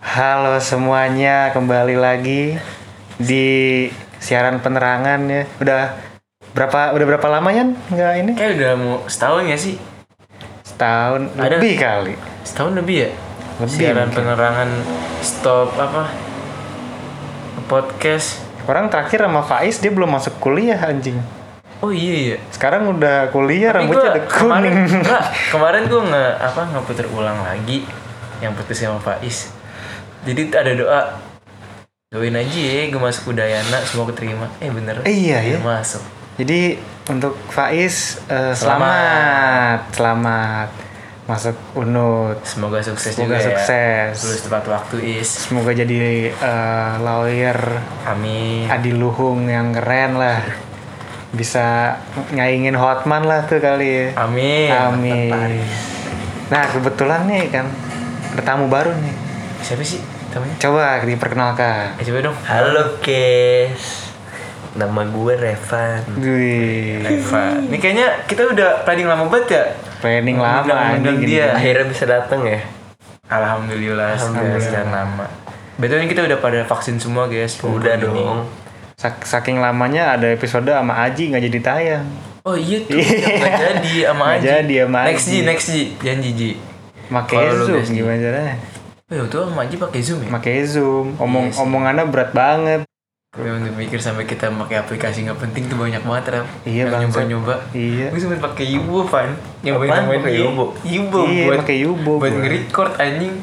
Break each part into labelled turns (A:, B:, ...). A: Halo semuanya, kembali lagi di siaran penerangan ya. Udah berapa udah berapa lama ya nggak ini?
B: Kayak Eh, udah mau setahun ya sih?
A: Setahun
B: Ada.
A: lebih kali.
B: Setahun lebih ya?
A: Lebih
B: Siaran
A: mungkin.
B: penerangan stop apa? Podcast.
A: Orang terakhir sama Faiz dia belum masuk kuliah anjing.
B: Oh iya iya.
A: Sekarang udah kuliah
B: Tapi
A: rambutnya
B: gua
A: udah
B: kemarin
A: kuning.
B: enggak, kemarin gue nge apa ngeputer ulang lagi yang putus sama Faiz. Jadi ada doa doain aja ya gue masuk Udayana semoga keterima eh bener
A: Eh, iya, ya.
B: Udah masuk
A: Jadi untuk Faiz eh, selamat.
B: Selamat.
A: selamat, masuk Unut.
B: semoga sukses
A: Semoga
B: juga
A: sukses.
B: ya lulus tepat waktu is
A: Semoga jadi eh, lawyer
B: amin
A: Adi Luhung yang keren lah bisa nyaingin Hotman lah tuh kali ya.
B: amin
A: Amin. Nah kebetulan nih kan ada tamu baru nih.
B: siapa sih namanya
A: Coba diperkenalkan.
B: eh, coba dong
C: Halo guys, nama gue Revan.
A: Wih,
B: Eva. Ini kayaknya kita udah planning lama banget ya.
A: planning lama
B: Undang-undang
A: anjing
B: dia.
A: gini.
C: Akhirnya bisa datang ya.
B: Alhamdulillah, Alhamdulillah. sekian lama. Betul ini kita udah pada vaksin semua guys.
C: Udah
B: Ini.
C: dong.
A: Sak- Saking lamanya ada episode sama Aji nggak jadi tayang.
B: Oh iya tuh. Nggak jadi sama
A: Nggak
B: Aji.
A: jadi sama
B: Next Ji,
A: Aji.
B: next Ji. Janji Ji.
A: Pakai
B: Kalau lu
A: Zoom
B: guys,
A: gimana caranya?
B: Oh iya tuh sama Aji pakai Zoom ya?
A: Pakai Zoom. Omong
B: Iya sih.
A: omongannya berat banget.
B: Gue untuk mikir sampai kita pakai aplikasi nggak penting tuh banyak banget Ram.
A: Iya,
B: Yang
A: bangsat.
B: nyoba-nyoba.
A: Iya.
B: Gue sempet pakai Yubo Pan.
C: Apaan
B: temen
C: pakai
B: dia.
C: Yubo?
B: Yubo
A: Iya,
B: buat
A: pakai Yubo Ah.
B: Buat
A: gua.
B: nge-record anjing.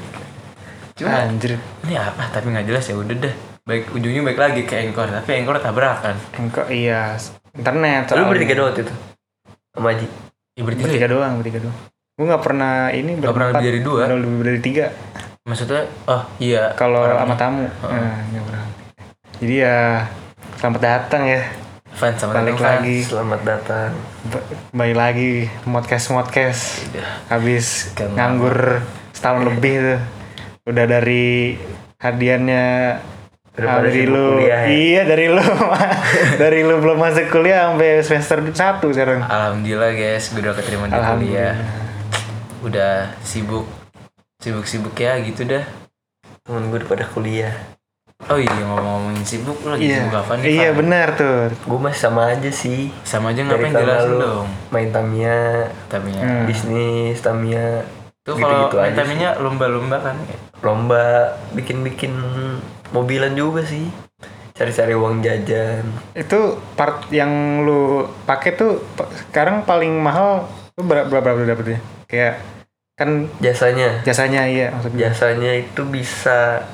B: Cuma
A: Anjir.
B: ini apa tapi nggak jelas ya udah dah baik ujungnya baik lagi ke engkor tapi engkor tabrakan
A: Engkau iya internet.
C: Lu
A: soalnya.
C: bertiga doang waktu itu sama Ji.
B: ya bertiga
A: bertiga
B: ya?
A: doang bertiga doang gue nggak pernah ini
B: Nggak pernah
A: berempat,
B: lebih dari dua.
A: nggak lebih dari tiga
B: maksudnya oh iya
A: kalau
B: orangnya.
A: sama tamu nah, nggak pernah jadi ya selamat datang ya
B: Fan sama
A: balik
B: Tatang Fan.
A: lagi
C: Selamat datang.
A: Ba- balik lagi podcast podcast
B: Udah.
A: habis
B: Sekian lama.
A: nganggur setahun lebih tuh udah dari hadiahnya ah,
C: Daripada
A: dari
C: sibuk
A: lu
C: kuliah ya.
A: iya dari lu dari lu belum masuk kuliah sampai semester satu sekarang
B: alhamdulillah guys gue udah keterima di
A: Alhamdulillah.
B: kuliah udah sibuk sibuk sibuk ya gitu dah
C: Temen gue pada kuliah.
B: oh iya ngomong-ngomongin sibuk lu lagi
A: iya
B: sibuk apa nih
A: iya
B: Fan?
A: benar tuh
C: Gue masih sama aja sih.
B: sama aja
C: Dari
B: ngapain
C: tahun
B: jelasin
C: lalu.
B: dong
C: Main Tamiya,
B: taminya
A: Hmm.
C: bisnis Tamiya,
B: tuh kalau
C: gitu-gitu
B: main
C: aja.
B: taminya lomba-lomba kan
C: Lomba bikin-bikin mobilan juga sih. Cari-cari uang jajan.
A: itu part yang lu pakai tuh pa- sekarang paling mahal lu berapa berapa lu dapetnya kayak kan
C: Jasanya.
A: jasanya iya maksudnya
C: Jasanya itu bisa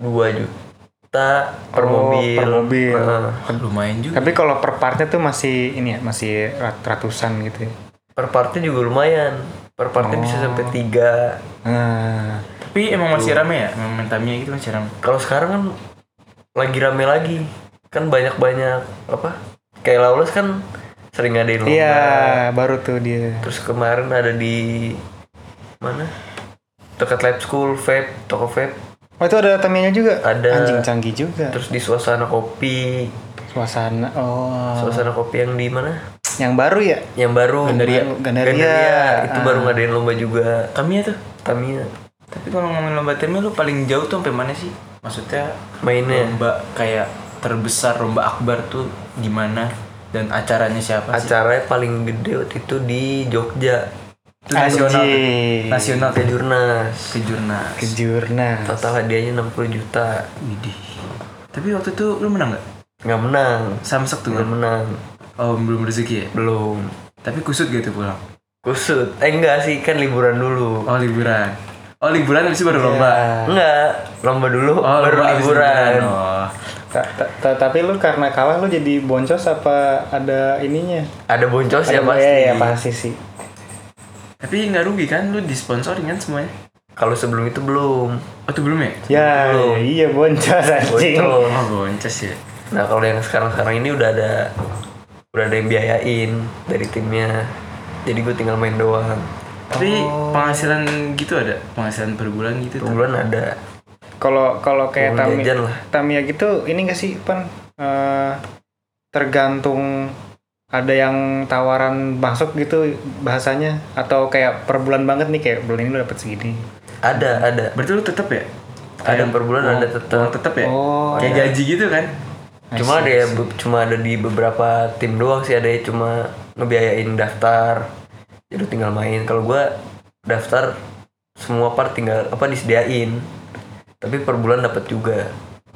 C: 2 juta per
A: Oh,
C: mobil.
A: per mobil.
C: Heeh.
B: lumayan juga
A: tapi kalau per partnya tuh masih ini ya masih rat- ratusan gitu ya
C: per partnya juga lumayan per partnya
A: Oh.
C: bisa sampai tiga
A: nah
B: tapi emang masih rame ya emang main taminya gitu masih rame
C: kalau sekarang kan lagi rame lagi kan banyak banyak apa kayak laules kan sering ngadain lomba
A: iya baru tuh dia
C: terus kemarin ada di mana dekat lab school vape toko vape
A: oh itu ada tamianya juga
C: Ada.
A: anjing canggih juga
C: terus di suasana kopi
A: suasana
B: Ah.
A: oh
C: suasana kopi yang di mana
A: yang baru ya
C: yang baru
A: Gandaria. Gandaria.
C: itu baru ngadain lomba juga
B: taminya Ah. tuh
C: Tamiya
B: Tapi kalau ngomongin lomba temi lu paling jauh tuh sampai mana sih? Maksudnya
C: mainnya
B: lomba kayak terbesar lomba akbar tuh di mana dan acaranya siapa sih?
C: acaranya paling gede waktu itu di Jogja
B: Itu nasional. tuh.
A: Anjing.
B: Nasional ke
C: Kejurnas
B: kejurnas.
A: kejurnas
C: total hadiahnya 60 juta
B: Widih. Tapi waktu itu lu menang nggak?
C: nggak menang
B: Samsek tuh
C: nggak
B: kan?
C: menang
B: Oh belum rezeki ya?
C: belum
B: Tapi kusut gitu pulang?
C: kusut eh enggak sih kan liburan dulu
B: Oh liburan. Oh liburan habis itu baru lomba?
C: enggak lomba dulu
B: Oh
C: Iya. baru
B: lomba habis
C: liburan
B: Oh.
A: Ta- ta- ta- tapi lu karena kalah lu jadi boncos apa ada ininya
C: ada boncos ya
A: Ada-
C: pasti
A: iya, iya, pasti sih
B: Tapi nggak rugi kan? Lu disponsorin kan semuanya?
C: kalau sebelum itu belum
B: Oh itu belum ya?
A: Ya,
C: Belum.
A: iya boncos anjing.
C: bocor
B: Oh boncos ya.
C: nah kalau yang sekarang sekarang ini udah ada udah ada yang biayain dari timnya jadi gue tinggal main doang
B: Tapi penghasilan gitu ada? Penghasilan per bulan gitu?
C: Oh. Per bulan ada
A: Kalau kalau kayak
C: Uang
A: Tami,
C: jajan lah.
A: Tamiya gitu, ini nggak sih pan Eh, tergantung ada yang tawaran masuk gitu bahasanya atau kayak per bulan banget nih kayak bulan ini lu dapat segini.
C: ada ada
B: Berarti lu tetap ya?
C: ada per bulan ada tetap
B: uang tetap ya
A: Oh,
B: kayak gaji gitu kan
C: cuma ada ya be- cuma ada di beberapa tim doang sih ada ya cuma ngebiayain daftar jadi lu tinggal main kalau gua daftar semua part tinggal apa disediain tapi per bulan dapat juga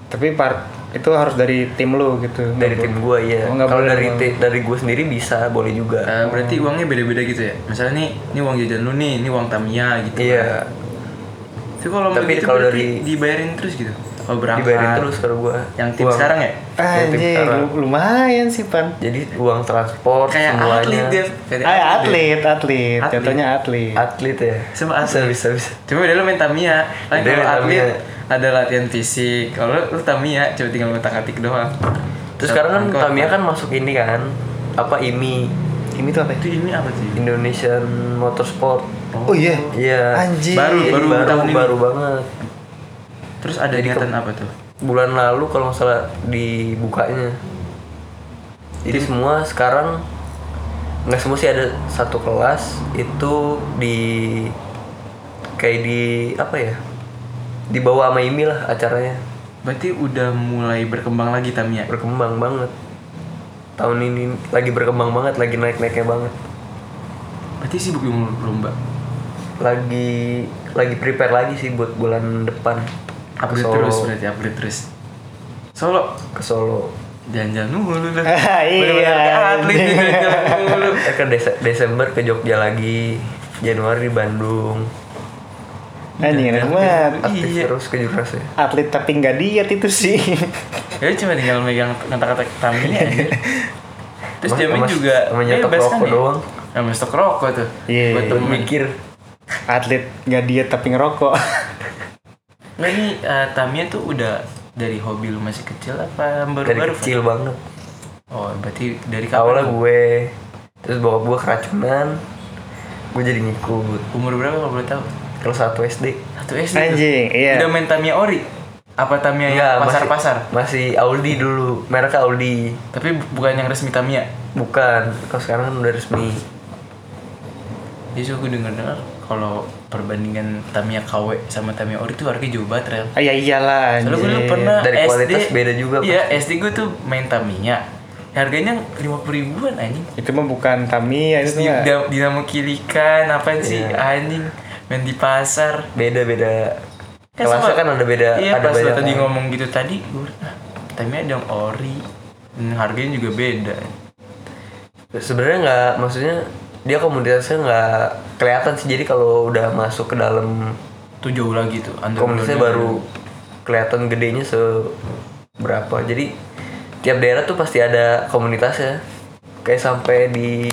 A: Tapi part itu harus dari tim lu gitu.
C: dari tim gua ya
A: Oh, nggak
C: kalau
A: boleh Ah,
C: dari ti- dari gua sendiri bisa boleh juga
B: Eh, berarti
C: Hmm.
B: uangnya beda-beda gitu ya misalnya nih ini uang jajan lu nih ini uang Tamiya gitu
C: iya
B: tapi kalau
C: Tapi
B: begitu
C: kalau
B: berarti
C: dari-
B: dibayarin terus gitu oh berangkat
C: dibayarin terus kalau gua
B: yang tim
C: Uang-
B: sekarang ya
A: Ah, Anjing, lu- lumayan sih pan.
C: jadi uang transport
B: kayak
C: semuanya
B: atlet dia Kayak
A: Ah,
B: dia.
A: atlet, atlet,
B: Atlet.
A: Contohnya atlet.
C: atlet ya
B: Sama
C: bisa
B: atlet.
C: bisa bisa
B: Cuma dia lu main Tamiya Kan
C: Dia
B: kalau
C: main
B: atlet
C: Tamiya.
B: ada latihan fisik Kalau lu, lu Tamiya cuma tinggal ngotak-ngatik doang
C: terus sekarang kan Tamiya kan masuk ini kan apa IMI
A: Ini tuh apa? ya?
B: Itu ini apa sih?
C: Indonesian Motorsport
A: Oh iya.
C: iya
A: Anjing.
B: Baru,
C: Jadi
B: baru,
C: baru
B: tahun ini
C: baru banget
B: Terus ada niatan apa tuh?
C: bulan lalu kalau nggak salah dibukanya jadi semua sekarang nggak semua sih ada satu kelas itu di kayak di apa ya dibawa sama IMI lah acaranya
B: Berarti udah mulai berkembang lagi Tamiya
C: berkembang banget tahun ini lagi berkembang banget lagi naik naiknya banget
B: Berarti sibuk di mul- lomba
C: lagi lagi prepare lagi sih buat bulan depan ke
B: Upgrade
C: Solo
B: terus berarti upgrade terus Solo
C: ke Solo
B: Jangan-jangan mulu lah
A: Ah, iya,
B: Bener-bener kayak atlet nih, jangan-jangan mulu
C: Eh, ke Dese- Desember ke Jogja lagi Januari di Bandung
A: Anjing, enak banget.
C: aktif
B: Iya.
C: terus ke Jurnas ya
A: Atlet tapi nggak diet itu sih.
B: Ya cuma tinggal megang kata-kata Tamiya aja Terus
C: Mas-
B: jamin
C: mas-
B: juga
C: sama nyetok
B: bebas kan
C: rokok
B: ya?
C: doang.
B: Sama stok rokok tuh
A: Iya,
B: Buat
A: iya,
B: temen.
C: mikir
A: atlet nggak diet tapi ngerokok.
B: Nggak nih, eh, Tamiya tuh udah dari hobi lu masih kecil apa
C: dari
B: baru-baru?
C: kecil banget
B: Oh, berarti dari
C: awalnya
B: kapan?
C: gue terus bokap gue keracunan gue jadi ngikut
B: Umur berapa kalau boleh tahu?
C: kelas 1 SD
B: Satu SD. tuh.
A: Anjing, iya.
B: Udah main Tamiya ori? Apa Tamiya
C: Enggak,
B: yang
C: masih-
B: pasar-pasar?
C: masih Audi dulu merek Audi
B: Tapi bu- bukan yang resmi Tamiya.
C: bukan kalau sekarang kan udah resmi
B: Jadi so, gue denger-dengar kalau perbandingan Tamiya KW sama Tamiya ori tuh harganya jauh banget, Rel.
A: Ah, ya iyalah
B: Soalnya gue
A: anjing.
B: dulu pernah
C: Dari
B: SD,
C: kualitas beda juga,
B: Iya, SD gue tuh main Tamiya. Harganya 50 ribuan anjing.
A: Itu mah bukan Tamiya
B: Terus
A: itu
B: di,
A: mah.
B: di- dinamo kilikan apa sih
C: Iya.
B: anjing main di pasar
C: beda beda
B: Kan
C: kelasnya
B: sama-
C: kan ada beda
B: iya,
C: ada
B: pas lu
C: banyak
B: tadi ngomong gitu tadi gue ah, timnya ada yang ori Hmm, harganya juga beda
C: sebenarnya nggak maksudnya dia komunitasnya nggak kelihatan sih jadi kalau udah masuk ke dalam
B: tuh jauh lagi tuh under
C: komunitasnya baru kelihatan gedenya seberapa jadi tiap daerah tuh pasti ada komunitasnya kayak sampai di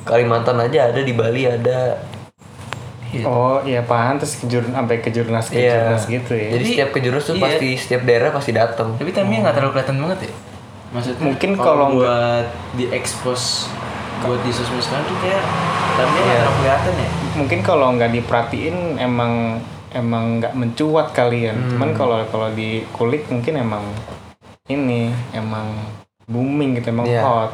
C: Kalimantan aja ada di Bali ada
A: Oh, iya pantas ke jurn sampai ke jurnas ke
C: Iya.
A: jurnas gitu ya.
C: jadi iya. setiap kejurus tuh pasti setiap daerah pasti datang
B: tapi timnya nggak terlalu kelihatan banget ya maksudnya
A: Mungkin kalau
B: buat di expose buat di sosmed sekarang tuh kayak timnya
A: Iya.
B: nggak terlalu kelihatan ya
A: Mungkin kalau nggak diperhatiin emang emang nggak mencuat kalian. Cuman kalau kalau dikulik mungkin emang ini emang booming gitu emang
C: Iya.
A: hot.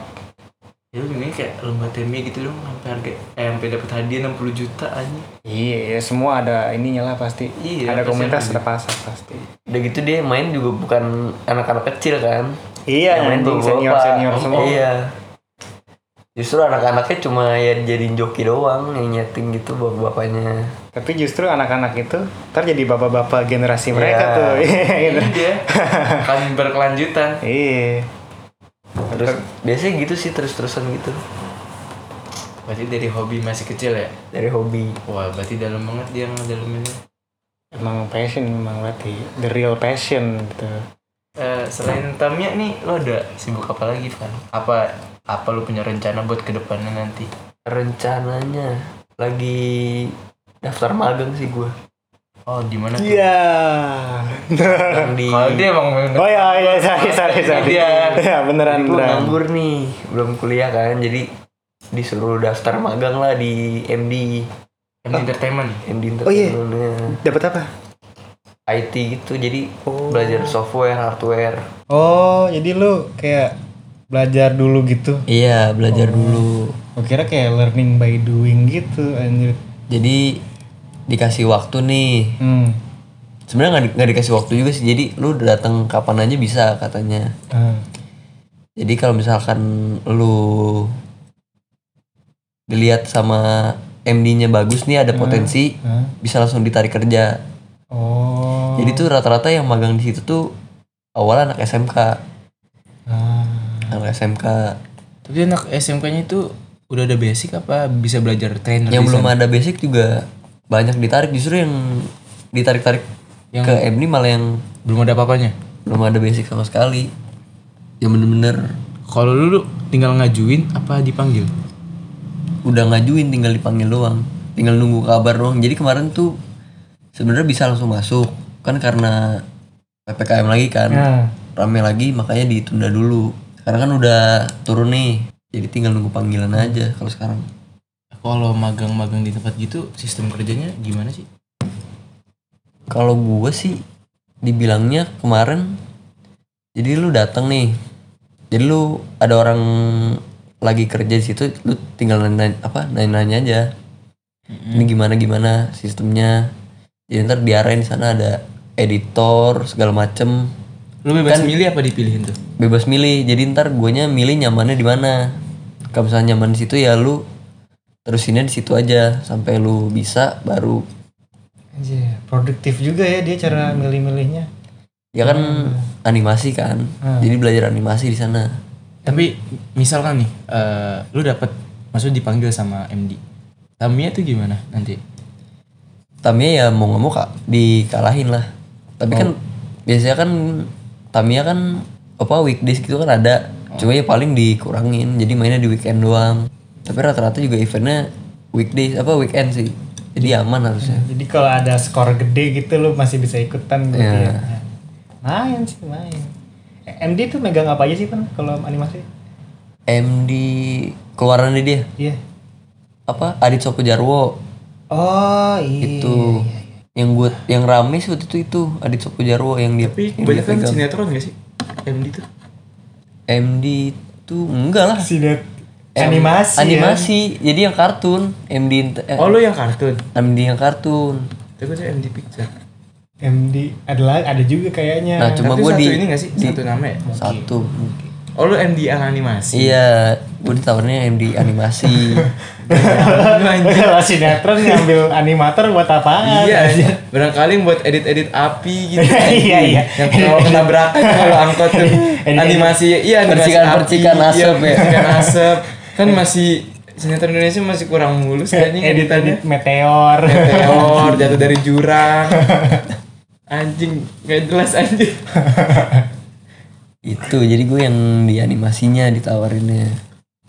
B: ya lu mendingan kayak lomba timnya gitu dong sampai harga eh, sampai dapat hadiah 60 juta aja
A: Iya, semua ada ininya lah pasti.
B: Iya,
A: ada
B: pasti
A: komunitas,
B: ada.
A: ada pasar pasti.
C: udah gitu dia main juga bukan anak-anak kecil kan
A: Iya,
C: Yang main
A: anjing
C: bawa-bawa,
A: senior
C: Pak.
A: senior
C: Oh,
A: semua.
C: iya justru anak-anaknya cuma ya jadiin joki doang yang nyeting gitu bapak-bapaknya
A: Tapi justru anak-anak itu ntar jadi bapak-bapak generasi mereka
C: Iya.
A: tuh. gitu.
B: ini dia Iya. kan berkelanjutan
A: iya.
C: terus biasanya gitu sih terus-terusan gitu
B: berarti dari hobi masih kecil ya
C: dari hobi
B: wah berarti dalam banget dia ngedalaminnya
A: Emang passion emang berarti the real passion gitu.
B: Eh, selain Tamiya nih lo ada sibuk apa lagi kan apa apa lo punya rencana buat kedepannya nanti
C: rencananya lagi daftar magang sih gue
B: oh di mana tuh?
A: Iya.
C: yang di
B: kalau dia emang bener
A: oh iya iya sorry sorry sorry.
B: Iya.
A: Iya beneran
C: gue
A: beneran.
C: nganggur nih belum kuliah kan jadi disuruh daftar magang lah di MD
B: emang entertainment
C: MD
A: Oh, iya.
C: Entertainment-nya.
A: Dapat apa?
C: IT gitu jadi
A: Oh.
C: belajar software hardware
A: Oh, jadi lu kayak belajar dulu gitu.
C: iya belajar dulu
A: Gue kira kayak learning by doing gitu anjir.
C: jadi dikasih waktu nih
A: Hmm.
D: sebenarnya nggak di- nggak dikasih waktu juga sih jadi lu datang kapan aja bisa katanya
A: Hmm.
D: jadi kalau misalkan lu dilihat sama MD-nya bagus nih ada
C: Hmm.
D: potensi bisa langsung ditarik kerja
A: Oh.
D: jadi tuh rata-rata yang magang di situ tuh awalnya anak SMK
A: Ah.
D: anak SMK
C: Tapi Hmm. anak SMK-nya itu udah ada basic apa bisa belajar trainer?
D: yang
C: di
D: belum
C: sana?
D: ada basic juga banyak ditarik justru yang ditarik-tarik
C: Yang-
D: ke MD malah yang
C: belum ada apa-apanya.
D: belum ada basic sama sekali yang bener-bener
C: Kalau lu, lu tinggal ngajuin apa dipanggil?
D: udah ngajuin tinggal dipanggil doang tinggal nunggu kabar doang jadi kemarin tuh sebenarnya bisa langsung masuk kan karena ppkm lagi kan rame lagi makanya ditunda dulu karena kan udah turun nih jadi tinggal nunggu panggilan aja kalau sekarang
C: Kalau magang-magang di tempat gitu sistem kerjanya gimana sih?
D: kalau gue sih dibilangnya kemarin jadi lu datang nih jadi lu ada orang lagi kerja di situ lu tinggal nanya apa nanya-nanya aja ini gimana gimana sistemnya jadi ntar diarahin di sana ada editor segala macem
C: Lu bebas milih apa dipilihin tuh?
D: bebas milih jadi ntar guanya milih nyamannya di mana kalau misalnya nyaman di situ ya lu terusinnya di situ aja sampai lu bisa baru
A: Anjir, produktif juga ya dia cara milih-milihnya.
D: ya kan animasi kan jadi belajar animasi di sana
C: Tapi misalkan nih, eh, lu dapat maksudnya dipanggil sama MD. Tamia tuh gimana nanti?
D: Tamiya ya mau nggak mau kak dikalahin lah tapi kan
A: Oh.
D: biasanya kan Tamiya kan apa weekdays gitu kan ada
A: Oh.
D: cuma ya paling dikurangin jadi mainnya di weekend doang tapi rata-rata juga eventnya weekdays apa weekend sih jadi aman harusnya
A: Jadi kalau ada skor gede gitu lu masih bisa ikutan gitu
D: Iya.
A: ya. Main sih, main. Eh, MD tuh megang apa aja sih kan kalau animasi?
D: MD keluarannya dia
A: Iya.
D: apa Adit Sopo Jarwo
A: Oh, iya.
D: itu gitu. yang buat yang rame sih waktu itu itu Adit Sopo Jarwo yang dia
B: Tapi
D: yang dia
A: kan
B: kebanyakan
D: pegang.
B: sinetron gak sih? MD tuh.
D: MD itu enggak lah
A: Sinet animasi. ya.
D: animasi jadi yang kartun MD int- eh,
B: Oh lu yang kartun.
D: MD yang kartun
B: Tapi gue tuh MD Picture.
A: Ya. MD adalah ada juga kayaknya.
D: nah cuma
B: Tapi
D: gue
B: satu
D: di
B: ini gak sih?
D: di-
B: Satu nama ya?
D: satu
B: Oh lu MD yang animasi.
D: iya gue ditawarnya MD animasi
C: Iya.
A: Kalau sinetron ngambil animator buat apaan? Eh,
B: Iya, anjir. barangkali buat edit-edit api gitu.
A: Iya, iya.
B: Yang kalau kena berakan kalau angkot tuh
A: Edit-edit.
B: animasi iya animasi
D: Percikan-percikan
B: api,
D: asap
B: iya,
D: ya.
B: Percikan asap. Kan masih sinetron Indonesia masih kurang mulus kayaknya
D: gitu
A: edit
B: editannya.
A: edit
D: ya.
A: meteor.
B: Meteor jatuh dari jurang. Anjing, gak jelas anjing.
D: itu jadi gue yang di animasinya ditawarinnya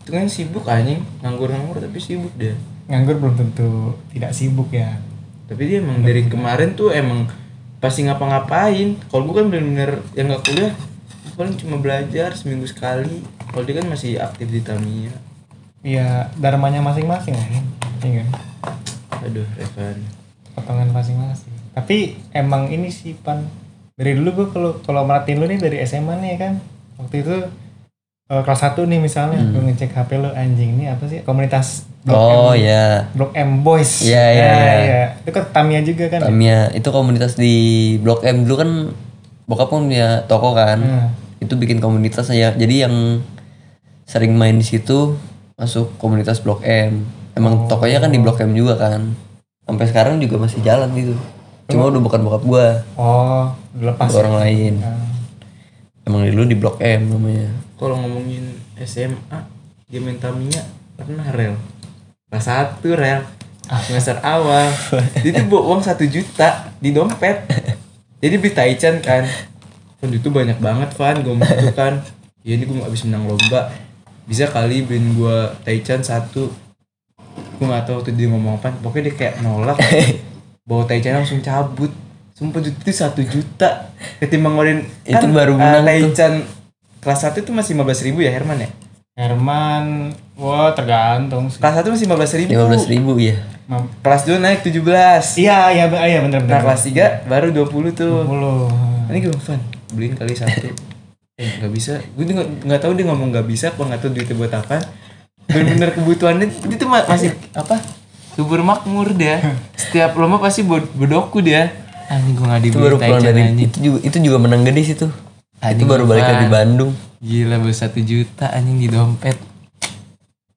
B: Itu kan sibuk anjing, nganggur-nganggur tapi sibuk dia.
A: Nganggur belum tentu tidak sibuk ya.
B: Tapi dia emang dari kemarin tuh emang pasti ngapa-ngapain. Kalau gue kan bener-bener yang gak kuliah, gua paling cuma belajar seminggu sekali. Kalau dia kan masih aktif di Tamiya.
A: Iya, dharmanya masing-masing lah ya. Iya kan?
B: Aduh, Revan.
A: Potongan masing-masing. Tapi emang ini sih pan dari dulu gue kalau kalau merhatiin lu nih dari SMA nih ya kan. Waktu itu eh, kelas 1 nih misalnya gue ngecek HP lu anjing ini apa sih komunitas
D: Hmm. oh
A: M,
D: ya
A: Blok M Boys.
D: Iya, iya,
A: Nah,
D: iya.
A: Itu kan Tamiya juga kan. ya?
D: Tamiya itu komunitas di Blok M dulu kan bokap kan punya toko kan
A: Hmm.
D: itu bikin komunitas ya jadi yang sering main di situ masuk komunitas Blok M
A: Oh.
D: emang tokonya kan di Blok M juga kan sampai sekarang juga masih jalan gitu cuma udah bukan bokap gua
A: Oh, Nah, lepas.
D: orang lain
A: Hmm.
D: emang dulu di Blok M namanya
B: Kalau ngomongin SMA, dia main Tamiya pernah rel. Kelas satu rel. Semester awal. Dia tuh bawa uang satu juta di dompet. Jadi beli Taichan kan. Fun itu banyak banget Fan, gue itu kan. Ya ini gue abis menang lomba. Bisa kali beliin gue Taichan satu. Gue gak tau waktu dia ngomong apa. Pokoknya dia kayak nolak. Bawa Taichan langsung cabut. Sumpah itu tuh satu juta. Ketimbang ngeluarin.
D: Itu
B: kan,
D: baru
B: eh,
D: menang tuh.
B: Taichan kelas 1 itu masih 15 ribu ya Herman ya?
A: Herman, wah tergantung sih.
B: Kelas 1 masih 15 ribu.
D: lima belas ribu ya
A: Mam-
B: Kelas 2 naik 17.
A: Iya, iya, be- iya bener bener.
B: Nah kelas 3 baru 20 tuh.
A: Mulu.
B: Ini gue fan. Beliin kali satu. eh gak bisa. Gue tuh nggak- nggak tahu dia ngomong gak bisa apa nggak tahu duitnya buat apa. Bener-bener kebutuhannya dia tuh ma- masih apa? Subur makmur dia. Setiap lomba pasti bod- bodoku dia. Anjing gue gak
D: itu
C: Iya,
B: dibeliin
D: baru pulang
B: Taichan
D: dari
B: anjing.
D: itu juga itu juga menang gede sih tuh
C: Ah,
B: Anjing
D: itu baru balik
B: apaan?
D: lagi Bandung
B: Gila baru 1 juta anjing di dompet.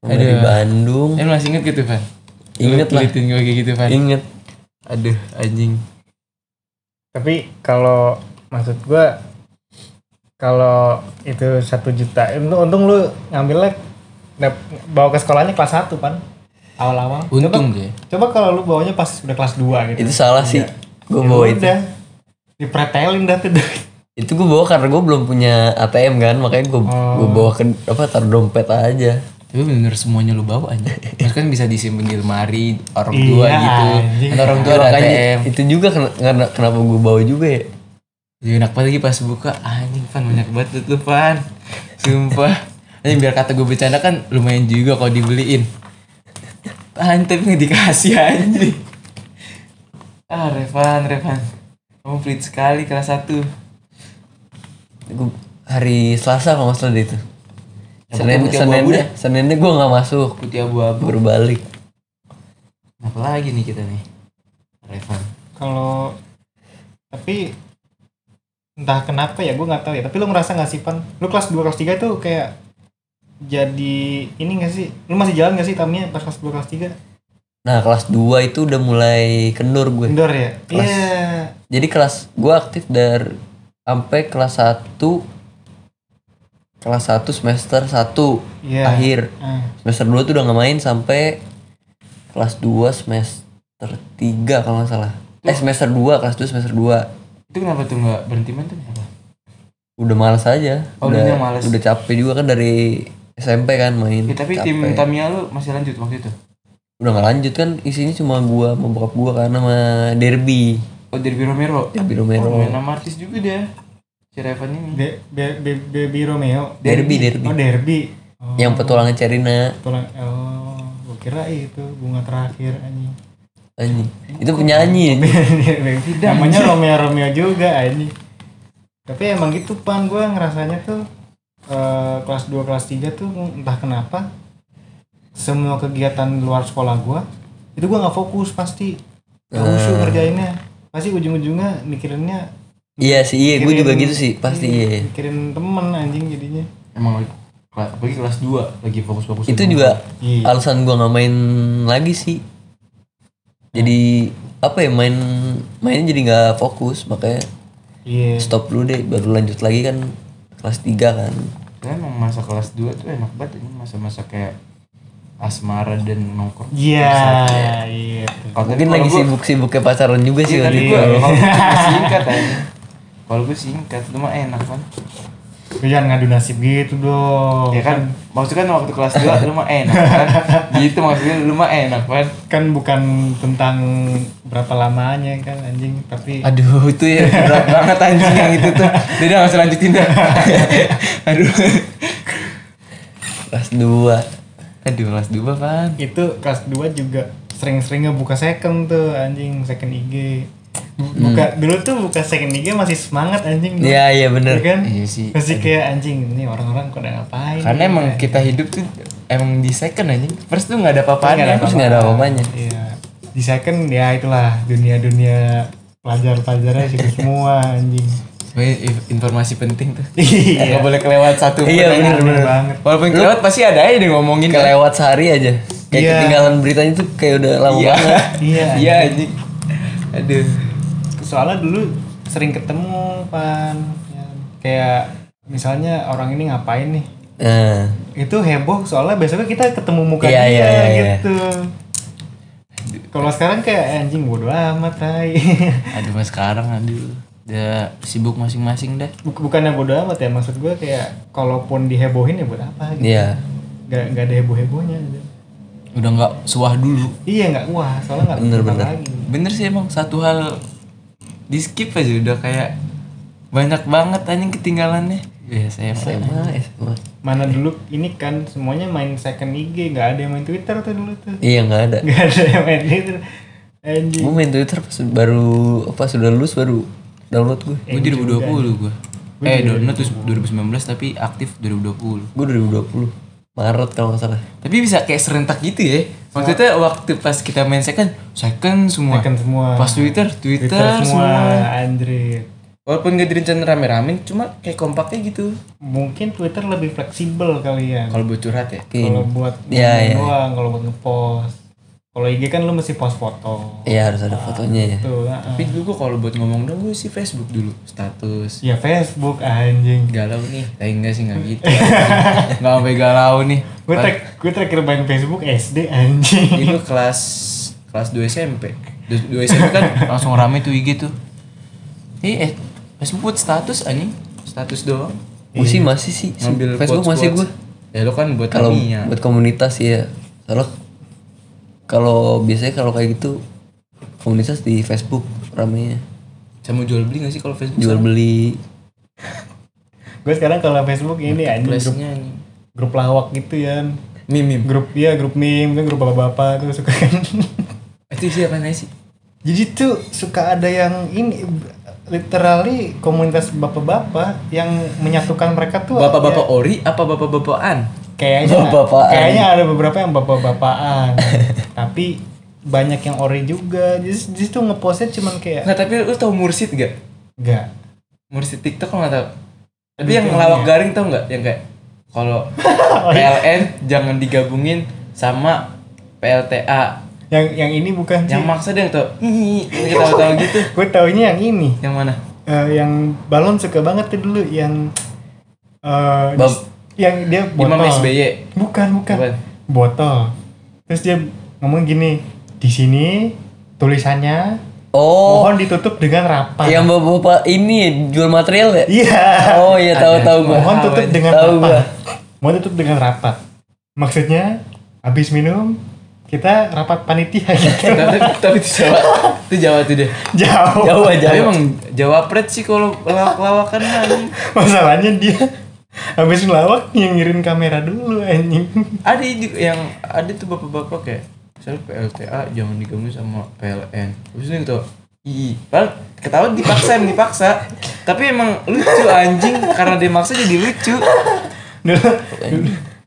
D: dari Bandung
B: Eh lu masih inget gitu, Van?
D: Ingat lah.
B: Litin gue kayak
A: kan.
B: gitu, Van.
D: inget
B: Aduh, anjing.
A: tapi kalau maksud gua kalau itu satu juta untung, untung lu ngambilnya dap- bawa ke sekolahnya kelas 1 pan awal-awal
B: Untung deh.
A: coba kalau lu bawanya pas udah kelas 2 gitu
D: itu salah sih gue
A: Ya
D: bawa itu
A: udah dipretelin dah tuh
D: itu gue bawa karena gue belum punya ATM kan makanya
A: Oh.
D: gue bawa ke apa taruh dompet aja
B: Tapi bener semuanya lu bawa aja. Terus kan bisa disimpan di lemari orang tua
A: Iya,
B: gitu.
A: anjing.
B: Atau orang tua ada
D: Makanya
B: ATM.
D: itu juga ken- karena kenapa gue bawa juga ya
B: Ya enak banget lagi pas buka anjing Van banyak banget tuh Van. Sumpah. Ini biar kata gue bercanda kan lumayan juga kalau dibeliin. Tahan tapi nggak dikasih anjing. Ah Revan, Revan. Kamu pelit sekali kelas 1.
D: Gua- hari Selasa kalau nggak salah deh itu Senin
B: putih
D: Senin
B: abu-abu
D: Seninnya gue nggak masuk
B: Putih abu-abu.
D: baru balik
B: Apa lagi nih kita nih? Revan.
A: kalau tapi entah kenapa ya gue nggak tahu ya tapi lu ngerasa nggak sih pan lu kelas 2 kelas 3 tuh kayak jadi ini gak sih lu masih jalan gak sih tamnya pas kelas 2 kelas 3
D: nah kelas 2 itu udah mulai kendor gue
A: indoor ya iya
D: Kelas- jadi kelas gue aktif dari sampai kelas 1 kelas 1 semester 1
A: iya
B: Ya.
D: akhir
A: Ah,
D: semester 2 tuh udah nggak main sampai kelas 2 semester 3 kalau nggak salah eh semester 2 kelas 2 semester 2
B: Itu kenapa tuh nggak berhenti main tuh kenapa?
D: udah males aja
B: Oh,
D: udah
B: lu udah males.
D: udah capek juga kan dari SMP kan main
B: Ya, tapi tim
D: Capek.
B: Tamiya lu masih lanjut waktu itu?
D: udah nggak lanjut kan isinya cuma gua sama bokap gua kan sama Derby
B: Oh Derby Romero.
D: Derby Romero
B: Oh, main sama artis juga dia. Si Revan ini.
A: Be- Be- Be- Baby Romeo
D: Derby Derby
A: oh derby oh,
D: yang petualangan Cerina
A: tulang oh gue kira itu bunga terakhir anjing
D: anjing itu penyanyi
A: namanya Romeo Romeo juga ini tapi emang gitu pan gue ngerasanya tuh eh, kelas 2 kelas 3 tuh entah kenapa semua kegiatan di luar sekolah gue itu gue nggak fokus pasti gak
D: Eh.
A: khusyuk ngerjainnya pasti ujung-ujungnya mikirinnya
D: iya sih iya gua
A: mikirin-
D: juga gitu sih pasti iya
A: mikirin temen anjing jadinya
B: Emang lagi- apalagi kelas 2 lagi fokus-fokus.
D: itu juga
A: Iya.
D: alasan gua nggak main lagi sih jadi apa ya main mainnya jadi nggak fokus makanya
A: iya
D: stop dulu deh baru lanjut lagi kan kelas 3 kan
B: Karena emang masa kelas 2 tuh enak banget ini masa-masa kayak asmara dan nongkrong.
A: iya iya
B: Kalau Iya,
D: mungkin lagi sibuk-sibuknya pacaran juga sih
B: tadi gua
D: waktu itu
B: kalau gua cuma singkat aja. Kalau gue singkat lu mah enak kan.
A: Lu jangan ngadu nasib gitu dong
B: Ya kan maksudnya kan waktu kelas 2 lu mah enak kan. Gitu maksudnya lu mah enak kan.
A: kan bukan tentang berapa lamanya kan anjing tapi
B: Aduh itu ya berat banget anjing yang itu tuh. Udah enggak usah lanjutin dah. Aduh.
D: kelas 2
B: Aduh kelas 2 kan.
A: itu kelas 2 juga sering-seringnya buka second tuh anjing second IG Bu- buka dulu tuh buka second IG masih semangat anjing gua.
D: Hmm. Iya iya bener.
A: Ya kan
B: Iya sih.
A: masih kayak anjing ini orang-orang pada ngapain ya,
B: Karena emang kita hidup tuh emang di second anjing. First tuh nggak ada apa-apaan ya.
D: Terus nggak ada apa-apanya.
A: iya di second ya itulah dunia-dunia pelajar-pelajarnya situ semua anjing
B: Sebenarnya i- informasi penting tuh.
A: iya
B: Nggak boleh kelewat satu
D: Iya,
B: pertanyaan.
D: bener, bener.
A: banget
B: Walaupun kelewat pasti ada aja deh ngomongin kan.
D: Kelewat sehari aja. Kayak
A: Iya.
D: ketinggalan beritanya tuh kayak udah lama
B: Iya.
D: banget.
A: iya
B: Iya anjing. Aduh.
A: soalnya dulu sering ketemu pan Ya, kayak misalnya orang ini ngapain nih
D: Nah,
A: itu heboh soalnya besoknya kita ketemu muka
D: Iya,
A: dia
D: iya, iya, iya.
A: gitu kalau sekarang kayak anjing bodo amat tai
B: Aduh mas sekarang aduh. Udah sibuk masing-masing deh.
A: Buk- bukannya bodo amat ya maksud gue kayak kalaupun dihebohin ya buat apa gitu
D: iya.
A: nggak nggak ada heboh hebohnya
B: Udah nggak suah dulu.
A: iya nggak wah soalnya nggak
D: Bener,
A: berkembang
D: bener.
A: lagi
B: Bener sih emang satu hal di skip aja udah kayak banyak banget anjing ketinggalannya. Biasa ya.
D: SMA, SMA.
A: mana dulu ini kan semuanya main second IG nggak ada yang main Twitter tuh dulu tuh
D: Iya nggak ada.
A: nggak ada yang main Twitter anjing
D: Gue main Twitter pas baru apa sudah lulus baru download gue.
B: Gue 2020 gue. Eh, download terus 2019 tapi aktif 2020.
D: Gue 2020. Maret kalau nggak salah.
B: Tapi bisa kayak serentak gitu ya. Maksudnya waktu pas kita main second, second semua.
A: Second semua.
B: Pas Twitter, Twitter,
A: Twitter semua,
B: semua.
A: Android.
B: Walaupun gak direncanain rame-rame, cuma kayak kompaknya gitu.
A: Mungkin Twitter lebih fleksibel kali ya.
B: Kalau buat curhat ya.
D: Oke.
A: Kalau buat
D: Iya,
A: ngomong
D: iya.
A: doang, kalau buat ngepost. Kalau IG kan lu mesti post foto.
D: Iya harus ada fotonya ya.
A: Tuh, ah, heeh.
B: Tapi dulu gua kalau buat ngomong dong gue sih Facebook dulu, status.
A: Ya Facebook anjing.
B: Galau nih, tapi enggak sih enggak gitu. Enggak sampai galau nih.
A: Gue
B: Pas-
A: ter gue terakhir main Facebook SD anjing.
B: itu kelas kelas 2 SMP. 2 SMP kan langsung rame tuh IG tuh. Eh, eh Facebook buat status anjing, status doang.
D: Gue sih masih sih. se-
B: Ngambil
D: Facebook
B: quotes-
D: masih gue.
B: quotes. Ya lu kan buat
D: Kalau
B: kami
A: Iya.
B: ya.
D: buat komunitas ya. Soalnya kalau biasanya kalau kayak gitu komunitas di Facebook ramenya
B: Sama jual beli gak sih kalau Facebook?
D: jual beli
A: gue sekarang kalau Facebook ini anjing grup,
B: Biasanya anjing.
A: grup lawak gitu ya.
B: Meme, meme.
A: Grup ya grup meme kan grup bapak-bapak tuh suka kan.
B: Itu siapa nih sih?
A: Jadi tuh suka ada yang ini literally komunitas bapak-bapak yang menyatukan mereka tuh
B: Bapak-bapak oh.
D: Iya.
B: ori apa bapak-bapakan?
A: kayaknya
D: Bapak-bapakan.
A: kayaknya ada beberapa yang bapak-bapakan tapi banyak yang ori juga Jus- justru ngepostnya cuman kayak
B: Nggak, tapi lu tau mursid gak?
A: enggak
B: Mursid TikTok lo nggak tau? Tapi yang ngelawak garing tau nggak? Yang kayak kalau PLN jangan digabungin sama PLTA.
A: yang yang ini bukan sih
B: Yang maksa dia yang tau, ih, kita tahu-tahu gitu.
A: gue taunya yang ini
B: Yang mana?
A: Eh, yang balon suka banget tuh dulu yang eh,
D: Bab-
A: yang dia botol
B: Imam SBY.
A: bukan bukan
B: Bukan.
A: botol terus dia ngomong gini di sini tulisannya
D: oh
A: mohon ditutup dengan rapat
D: yang bapak-bapak ini jual material ya
A: iya
D: oh iya tahu-tahu gue
A: Mohon tutup dengan
D: Tahu gua.
A: rapat. Mohon tutup dengan rapat. Maksudnya habis minum kita rapat panitia gitu.
B: tapi, tapi itu Jawa. Itu Jawa tuh dia.
A: Jauh.
D: jauh aja
B: Tapi emang Jawa pret sih kalau lawak-lawakan mah. anjing.
A: Masalahnya dia habis ngelawak yang ngirin kamera dulu anjing.
B: Ada juga yang ada tuh bapak-bapak kayak misalnya PLTA jangan digabungin sama PLN. Terus dia gitu. Ih, padahal ketawa dipaksa emang dipaksa. Tapi emang lucu anjing karena dia maksa jadi lucu.
A: Dulu,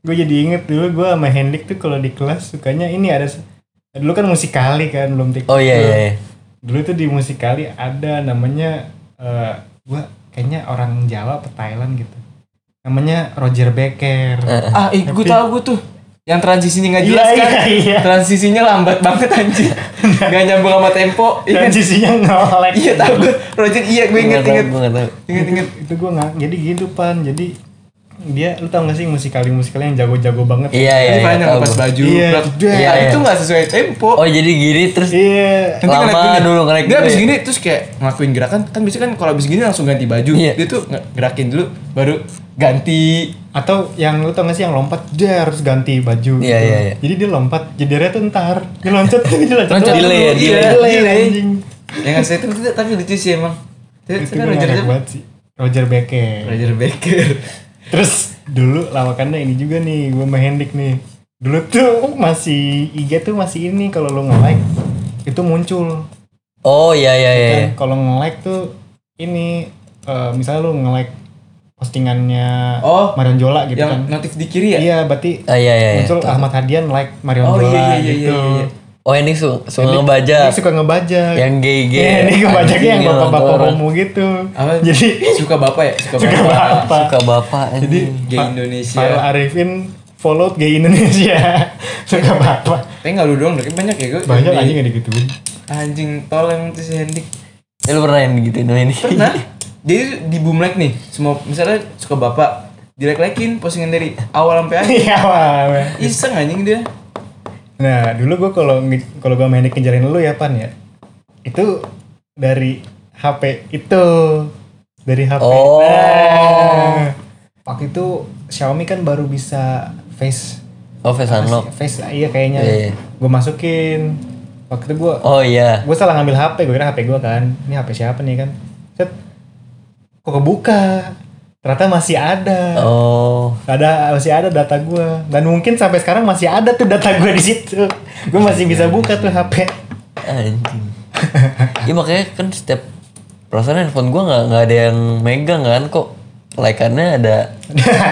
A: gue jadi inget dulu gue sama Hendik tuh kalau di kelas sukanya ini ada dulu kan musik kali kan belum tik
D: oh iya iya, iya.
A: dulu tuh di musik kali ada namanya eh gua kayaknya orang Jawa atau Thailand gitu namanya Roger Becker
D: Eh,
B: Ah, ih, gue tahu gue tuh. Yang transisinya nggak
A: Iya,
B: jelas kan?
A: iya, iya.
B: Transisinya lambat banget anjing. Gak nyambung sama tempo. Iya kan?
A: dan sisinya ngolek
B: Iya tahu gue. Roger iya gue
D: Nggak
B: inget
D: tahu,
B: inget.
D: gua nggak tahu.
B: Ingat ingat.
A: itu gue nggak jadi gitu pan jadi dia lu tau gak sih musikali musikali yang jago-jago banget
D: iya iya
B: Ini
D: iya,
B: banyak
D: tahu
B: lepas
D: gua.
B: baju.
A: Iya,
B: plak.
A: iya,
B: Nah,
D: iya.
B: itu nggak sesuai tempo.
D: oh jadi gini terus
A: iya
B: Nanti ngelek
D: lama
B: Kan gini.
D: dulu ngelek
B: Dia
D: dulu
B: abis
D: ya.
B: gini terus kayak ngelakuin gerakan kan biasanya kan kalau abis gini langsung ganti baju.
D: Iya.
B: Dia tuh nge- gerakin dulu baru ganti.
A: atau yang lu tau gak sih yang lompat dia harus ganti baju gitu.
D: Iya, iya, iya.
A: jadi dia lompat jadinya tuh ntar dia loncat dia loncat
D: Loncat
A: dulu.
D: delay ya,
A: Iya,
D: delay.
A: delay,
B: Delay.
A: anjing
B: Yang Ya nggak sesuai tempo tapi lucu sih emang. Tapi
A: itu
B: sekarang
A: gue
B: Roger
A: ngakak
B: dia-
A: banget sih Roger Becker
B: Roger Baker.
A: Terus dulu lawakannya ini juga nih, gue sama Hendik nih. Dulu tuh masih IG tuh masih ini kalau lo nge-like itu muncul.
D: oh iya iya iya
A: Dan kalau nge-like tuh ini eh, misalnya lo nge-like postingannya
B: Oh,
A: Marion Jola gitu
B: Yang
A: kan.
B: notif di kiri ya?
A: Iya, berarti
D: ah iya iya iya.
A: muncul Ahmad Hadian like Marion
B: Eh, Oh
A: Jola
B: iya iya iya iya.
A: gitu.
B: iya.
D: oh ini su suka
A: Hendik-
D: ngebaca
A: Hendik suka ngebaca.
D: yang gay gay
A: Iya, ini ngebajaknya yang bapak-bapak homo gitu.
B: Apa?
A: Jadi
B: suka bapak ya? Suka
A: suka
B: bapak.
A: bapak.
D: suka bapak
B: Jadi
A: Pak-
B: gay
D: anjing.
A: Farul
B: Indonesia.
A: Arifin followed gay Indonesia. Suka bapak.
B: Tapi nggak lu doang, tapi banyak ya gue.
A: Banyak anjing yang digituin.
B: Anjing tol emang tuh si Hendik.
D: ya lu pernah yang gituin sama ini
B: Pernah? Jadi di boomlike nih, semua misalnya suka bapak dilek-lekin postingan dari awal sampai akhir.
A: Iya, Pak.
B: Iseng anjing dia.
A: Nah, dulu gue kalau nge- kalau gue main ngejarin lu ya, Pan ya. Itu dari HP itu. Dari HP.
D: Oh.
A: Nah, waktu itu Xiaomi kan baru bisa face
D: oh face unlock
A: face iya kayaknya.
D: Iya, iya.
A: Gue masukin. Waktu itu gue
D: oh iya
A: gue salah ngambil HP gue kira HP gue kan ini HP siapa nih kan set kok kebuka ternyata masih ada
D: oh
A: ada masih ada data gue dan mungkin sampai sekarang masih ada tuh data gue di situ gue masih
B: Iya,
A: bisa buka tuh HP
D: anjing Iya, ya makanya kan setiap perasaan handphone gua nggak nggak ada yang megang kan kok Laikannya ada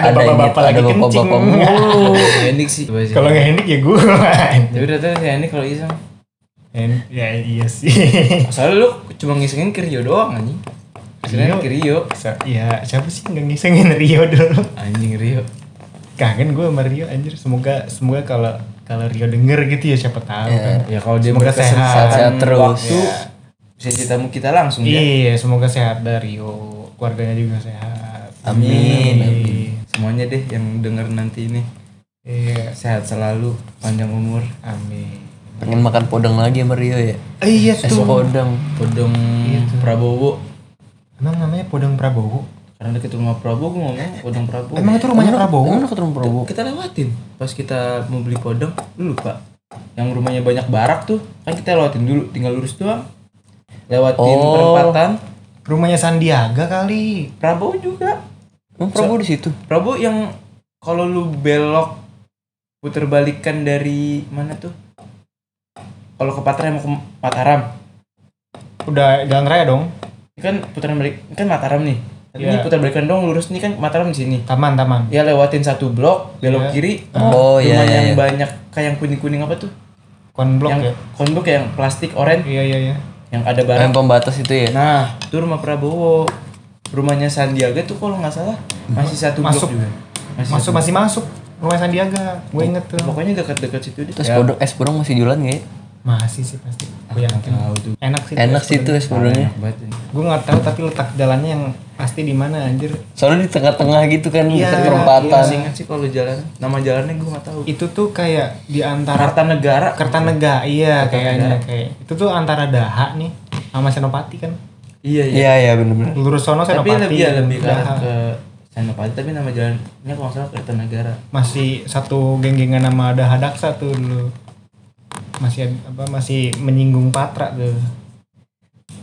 A: Ada bapak-bapak
D: ini,
A: lagi
D: ada
A: kencing.
D: bapak-bapak mulu.
B: Oh. Hendik sih. Coba sih.
A: Kalau nggak Hendik ya gue.
B: Tapi udah tuh si Hendik kalau iseng.
A: Hen- ya iya sih.
B: Soalnya lu cuma ngisengin Kirio doang anjing.
A: Rio.
B: Kirain Kirio.
A: Sa- ya siapa sih nggak ngisengin Rio dulu?
B: Anjing Rio.
A: Kangen gue sama Rio anjir. Semoga semoga kalau kalau Rio denger gitu ya siapa tahu kan.
B: Ya kalau dia
A: Semoga sehat.
D: Sehat-sehat terus.
B: Waktu bisa ceritamu kita langsung ya.
A: Iya, semoga sehat dari Rio. Keluarganya juga sehat. Iya.
D: Amin.
A: Amin.
B: Semuanya deh yang denger nanti ini
A: Iya,
B: sehat selalu, panjang umur.
A: amin.
D: Pengen makan podeng lagi sama Rio ya.
A: Eh, iya
D: Es
A: tuh.
D: podeng.
B: Podong
A: Iya,
B: Prabowo.
A: Emang namanya Podeng Prabowo?
B: Karena deket rumah Prabowo gue ngomong Podong Prabowo.
A: Emang itu
B: oh,
A: rumahnya Prabowo?
D: Emang lu ketemu Prabowo?
B: kita lewatin pas kita mau beli podong lu lupa yang rumahnya banyak barak tuh kan kita lewatin dulu tinggal lurus doang lewatin
D: Oh.
B: perempatan
A: Rumahnya Sandiaga kali.
B: Prabowo juga
D: Emang Prabowo di situ.
B: Prabowo yang kalau lu belok puter balikan dari mana tuh kalau ke Mataram mau ke Mataram
A: Udah jalan raya dong.
B: ini kan putaran balik ini kan Mataram nih Tapi ini
A: Iya.
B: putar balikan dong lurus nih kan Mataram di sini
A: Taman, taman.
B: ya lewatin satu blok belok
A: Iya.
B: kiri
D: Oh, iya,
B: rumah
D: iya,
B: yang
D: iya.
B: banyak kayak yang kuning kuning apa tuh
A: Konblok
B: yang
A: ya.
B: konblok yang plastik oranye
A: Iya, iya, iya.
B: yang ada barang
D: Yang pembatas itu ya.
B: Nah, itu rumah Prabowo. Rumahnya Sandiaga tuh kalau nggak salah masih satu
A: Masuk.
B: blok juga. Masih
A: Masuk
B: satu-
A: masih masuk rumah Sandiaga. Gue inget tuh.
B: Pokoknya dekat-dekat situ deh.
A: ya.
D: Terus podeng es podeng masih jualan nggak ya?
A: Masih sih pasti. Gue yakin.
B: Tahu tuh.
A: Enak sih.
D: Enak sih itu es
A: Nah, ya.
D: podengnya.
A: Gue nggak tahu tapi letak jalannya yang pasti di mana anjir.
D: Soalnya di tengah-tengah gitu kan, di
A: Iya,
D: dekat
B: Iya,
D: perempatan.
B: masih ingat sih kalau jalan nama jalannya gue nggak tahu.
A: Itu tuh kayak di antara
B: Kartanegara.
A: Kertanegara. Iya, kayaknya kayak. Itu tuh antara Daha nih sama Senopati kan.
B: Iya iya.
D: Iya, iya bener-bener.
A: Lurus sono
B: Tapi
A: Senopati.
B: lebih ya, lebih ke
A: Daha.
B: arah ke Senopati tapi nama jalannya kalau nggak salah Kartanegara.
A: masih satu geng-gengan sama ada Hadaksa tuh dulu masih ad- apa masih menyinggung Patra tuh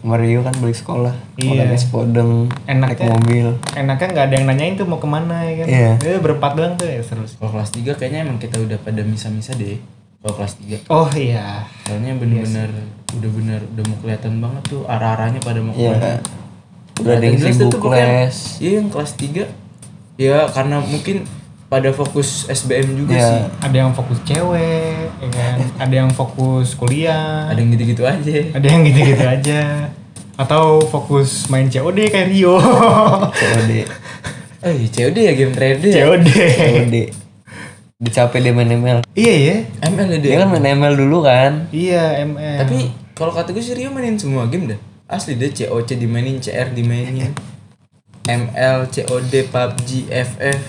D: Mario kan balik sekolah.
A: Iya. ya.
D: Makan es podeng.
A: Enaknya.
D: Naik mobil.
A: enaknya nggak ada yang nanyain tuh mau kemana ya kan
D: Iya.
A: eh, berempat doang tuh ya seru sih
B: Kalau kelas 3 kayaknya emang kita udah pada misa-misa deh. Kalau kelas 3
A: oh iya
B: soalnya bener-bener udah bener udah mau kelihatan banget tuh arah-arahnya pada mau
D: Iya.
B: kelihatan.
D: Udah ada yang
B: Kelihatan jelas
D: sibuk
B: tuh pokoknya.
D: les.
B: Iya yang kelas 3 Ya karena mungkin pada fokus SBM juga
D: Iya.
B: sih
A: ada yang fokus cewek ya kan ada yang fokus kuliah
B: Ada yang gitu-gitu aja
A: ada yang gitu-gitu aja atau fokus main COD kayak Rio
D: COD.
B: Eh COD ya game trader ya
A: COD
D: COD. Udah capek dia main ML.
A: iya ya
B: ML ya dia
D: Dia kan main ML dulu kan.
A: iya ML
B: Tapi kalau kata gue sih Rio mainin semua game dah Asli dia COC dimainin, CR dimainin ML, COD, PUBG, FF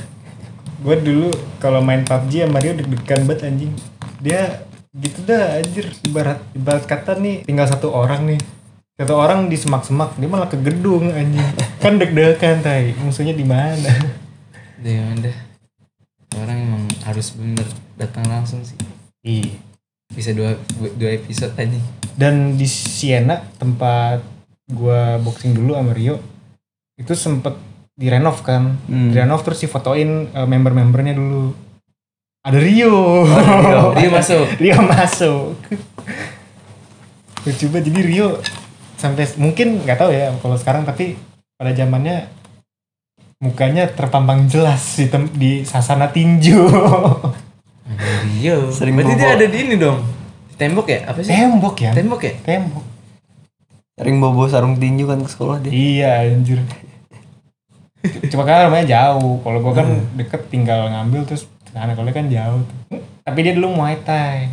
A: gue dulu kalau main PUBG sama ya Mario deg-degan banget anjing dia gitu dah anjir ibarat ibarat kata nih tinggal satu orang nih satu orang di semak-semak dia malah ke gedung anjing kan deg-degan tai musuhnya di mana
B: Dia dah Orang emang harus bener datang langsung sih
A: Iya.
B: Bisa dua, dua episode aja
A: dan di Siena tempat gua boxing dulu sama Rio itu sempet direnov kan
D: Hmm.
A: direnov terus difotoin eh, member-membernya dulu ada Rio
B: Rio masuk
A: Rio masuk lucu banget jadi Rio sampai mungkin nggak tahu ya kalau sekarang tapi pada zamannya mukanya terpampang jelas di, tem- di sasana tinju
B: Rio.
D: Sering
B: Berarti dia
D: bobo.
B: ada di ini dong. Di Tembok ya? Apa sih?
A: tembok ya
B: Tembok ya?
A: tembok
D: Sering bobo sarung tinju kan ke sekolah dia.
A: iya anjir cuma kan rumahnya jauh kalau gua kan deket tinggal ngambil terus anak kalau dia kan jauh tuh. tapi dia dulu muay thai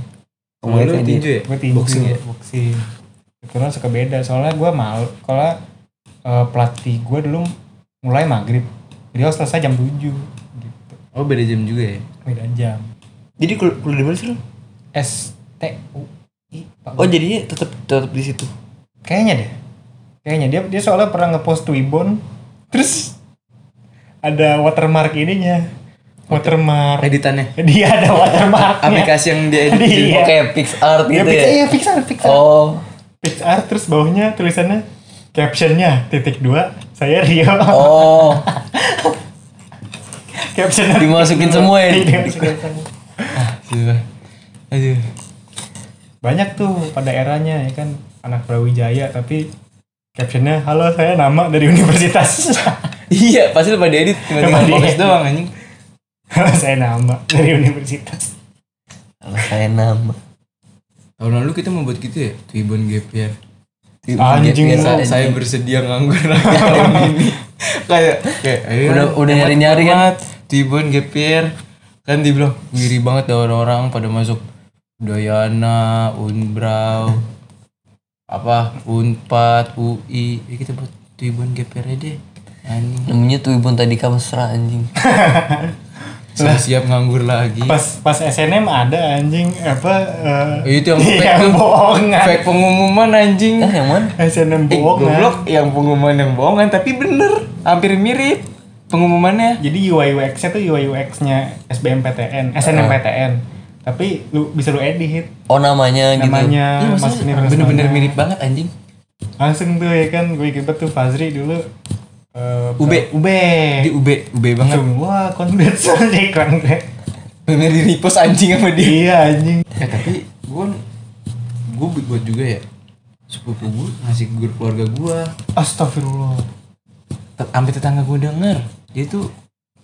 B: Kalau lu
D: Pokoknya dia-
B: tinju ya?
A: gue tinju
B: Boxing ya?
A: boxing kebetulan suka beda soalnya gue mau kalau eh, pelatih gue dulu mulai maghrib jadi harus selesai jam 7 gitu
B: Oh beda jam juga ya?
A: beda jam
D: Jadi kuliah kuliah di mana sih lu?
A: STUI Pak.
D: Oh jadinya tetap tetap di situ.
B: Iya.
A: kayaknya deh kayaknya dia dia soalnya pernah ngepost Twibbon terus ada watermark ininya watermark
B: Editannya?
A: dia ada watermarknya
B: Aplikasi yang dia edit
A: Iya.
D: Oke, fix art
A: dia
D: gitu
A: pix
D: ya.
A: iya Pixar Pixar
D: Oh,
A: Pixar terus bawahnya tulisannya captionnya titik dua saya Rio
D: oh,
A: caption
D: dimasukin semua ya.
A: Dimasukin Iya, semua.
B: Sumpah. Aduh.
A: banyak tuh pada eranya ya kan anak Brawijaya tapi captionnya halo saya nama dari universitas
B: iya pasti lu pada edit tiba-tiba
A: Emang
B: fokus
A: diedit.
B: doang anjing
A: saya nama dari universitas
D: Saya nama.
B: tahun lalu kita membuat gitu ya Twibbon Gap Year
A: Anjing
D: Biasa
A: lu.
B: saya, saya bersedia nganggur tahun ini kayak kayak ayo,
D: Udah-
B: ayo,
D: udah
B: hemat
D: nyari-nyari kan?
B: banget. Tibon gepir kan dibilang ngiri banget ada orang-orang pada masuk Dayana, Unbrau, apa Unpad, UI, ya kita buat Tibon gepir aja deh. Anjing,
D: Namanya tuh Ibun tadi Kamsra anjing.
B: saya siap nganggur lagi.
A: pas pas SNM ada anjing apa eh,
B: Eh, Itu yang fake,
A: yang
B: tuh.
A: bohongan
B: fake pengumuman anjing.
D: Ah, yang mana?
A: SNM
B: Eh,
A: bohongan
B: goblok yang pengumuman yang bohongan tapi bener, hampir mirip pengumumannya.
A: jadi UI UX nya tuh UI UX nya SBMPTN
B: Ah.
A: SNMPTN tapi lu bisa lu edit
D: Oh namanya gitu.
A: namanya
B: Iya
A: masukin
B: maksudnya
A: referensi
B: bener-bener
A: mana.
B: mirip banget anjing
A: langsung tuh ya kan gue ikut tuh Fazri dulu eh,
B: UB.
A: UB
B: Di UB, UB banget
A: langsung wah congrats aja keren deh
B: Bener di repost anjing sama dia
A: iya anjing
B: Ya tapi gue Gue buat juga ya Sepupu gue ngasih gue keluarga gue
A: astagfirullah
B: Te- Sampai tetangga gue denger Dia tuh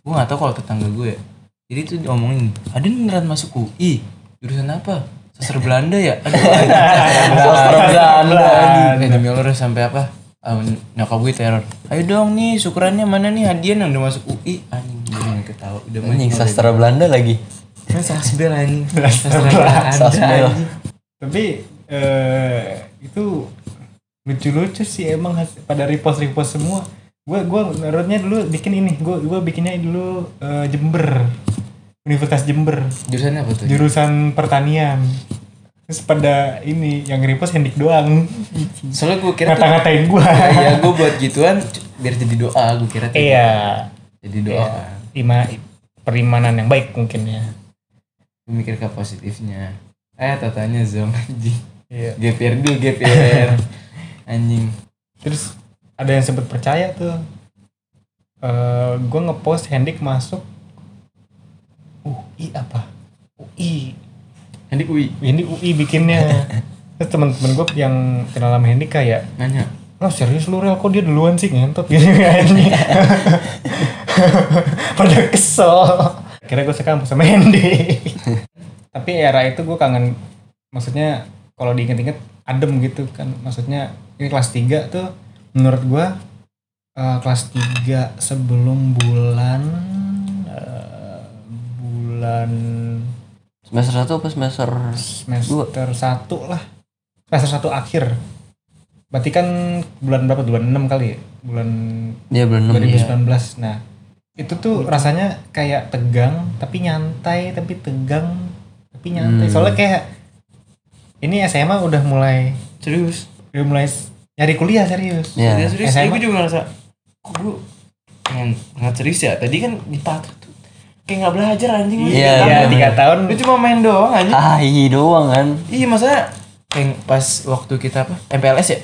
B: Gue gak tau kalau tetangga gue ya Jadi tuh diomongin Ada beneran masuk UI Jurusan apa? Sastra Belanda ya? Aduh Sastra
A: Belanda.
B: Eh demi Allah udah sampai apa? Ah, nyokap gue teror Ayo dong nih syukurannya mana nih hadiah yang udah masuk UI Anjing gue gak ketawa Udah
D: Anjing
B: mati.
D: sastra Belanda lagi.
B: Kan sasbel anjing.
A: Sasbel.
B: Sasbel.
D: Sasbel.
A: tapi eh itu lucu-lucu sih emang has- pada repost-repost semua gue gua menurutnya dulu bikin ini gue gua bikinnya dulu eh, Jember Universitas Jember
B: Jurusannya apa tuh?
A: jurusan pertanian terus pada ini yang repost hendik doang
B: Soalnya gue kira tuh
A: ngata-ngatain gue
B: ya gue buat gituan c- biar jadi doa gue kira tuh.
A: iya
B: Jadi doa.
A: Iya. Ima, perimanan yang baik mungkin ya
B: Gue mikir ke positifnya. Eh tatanya zong anjing.
A: iya
B: GPR dulu GPR. anjing.
A: terus ada yang sempat percaya tuh eh gue ngepost Hendik masuk UI apa UI
B: Hendik UI
A: Hendik UI bikinnya terus teman-teman gue yang kenal sama Hendik kayak
B: nanya.
A: lo serius lu rel kok dia duluan sih ngentot Gitu gini gini pada kesel akhirnya gue sekampus sama Hendy tapi era itu gue kangen maksudnya kalau diinget-inget adem gitu kan maksudnya ini kelas 3 tuh menurut gue eh, kelas 3 sebelum bulan eh, bulan
D: Semester 1 apa semester
A: semester 1 lah semester 1 akhir berarti kan bulan berapa bulan 6 kali ya bulan
D: Dia bulan
A: iya.
D: 6 ya.
A: 2019 nah itu tuh rasanya kayak tegang tapi nyantai tapi tegang tapi nyantai
D: Hmm.
A: soalnya kayak ini SMA udah mulai
B: Serius?
A: udah mulai s- nyari kuliah serius
D: Ya.
B: Serius, serius.
A: SMA.
B: Eh, gue juga ngerasa kok gue pengen pengen serius ya. Tadi kan dipatah tuh. Kayak gak belajar anjing. lu.
D: Iya,
A: Iya,
D: bener.
A: tiga tahun
B: Lu cuma main doang anjing.
D: Ah, iya doang kan.
B: Iya maksudnya yang pas waktu kita apa MPLS ya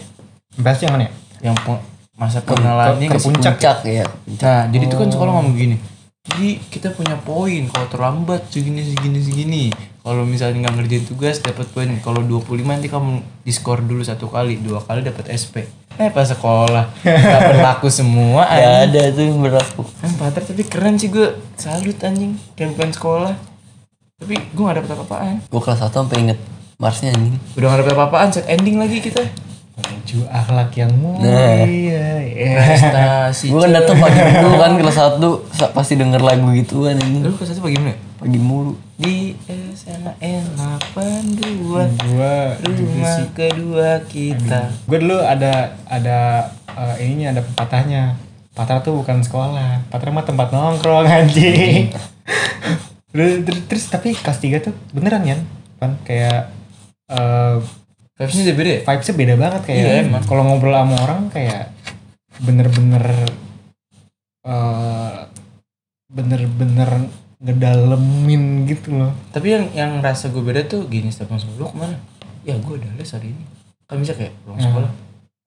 A: bahas yang mana ya?
B: yang pe- masa pengenalannya
A: Ke-
B: ke,
A: ke puncak.
D: ya.
B: nah jadi itu kan sekolah ngomong gini jadi kita punya poin kalau terlambat segini segini segini kalau misalnya nggak ngerjain tugas dapat poin kalau 25 nanti kamu diskor dulu satu kali dua kali dapat SP eh pas sekolah nggak berlaku semua
D: Gak
B: anjing
D: ada tuh yang berlaku.
B: Kan Pater tapi keren sih gue salut anjing kayak bukan sekolah tapi gue gak dapet apa-apaan
D: Gue kelas 1 sampai inget Marsnya anjing.
B: udah gak dapet apa-apaan set ending lagi kita
A: menuju akhlak yang mulia ya.
B: prestasi
D: Gue kan datang pagi dulu kan kelas 1 pasti denger lagu gitu kan anjing.
B: lu kelas satu bagaimana ya?
D: Pagi mulu.
B: di SMA N82
A: gua
B: rumah kedua kita
A: gue dulu ada ada eh, ininya ada pepatahnya patra tuh bukan sekolah patra mah tempat nongkrong anjing Terus- terus, terus tapi kelas 3 tuh beneran kan kan kayak eh
B: vibesnya udah beda ya?
A: vibesnya beda banget kayak
B: Iya, emang.
A: kalau ngobrol sama orang kayak bener-bener eh bener-bener ngedalemin gitu loh
B: tapi yang yang rasa gue beda tuh gini setiap langsung lu kemana ya gue ada les hari ini kan bisa kayak pulang sekolah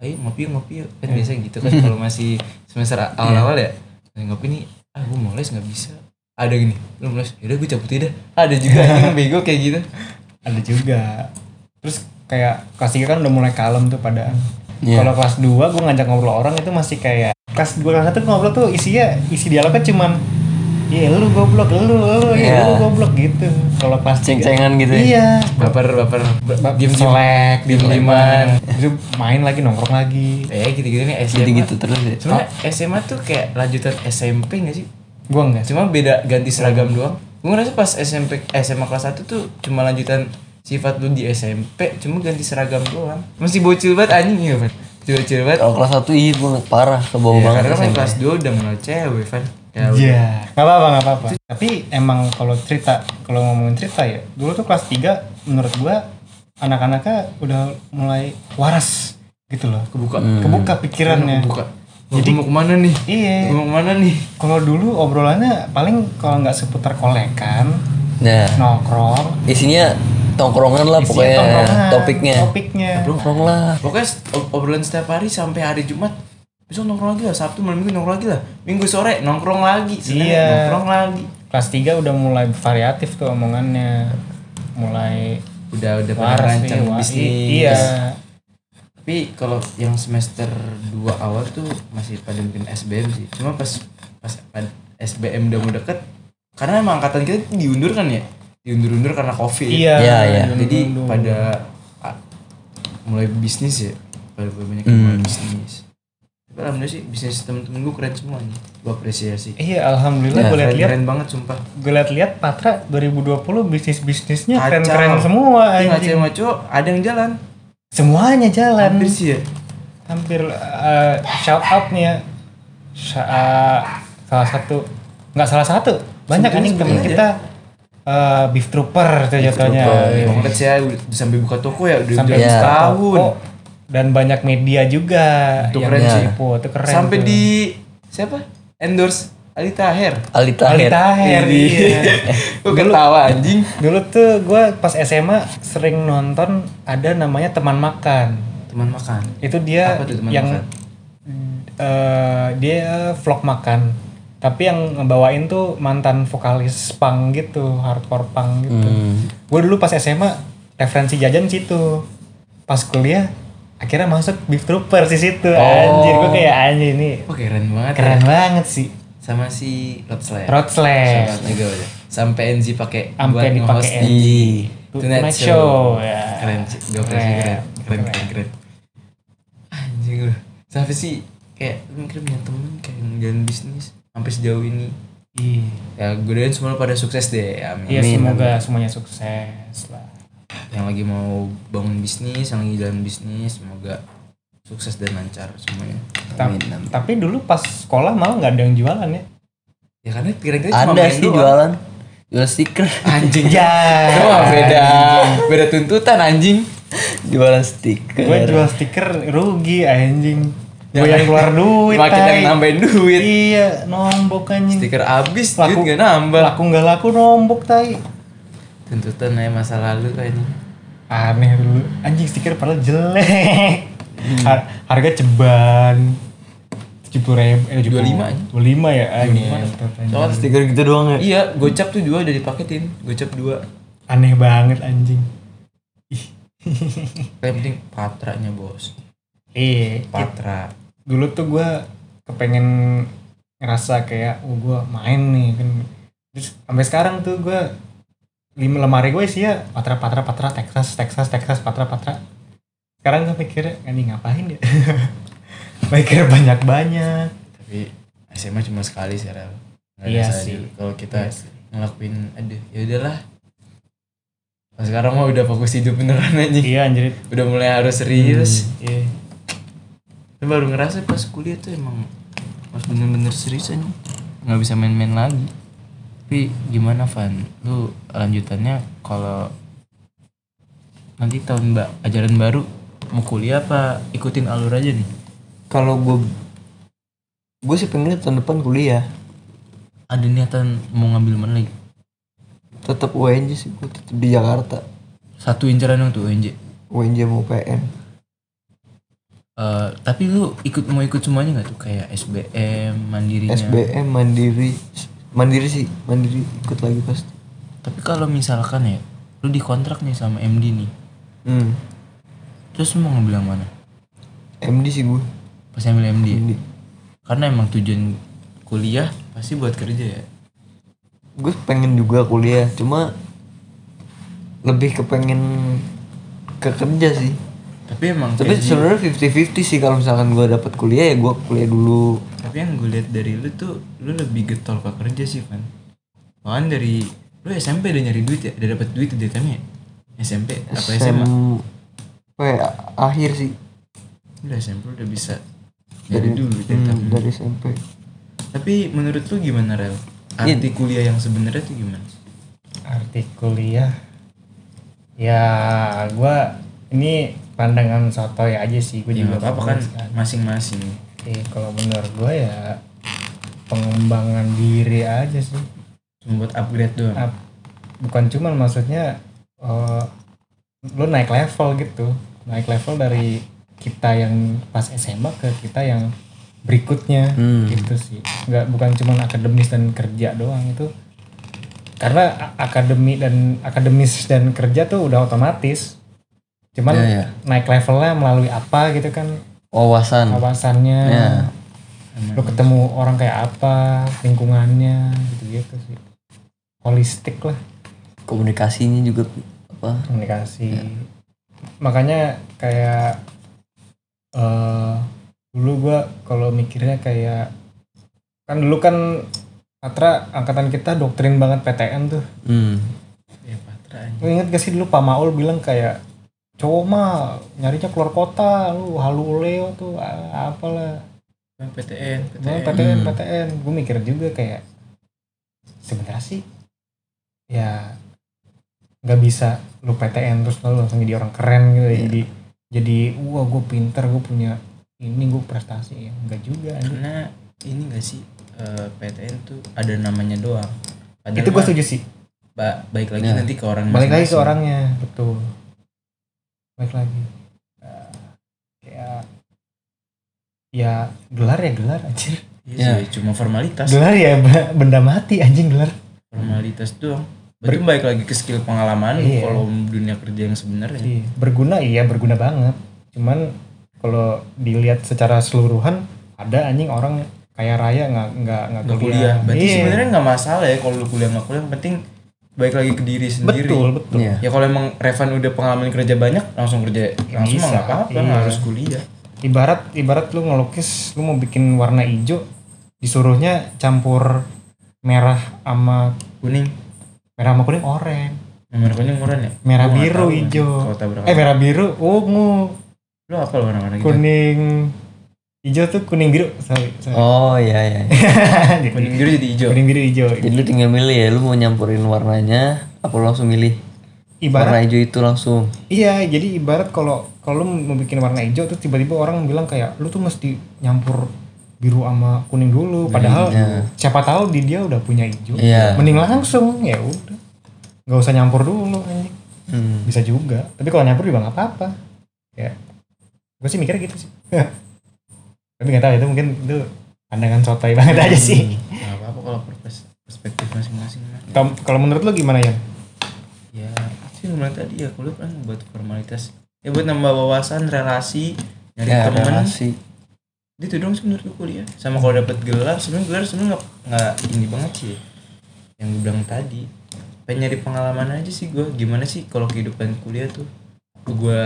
B: ayo ngopi yuk, ngopi yuk kan biasa gitu kan kalau masih semester a- awal-awal ya "Ayo ngopi nih ah gue mau les nggak bisa ada gini lu mau les "Ya yaudah gue cabut aja dah ada juga yang bego kayak gitu
A: ada juga terus kayak kelas tiga kan udah mulai kalem tuh pada
D: Iya.
A: Kalau kelas 2 gue ngajak ngobrol orang itu masih kayak kelas 2 kelas 1 ngobrol tuh isinya isi dialognya cuman Iya lu goblok, lu lu, iya
D: Iya.
A: lu goblok gitu. Kalau kelas tiga-
D: Ceng-cengan gitu ya?
A: Iya.
B: baper baper
A: Diem
B: diem
A: selek, diem
B: diem-dieman.
A: Itu main lagi nongkrong lagi.
B: ya gitu gitu nih SMA
D: gitu gitu terus ya
B: Sebenernya SMA tuh kayak lanjutan SMP gak sih
A: Gua enggak
B: Nah, cuma beda ganti seragam
A: Hmm.
B: doang gue ngerasa pas SMP SMA kelas 1 tuh cuma lanjutan sifat lu di SMP cuma ganti seragam doang masih bocil banget anjing ya Van bocil banget
A: Oh,
D: kalau kelas satu iya banget parah ke bawah
B: ya,
D: banget
B: karena kan
D: SMP.
B: kelas 2 udah kenal cewek Van ya, udah.
A: Iya, nggak apa-apa, nggak apa-apa. Tapi emang kalau cerita, kalau ngomongin cerita ya, dulu tuh kelas 3 menurut gua anak-anaknya udah mulai waras gitu loh.
B: kebuka
A: Kebuka pikirannya.
B: Hmm. kebuka jadi mau kemana nih
A: Iya.
B: Gua mau kemana nih
A: Kalau dulu obrolannya paling kalau nggak seputar kolekan,
D: nah
A: nongkrong,
D: isinya tongkrongan lah
A: isinya
D: pokoknya
A: tongkrongan,
D: topiknya
A: Topiknya.
D: tongkrong lah
B: pokoknya s- ob- obrolan setiap hari sampai hari Jumat besok nongkrong lagi lah Sabtu malam minggu nongkrong lagi lah Minggu sore nongkrong lagi Senin
A: Iya.
B: nongkrong lagi
A: Kelas 3 udah mulai variatif tuh omongannya. Mulai
B: udah udah pada
A: waras nih,
B: rancang
A: wa-
B: bisnis
A: Iya.
B: tapi kalau yang semester 2 awal tuh masih pada bikin SBM sih cuma pas pas pad- SBM udah mau deket karena emang angkatan kita diundur kan ya diundur-undur karena covid
A: Iya.
D: Iya, iya.
B: jadi
A: dulu.
B: pada a- mulai bisnis ya pada mulai banyak yang
D: Hmm.
B: mulai bisnis tapi alhamdulillah sih bisnis temen-temen gue keren semua nih gue apresiasi
A: Iya, alhamdulillah
D: Ya,
A: gue
B: keren,
A: lihat-lihat
B: keren banget sumpah
A: gue liat-liat Patra 2020 bisnis-bisnisnya
B: Kacau. Iya,
A: keren-keren semua
B: Tapi nggak
A: anjing.
B: cewek cowok ada yang jalan
A: Semuanya jalan.
B: hampir sih ya
A: Hampir, eh, shout out nih ya. Sa- eh, salah satu nggak salah satu banyak
B: Sebutin,
A: anjing temen
B: sebutin aja.
A: kita eh, beef trooper tuh jatuhnya
B: Wah, banget sih ya udah sampai buka toko ya udah
A: Iya. sampai
B: udah
A: buka
B: setahun
A: toko. dan banyak media juga
B: Itu
A: yang
B: keren
A: di
B: sih.
A: Lipo, itu keren
B: sampai
A: tuh.
B: di siapa endorse Ali Taher
D: Ali
A: Ali
D: Tahir
A: Taher,
B: Jadi-
A: iya.
B: gue ketawa anjing
A: dulu tuh gue pas SMA sering nonton ada namanya teman makan
B: teman makan
A: itu dia
B: Apa tuh teman
A: yang
B: makan?
A: eh, dia vlog makan tapi yang ngebawain tuh mantan vokalis punk gitu hardcore punk gitu
B: Hmm.
D: Hmm.
A: gue dulu pas SMA referensi jajan situ pas kuliah akhirnya masuk beef trooper di situ anjir gue kayak
B: Oh.
A: anjir ini
B: Wah keren banget
A: keren
B: ya.
A: banget sih
B: sama si Rod Slayer
A: road slash
B: Sama juga udah sampai NZ pakai
A: Sampai
B: buat
A: dipakai
B: nge-host
A: NZ.
B: di
A: Tonight
B: Tonight
A: Show,
B: Show
A: ya.
B: keren sih gue apresiasi keren keren keren keren anjing lu sampai sih kayak lu mungkin punya temen kayak yang jalan bisnis sampai sejauh ini
A: Ih,
B: ya gue doain semua lu pada sukses deh amin
A: iya semoga semuanya sukses lah
B: yang lagi mau bangun bisnis, yang lagi jalan bisnis, semoga sukses dan lancar semuanya.
A: Ta- tapi dulu pas sekolah malah nggak ada yang jualan ya
B: Ya karena kira-kira cuma
D: ada
B: main
D: sih
B: doang.
D: jualan jual stiker
B: Anjing.
A: ya
B: Cuma beda beda tuntutan anjing.
D: jualan stiker
A: gue jual stiker rugi anjing gue
B: Ya,
A: yang keluar duit
B: Makin
A: tai.
B: yang nambahin duit.
A: iya nombok anjing
B: Stiker habis, duit
A: Laku.
B: gak nambah.
A: laku nggak laku nombok tai
B: Tuntutan aja masa lalu anjing.
A: aneh dulu anjing stiker padahal jelek
B: Hmm.
A: Har- harga ceban tujuh puluh ribu eh
B: Dua lima, anjing.
A: dua lima ya anjing
D: Jualan stiker gitu doang ya
B: Iya, gocap tuh dua udah dipaketin. Gocap dua.
A: aneh banget anjing
B: Yang penting patranya bos.
A: eh
B: Patra.
A: dulu tuh gue kepengen ngerasa kayak oh gue main nih kan terus sampai sekarang tuh gue lima lemari gue sih ya patra patra patra Texas Texas Texas patra patra sekarang gue pikir ini ngapain ya mikir banyak banyak
B: Tapi SMA cuma sekali sih Rel. Nggak
A: Iya
B: bisa
A: sih.
B: di- Kalau kita ngelakuin aduh ya udahlah Nah, sekarang mah udah fokus hidup beneran aja
A: iya anjir
B: udah mulai harus serius
A: iya
B: Hmm. Tapi baru ngerasa pas kuliah tuh emang harus bener-bener serius aja nggak bisa main-main lagi tapi gimana Van lu lanjutannya kalau nanti tahun mbak ajaran baru mau kuliah apa ikutin alur aja nih
D: kalau gue gue sih pengennya tahun depan kuliah
B: ada niatan mau ngambil mana lagi
D: tetap UNJ sih gue tetap di Jakarta
B: satu incaran dong tuh UNJ
D: UNJ mau PN
B: Eh, tapi lu ikut mau ikut semuanya nggak tuh kayak SBM
D: Iya.
B: mandirinya
D: SBM mandiri mandiri sih mandiri ikut lagi pasti
B: tapi kalau misalkan ya lu dikontrak nih sama MD nih
D: hmm.
B: terus lu mau ngambil yang mana
D: MD sih gue
B: Pas ambil MD. ya? Karena emang tujuan kuliah pasti buat kerja ya.
D: gue pengen juga kuliah cuma lebih kepengen ke kerja sih
B: Tapi emang
D: tapi
B: kayak-
D: sebenarnya 50-50 sih kalau misalkan gue dapat kuliah ya gue kuliah dulu
B: tapi yang gue lihat dari lu tuh lu lebih getol ke kerja sih Van. Bahkan dari lu SMP udah nyari duit ya, udah dapat duit di DTM ya? SMP apa SMA?
D: Sem- apa ya, akhir sih
B: Udah SMP udah bisa ya, dari dulu dari
D: Hmm,
B: tahun.
D: dari SMP
B: Tapi menurut lu gimana Rel?
A: Iya.
B: Arti kuliah yang sebenarnya tuh gimana?
A: arti kuliah ya gua ini pandangan sotoy aja sih gue
B: Ya
A: juga
B: nggak apa-apa kan
A: bingung
B: masing-masing.
A: sih. Eh, kalau menurut gua ya pengembangan diri aja sih
B: Cuma buat upgrade doang.
A: Ap- bukan cuman maksudnya eh, lu naik level gitu naik level dari kita yang pas SMA ke kita yang berikutnya
D: Hmm.
A: gitu sih nggak bukan cuman akademis dan kerja doang itu karena a- akademi dan akademis dan kerja tuh udah otomatis cuman
D: Ya, ya.
A: naik levelnya melalui apa gitu kan
D: wawasan
A: kawasannya
D: Ya.
A: lu ketemu orang kayak apa lingkungannya gitu gitu sih holistik lah
D: komunikasinya juga apa
A: komunikasi makanya kayak eh dulu gua kalau mikirnya kayak kan dulu kan Patra angkatan kita doktrin banget PTN tuh
D: hmm.
B: Ya Patra anjing.
A: lu inget gak sih dulu Pak Maul bilang kayak cowok mah nyarinya keluar kota lu halu leo tuh a- apalah
B: Bang, PTN,
A: PTN
B: PTN.
A: PTN,
D: Hmm.
A: PTN. gue mikir juga kayak sebenarnya sih ya nggak bisa lu PTN terus lu langsung jadi orang keren gitu ya. jadi jadi wah gue pinter gue punya ini gue prestasi ya nggak juga anjing.
B: Karena ini gak sih eh, PTN tuh ada namanya doang. Padahal
A: itu gue
B: mah
A: setuju sih
B: ba- baik lagi
D: Ya.
B: nanti ke orang
A: balik lagi ke
B: masing-masing.
A: orangnya betul balik lagi Eh, kayak ya gelar ya gelar anjir
B: Iya sih, cuma formalitas.
A: gelar ya benda mati anjing gelar
B: Formalitas doang. Berarti baik lagi ke skill pengalaman lu
A: Iya.
B: kalau dunia kerja yang sebenarnya.
A: Iya, berguna iya berguna banget. Cuman kalau dilihat secara keseluruhan ada anjing orang kaya raya nggak nggak nggak
B: Nggak
A: kuliah.
B: kuliah. Berarti
A: Iya.
B: sebenarnya nggak masalah ya kalau lu kuliah nggak kuliah. Yang penting baik lagi ke diri sendiri.
A: betul betul.
D: Iya.
B: Ya kalau emang Revan udah pengalaman kerja banyak, langsung kerja langsung mah
A: bisa.
B: nggak apa-apa, nggak
A: Iya.
B: harus kuliah.
A: Ibarat ibarat lu ngelukis, lu mau bikin warna hijau, disuruhnya campur merah sama
B: Kuning,
A: merah sama kuning oranye,
B: nomor kuning murah ya?
A: merah
B: Gua nggak
A: biru
B: tahu,
A: hijau.
B: Kalau tabrakan.
A: Eh merah biru ungu,
B: Lu apa warna-warna gitu?
A: kuning hijau tuh kuning biru. Sorry, sorry. Gitu.
D: oh iya iya
B: Kuning biru jadi hijau. Iya.
A: kuning biru hijau.
D: jadi lu tinggal milih ya lu mau nyampurin warnanya apa lu langsung milih
A: Ibarat
D: warna hijau itu langsung
A: Iya, jadi ibarat kalau kalau lu mau bikin warna hijau terus tiba-tiba orang bilang kayak lu tuh mesti nyampur biru sama kuning dulu, padahal siapa tahu di dia udah punya hijau.
D: Iya.
A: Mending langsung ya udah. Nggak usah nyampur dulu anjing.
D: hmm.
A: Bisa juga. Tapi kalau nyampur juga nggak apa-apa. Ya. Gue sih mikirnya gitu sih. Tapi nggak tahu itu mungkin itu pandangan sotoy banget aja sih.
B: Nggak apa-apa kalau perpes- perspektif masing-masing lah.
A: Tom, Kalau menurut lu gimana ya?
B: Ya, itu yang bilang tadi ya kuliah kan buat formalitas. Ya buat nambah wawasan, relasi, nyari
D: ya
B: teman.
D: relasi
B: Itu Gitu dong sih menurut gue kuliah. Sama kalau dapat gelar, sebenarnya gelar sebenarnya nggak- nggak ini banget sih. Yang gue bilang tadi, pengen nyari pengalaman aja sih gue. Gimana sih kalau kehidupan kuliah tuh? Apa gue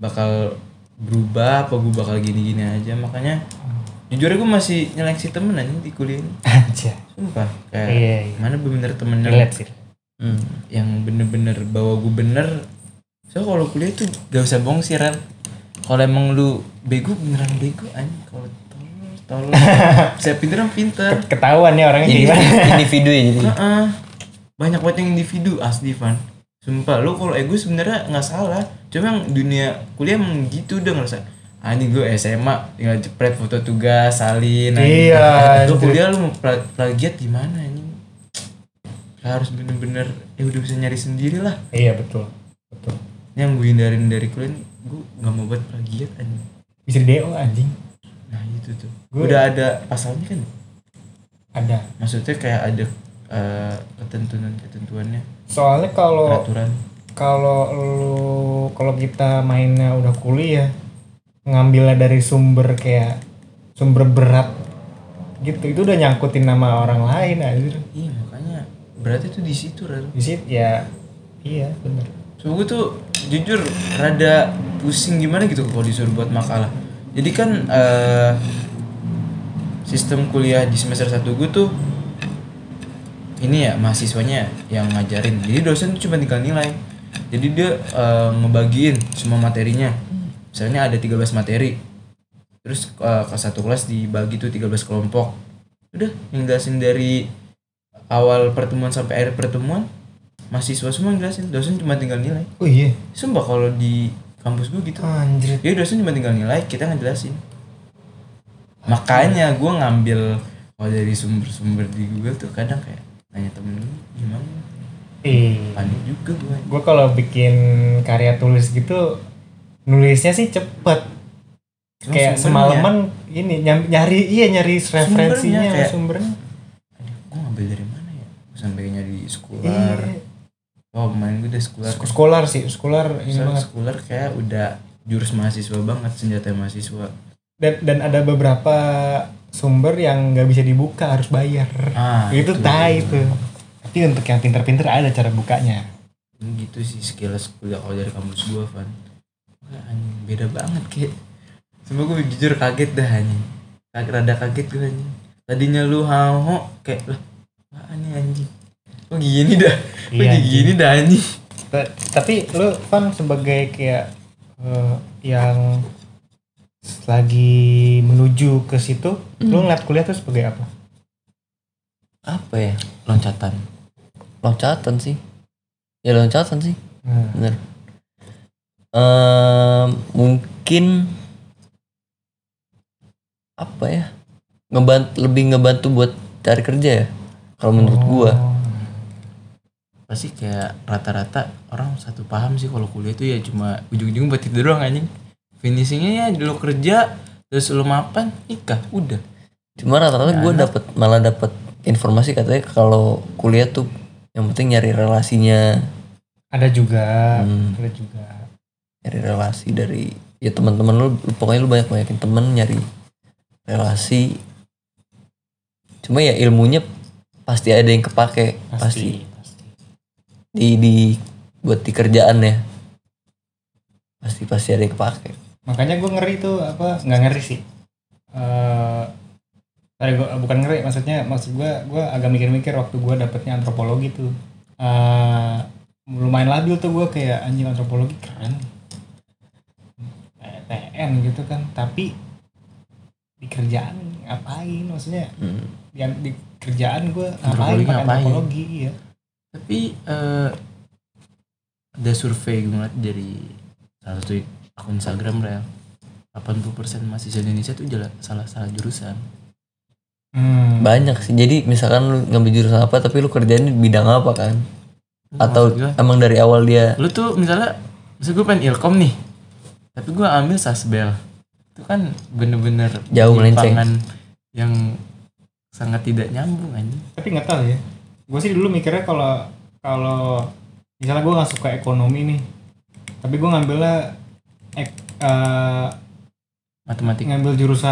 B: bakal berubah apa gue bakal gini-gini aja makanya jujur gue masih nyeleksi temen aja di kuliah ini
A: Aja.
B: sumpah kayak
A: Iya, iya.
B: mana bener temen yang
A: Relate sih.
D: hmm.
B: yang bener-bener bawa gue bener so kalau kuliah tuh gak usah bohong sih Ren kalau emang lu bego beneran bego anjing kalau tolol tolol saya pinter emang pinter
A: Ketahuan ya orangnya
D: Jadi
A: gimana.
D: individu ya jadi
B: Heeh. banyak banget yang individu asli Van sumpah lu kalau ego sebenarnya nggak salah cuma yang dunia kuliah emang gitu udah ngerasa anjing gue SMA tinggal jepret foto tugas salin anjing.
A: Iya, anjir.
B: lu kuliah lu mau pla- plagiat gimana anjing harus bener-bener ya udah bisa nyari sendiri lah
A: Iya, betul. Betul.
B: yang gue hindarin dari kuliah nih, gue nggak mau buat plagiat anjing
A: Bisa di DO anjing.
B: nah itu tuh
A: Gue-
B: udah ada pasalnya kan
A: Ada.
B: maksudnya kayak ada eh, ketentuan ketentuannya
A: Soalnya kalau
B: peraturan
A: kalau lu kalau kita mainnya udah kuliah ngambilnya dari sumber kayak sumber berat gitu itu udah nyangkutin nama orang lain anjir
B: Iya makanya berarti tuh di situ Rel.
A: di situ ya iya bener
B: So gue tuh jujur rada pusing gimana gitu kalau disuruh buat makalah. Jadi kan eh, sistem kuliah di semester 1 gue tuh ini ya mahasiswanya yang ngajarin. Jadi dosen tuh cuma tinggal nilai. Jadi dia eh, ngebagiin semua materinya. Misalnya ada 13 materi. Terus eh, kelas satu kelas dibagi tuh 13 kelompok. Udah, yang jelasin dari awal pertemuan sampai akhir pertemuan mahasiswa semua yang jelasin dosen cuma tinggal nilai
A: oh iya
B: sumpah kalau di kampus gue
A: Hmm.
B: gitu
A: anjir
B: ya dosen cuma tinggal nilai kita ngejelasin makanya gue ngambil kalau dari sumber-sumber di Google tuh kadang kayak nanya temen gue gimana
A: eh
B: panik juga gue
A: gue kalau bikin karya tulis gitu nulisnya sih cepet
B: Cuma
A: kayak
B: Oh, sumbernya-
A: semalaman ini nyam- nyari iya nyari referensinya
B: Sumbernya kayak-
A: sumbernya
B: aduh gue ngambil dari mana ya gue sampainya di sekolah
A: iya
B: oh main gue udah sekolah
A: Sk- sekolah sih sekolah ini banget
B: sekolah kayak udah jurus mahasiswa banget senjata mahasiswa
A: dan dan ada beberapa sumber yang nggak bisa dibuka harus bayar
B: Ah,
A: itu tai itu tapi untuk yang pinter-pinter ada cara bukanya
B: Ini gitu sih sekilas kuliah kalau dari kampus gua Van Wah, anjing beda banget kayak semua gue jujur kaget dah anjing kaget rada kaget gue anjing tadinya lu hao kayak lah apaan nih anjing kok gini dah kok
A: Iya,
B: jadi gini dah anjing
A: Ta- tapi lu kan sebagai kayak eh, yang lagi menuju ke situ lu ngeliat kuliah tuh sebagai apa
D: apa ya loncatan loncatan sih ya loncatan sih
A: Hmm.
D: bener Ehm, mungkin apa ya ngebantu lebih ngebantu buat cari kerja ya kalau menurut
A: Oh.
D: gua
B: pasti kayak rata-rata orang satu paham sih kalau kuliah itu ya cuma ujung-ujung buat itu doang anjing finishingnya ya lu kerja terus lu mapan nikah udah
D: cuma rata-rata gua dapet malah dapet informasi katanya kalau kuliah tuh yang penting nyari relasinya
A: ada juga
D: Hmm.
A: ada juga
D: nyari relasi dari ya teman-teman lu lu- pokoknya lu banyak banyakin temen nyari relasi cuma ya ilmunya pasti ada yang kepake pasti,
A: pasti.
D: di di buat di kerjaan ya pasti pasti ada yang kepake
A: makanya gue ngeri tuh apa nggak ngeri sih Eh, sorry, gua- bukan ngeri maksudnya maksud gue gue agak mikir-mikir waktu gue dapetnya antropologi tuh Eh, lumayan labil tuh gue kayak anjing antropologi keren Kayak TN gitu kan tapi di kerjaan ngapain maksudnya
D: Hmm.
A: yang di kerjaan gue ngapain
B: Antropologi
A: pakai
B: ngapain?
A: antropologi ya
B: tapi eh, ada survei gue ngeliat dari salah satu akun Instagram real 80% mahasiswa Indonesia tuh jala- salah salah jurusan
A: Hmm.
D: banyak sih jadi misalkan lu ngambil jurusan apa tapi lu kerjaan di bidang apa kan atau
B: Maksud
D: emang dari awal dia
B: lu tuh misalnya misalnya gue pengen ilkom nih tapi gue ambil sasbel itu kan bener-bener
D: Jauh melenceng.
B: penyimpangan yang sangat tidak nyambung anjing
A: tapi nggak tahu ya gue sih dulu mikirnya kalau kalau misalnya gue nggak suka ekonomi nih tapi gue ngambilnya ek- eh,
B: matematika
A: ngambil jurusan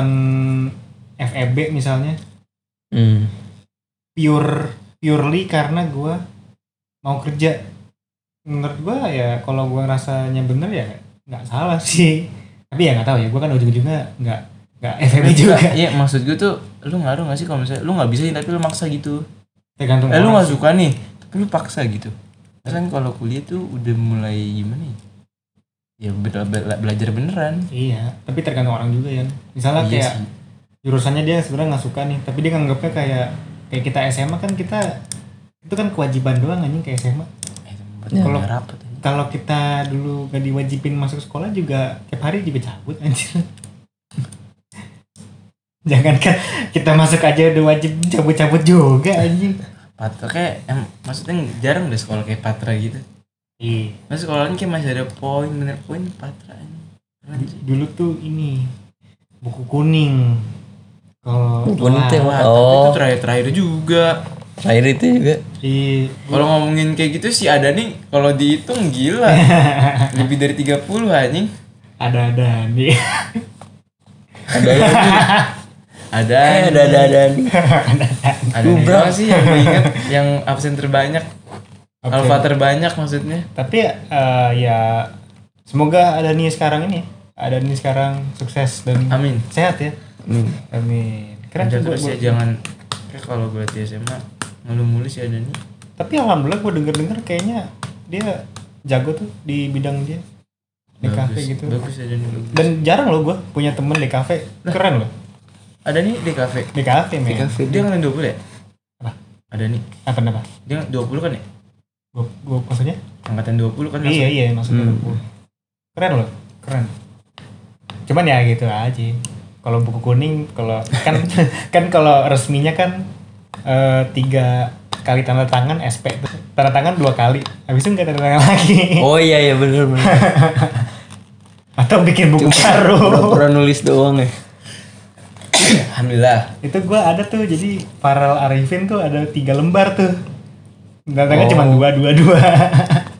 A: FEB misalnya
D: hmm,
A: pure purely karena gue mau kerja menurut gue ya kalau gue rasanya bener ya nggak salah sih tapi ya nggak tahu ya gue kan ujung-ujungnya nggak nggak FEB juga
B: iya maksud gue tuh lu ngaruh gak sih kalau misalnya lu nggak bisa nih, tapi lu maksa gitu
A: tergantung
B: eh lu
A: orang
B: gak suka nih tapi lu paksa gitu kan kalau kuliah tuh udah mulai gimana ya ya bela- bela- belajar beneran
A: Iya, tapi tergantung orang juga ya. Misalnya
B: Iya
A: kayak
B: sih.
A: jurusannya dia sebenarnya nggak suka nih, tapi dia nganggapnya kayak kayak kita SMA kan kita itu kan kewajiban doang anjing kayak SMA.
B: eh, buat
D: Ya.
B: kuliah rapet aja.
A: Kalau kita dulu gak diwajibin masuk sekolah juga tiap hari juga cabut anjir. Jangankan kita masuk aja udah wajib cabut-cabut juga anjing.
B: patra kayak em, maksudnya jarang udah sekolah kayak patra gitu
A: Iya.
B: mas sekolahnya kayak masih ada poin bener poin patra ini. Keren sih.
A: Dulu tuh ini buku kuning. Kalau
D: Buku kuning tuh yang
A: Wah,
B: Wah, tapi itu
D: Oh.
B: terakhir terakhir juga
D: terakhir itu juga
A: di
B: kalau ngomongin kayak gitu sih ada nih kalau dihitung gila lebih dari 30 anjing
A: ada ada nih
B: Ada ada
D: Eh, ada ada ada.
B: ada doang sih yang gue inget yang absen terbanyak alfa terbanyak maksudnya
A: tapi eh, ya semoga ada nih sekarang ini ada nih sekarang sukses dan
B: Amin.
A: sehat ya amin keren
B: Kerja
A: sih, gua-
B: terus ya
A: gua-
B: jangan kayak kalau gue di SMA ngeluh mulu sih adanya
A: tapi alhamdulillah gue denger dengar kayaknya dia jago tuh di bidang dia di kafe gitu
B: bagus adanya bagus
A: dan jarang loh gue punya temen di kafe keren loh
B: ada nih di kafe
A: di kafe men Ah,
B: dia ngelain 20 ya
A: Apa?
B: ada nih
A: apa kenapa
B: dia 20 kan ya
A: gue gue maksudnya
B: angkatan 20 kan
A: iya iya maksudnya gua. keren loh keren cuman ya gitu aja kalau buku kuning kalau kan kan kalau resminya kan eh, tiga kali tanda tangan SP tuh. tanda tangan dua kali habis itu nggak tanda tangan lagi
D: Oh iya iya bener bener.
A: atau bikin buku baru
D: Pura-pura nulis doang ya.
A: iya.
B: alhamdulillah
A: itu gua ada tuh jadi Farel Arifin tuh ada tiga lembar tuh datangnya cuma dua dua dua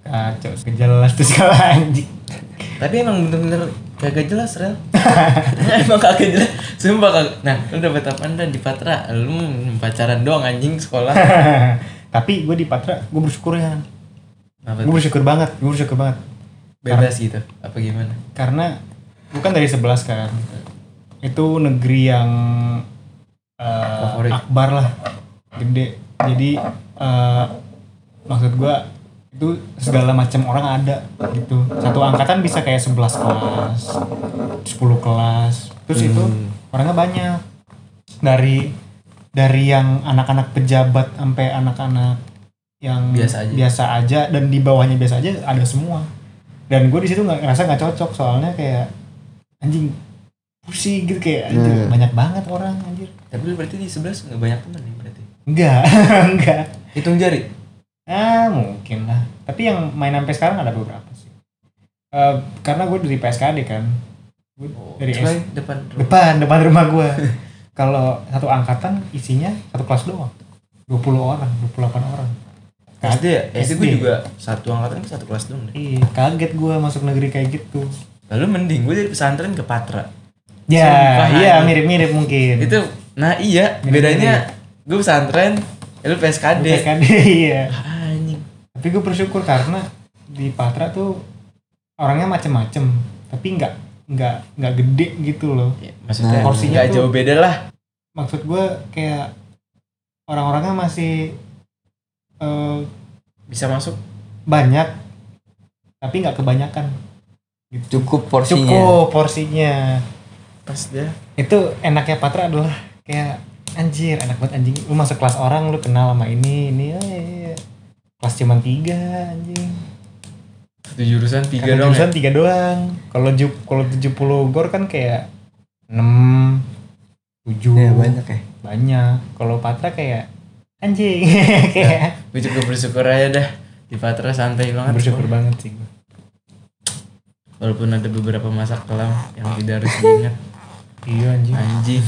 A: kacau kejelas tuh segala anjing
B: tapi emang bener-bener kagak jelas rel emang kagak jelas sumpah kagak nah lu dapet apaan dan di patra lu mm, pacaran doang anjing sekolah
A: tapi gue di Patra gue bersyukur ya
B: Apa
A: gue bersyukur banget gue bersyukur banget
B: bebas gitu apa gimana
A: karena bukan dari sebelas kan itu negeri yang eh, akbar lah gede jadi eh, maksud gua itu segala macam orang ada gitu satu angkatan bisa kayak 11 kelas 10 kelas terus itu orangnya banyak dari dari yang anak-anak pejabat sampai anak-anak yang
B: Biasa aja.
A: biasa aja dan di bawahnya biasa aja ada semua dan gue di situ nggak ngerasa nggak cocok soalnya kayak anjing pusing gitu kayak anjing, banyak banget orang anjir
B: tapi lu berarti di sebelah nggak banyak teman nih berarti
A: enggak enggak
B: hitung jari
A: ah mungkin lah tapi yang main sampai sekarang ada beberapa sih Eh, karena gue dari PSKD kan Gua dari
B: Coba
A: S-
B: Oh. depan
A: depan depan rumah gue kalau satu angkatan isinya satu kelas doang 20 orang 28 orang Nah,
B: SD ya SD gue
A: SD.
B: juga satu angkatan satu kelas dong deh
A: Iya, kaget gue masuk negeri kayak gitu
B: lalu mending gue dari pesantren ke patra
A: ya
B: Sumpah,
A: iya
B: anjing.
A: mirip-mirip mungkin
B: itu nah iya
A: Mirip-mirip.
B: bedanya gue pesantren ya lu PSKD
A: PSKD iya
B: Ah, anjing
A: tapi gue bersyukur karena di Patra tuh orangnya macem-macem tapi nggak nggak nggak gede gitu loh
B: Ya, maksudnya
D: Nah,
A: porsinya
B: nggak
A: tuh-
B: jauh beda lah
A: maksud gue kayak orang-orangnya masih eh,
B: bisa masuk
A: banyak tapi nggak kebanyakan
D: Cukup porsinya.
A: cukup porsinya
B: pas dia
A: itu enaknya Patra adalah kayak anjir enak banget anjing lu masuk kelas orang lu kenal sama ini ini eh, eh, eh. kelas cuman tiga anjing
B: satu jurusan tiga
A: Karena
B: dong ya.
D: ya?
A: jurusan tiga doang. Kalau ju- kalau 70 gor kan kayak 6 7
D: Iya banyak ya.
A: Banyak. Kalau Patra kayak anjing
D: Ya,
A: kayak
B: gue juga bersyukur aja dah di Patra santai banget
A: bersyukur banget sih gua.
B: walaupun ada beberapa masa kelam yang tidak harus diingat
A: Iya anjing.
B: anjing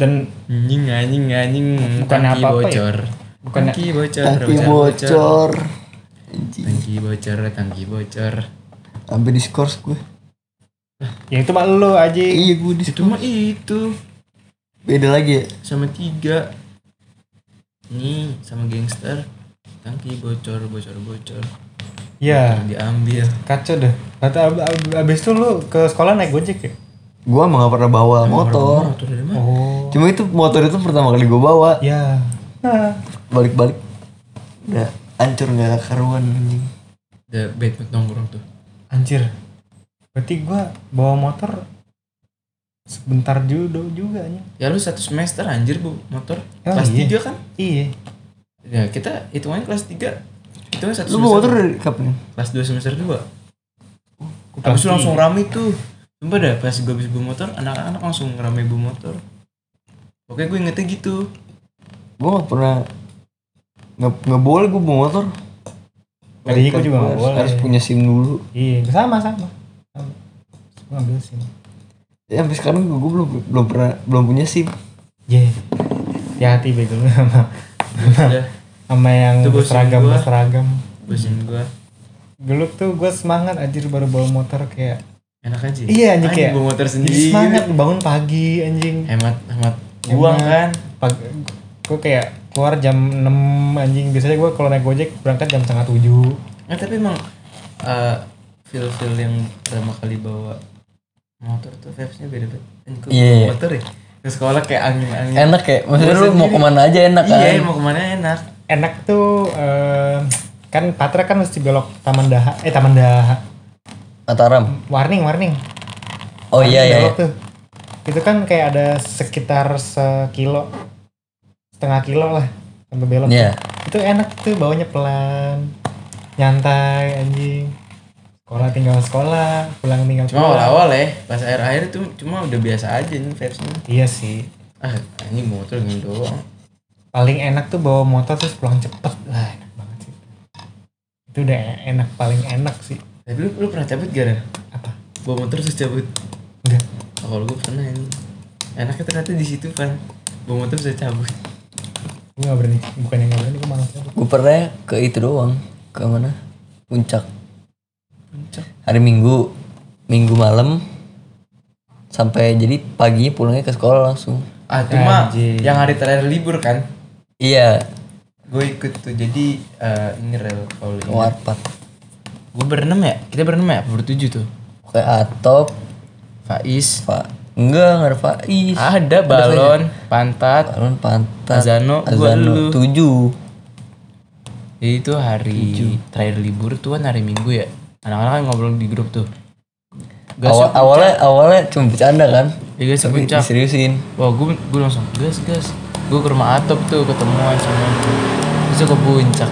A: Dan
B: anjing anjing anjing
A: Bukan
B: ah, tangki
A: apa-apa ya.
B: bocor
A: Bukan-
B: tangki bocor
D: Tapi
B: bocor,
D: bocor. Anjing.
B: tangki bocor tangki bocor
D: Sampai diskors gue.
A: ya itu mah lu anjing.
D: Iya gue
B: itu
D: diskors.
B: mah itu
D: Beda lagi ya.
B: sama tiga nih sama gangster tangki bocor bocor bocor
D: Iya.
A: Ya,
B: diambil
A: kacau dah. Kata ab- ab- abis itu lu ke sekolah naik Gojek ya?
D: Gue emang gak pernah bawa motor.
B: motor dari mana
A: Oh.
D: Cuma itu motor itu pertama kali gue bawa.
A: Ya. Ah.
D: Balik-balik. Udah hancur gak karuan anjing.
B: the badminton nongkrong tuh
A: Anjir. Berarti gua bawa motor sebentar juga juga anjing.
B: ya lu satu semester anjir bu motor
A: Oh,
B: kelas
A: iya.
B: tiga kan
A: Iya.
B: ya kita hitungannya kelas tiga hitungannya satu
D: Lu
B: semester
D: bawa motor dari kapan?
B: kelas dua semester dua
A: kelas
B: habis itu langsung rame tuh Sumpah dah pas gue habis bawa motor anak-anak langsung ngerame bawa motor oke gue ingetnya gitu
D: Gue gak pernah nggak nggak boleh gue bawa motor.
A: Tadinya gue juga nggak
D: Gua harus-
A: boleh.
D: Harus punya SIM dulu.
A: Iya, sama sama. sama. Gue ambil sini.
D: Ya sampai sekarang gue, belum belum pernah belum punya SIM.
A: Ye. Ya hati bego lu sama
B: udah
A: sama yang
B: Itu bosan
A: berseragam
B: gua.
A: berseragam.
B: bosin gue
A: dulu tuh gue semangat anjir baru bawa motor kayak
B: Enak aja.
A: iya anjir
B: Anjing
A: kayak
B: bawa motor
A: jadi
B: sendiri.
A: semangat bangun pagi anjing
B: Hemat hemat buang kan.
A: pagi gue kayak keluar jam 6 anjing biasanya gue kalau naik gojek berangkat jam setengah tujuh
B: Nah, tapi emang eh feel feel yang pertama kali bawa motor tuh vibesnya beda beda.
D: Iya, iya.
B: Motor ya. Ke sekolah kayak angin angin.
D: Enak ya, maksudnya lu mau kemana aja enak kan?
B: Iya mau kemana enak.
A: enak tuh eh, kan patra kan mesti belok taman daha eh taman daha
D: Mataram.
A: warning warning
D: Oh iya iya.
A: belok tuh itu kan kayak ada sekitar sekilo setengah kilo lah sampai belok
D: Iya.
A: itu enak tuh bawanya pelan nyantai anjing sekolah tinggal sekolah pulang tinggal
D: Iya.
B: Cuma awal
A: pulang
B: awal ya pas air air itu cuma udah biasa aja nih vibesnya.
A: iya sih
B: Ah ini motor gini doang.
A: paling enak tuh bawa motor terus pulang cepet lah enak banget sih itu udah e- enak paling enak sih
B: Tapi lu, lu pernah cabut gak Rel?
A: apa
B: Bawa motor terus cabut.
A: enggak
B: Oh, kalau gue pernah ini. Enaknya ternyata di situ kan. Bawa motor bisa cabut.
A: gue gak berani bukan yang gak berani gue malas cabut.
D: Gue pernah ke itu doang. Ke mana? Puncak. Hari Minggu, Minggu malam sampai jadi paginya pulangnya ke sekolah langsung.
B: Ah cuma
A: Anjing.
B: yang hari terakhir libur kan.
D: Iya,
B: Gue ikut tuh jadi eh, ini Rel kalau
D: ke warpat.
B: Gue berenam ya? Kita berenam ya? Apa Bertujuh tuh.
D: Oke, atop,
B: Faiz.
D: Pak. Enggak, enggak ada Faiz.
B: Ada balon, pantat.
D: Alun pantat.
B: Azano, gua dulu.
D: Azano tujuh.
B: Jadi itu hari terakhir libur tuh kan hari Minggu ya. Anak-anak kan ngobrol di grup tuh. Gas yuk,
D: Awal, awalnya awalnya cuma bercanda kan,
B: puncak. Ya, gas yuk,
D: tapi
B: puncak.
D: diseriusin.
B: Wah gue gue langsung gas gas. Gue ke rumah Atop tuh ketemuan sama. Bisa ke puncak.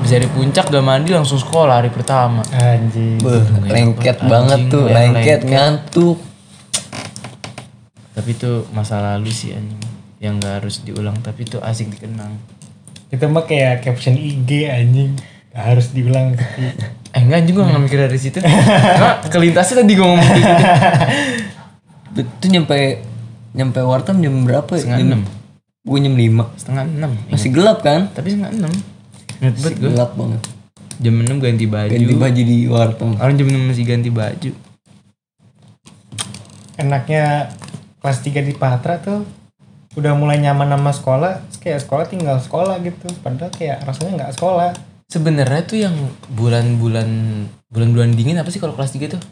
B: Bisa di puncak gak mandi langsung sekolah hari pertama.
A: anjing
D: Beuh, lengket banget
B: anjing,
D: tuh,
B: gua yang
D: lengket, ngantuk.
B: Tapi itu masa lalu sih anjing yang gak harus diulang tapi itu asik dikenang.
A: itu mah kayak caption IG anjing Gak harus diulang tapi
B: Eh enggak anjing gue gak mikir dari situ. Karena kelintasnya tadi gue ngomong gitu.
D: Itu nyampe nyampe wartam jam berapa ya?
B: Setengah
D: Jam-
B: enam.
D: Gua jam 5.
B: Setengah enam.
D: Masih gelap kan?
B: Tapi setengah enam. Ingat banget
D: Masih
B: gue.
D: gelap banget.
B: Jam enam ganti baju.
D: Ganti baju di wartam.
B: Orang jam enam masih ganti baju.
A: enaknya kelas 3 di Patra tuh udah mulai nyaman sama sekolah terus kayak sekolah tinggal sekolah gitu padahal kayak rasanya nggak sekolah
B: Sebenarnya tuh yang bulan-bulan bulan-bulan dingin apa sih kalau kelas 3 tuh?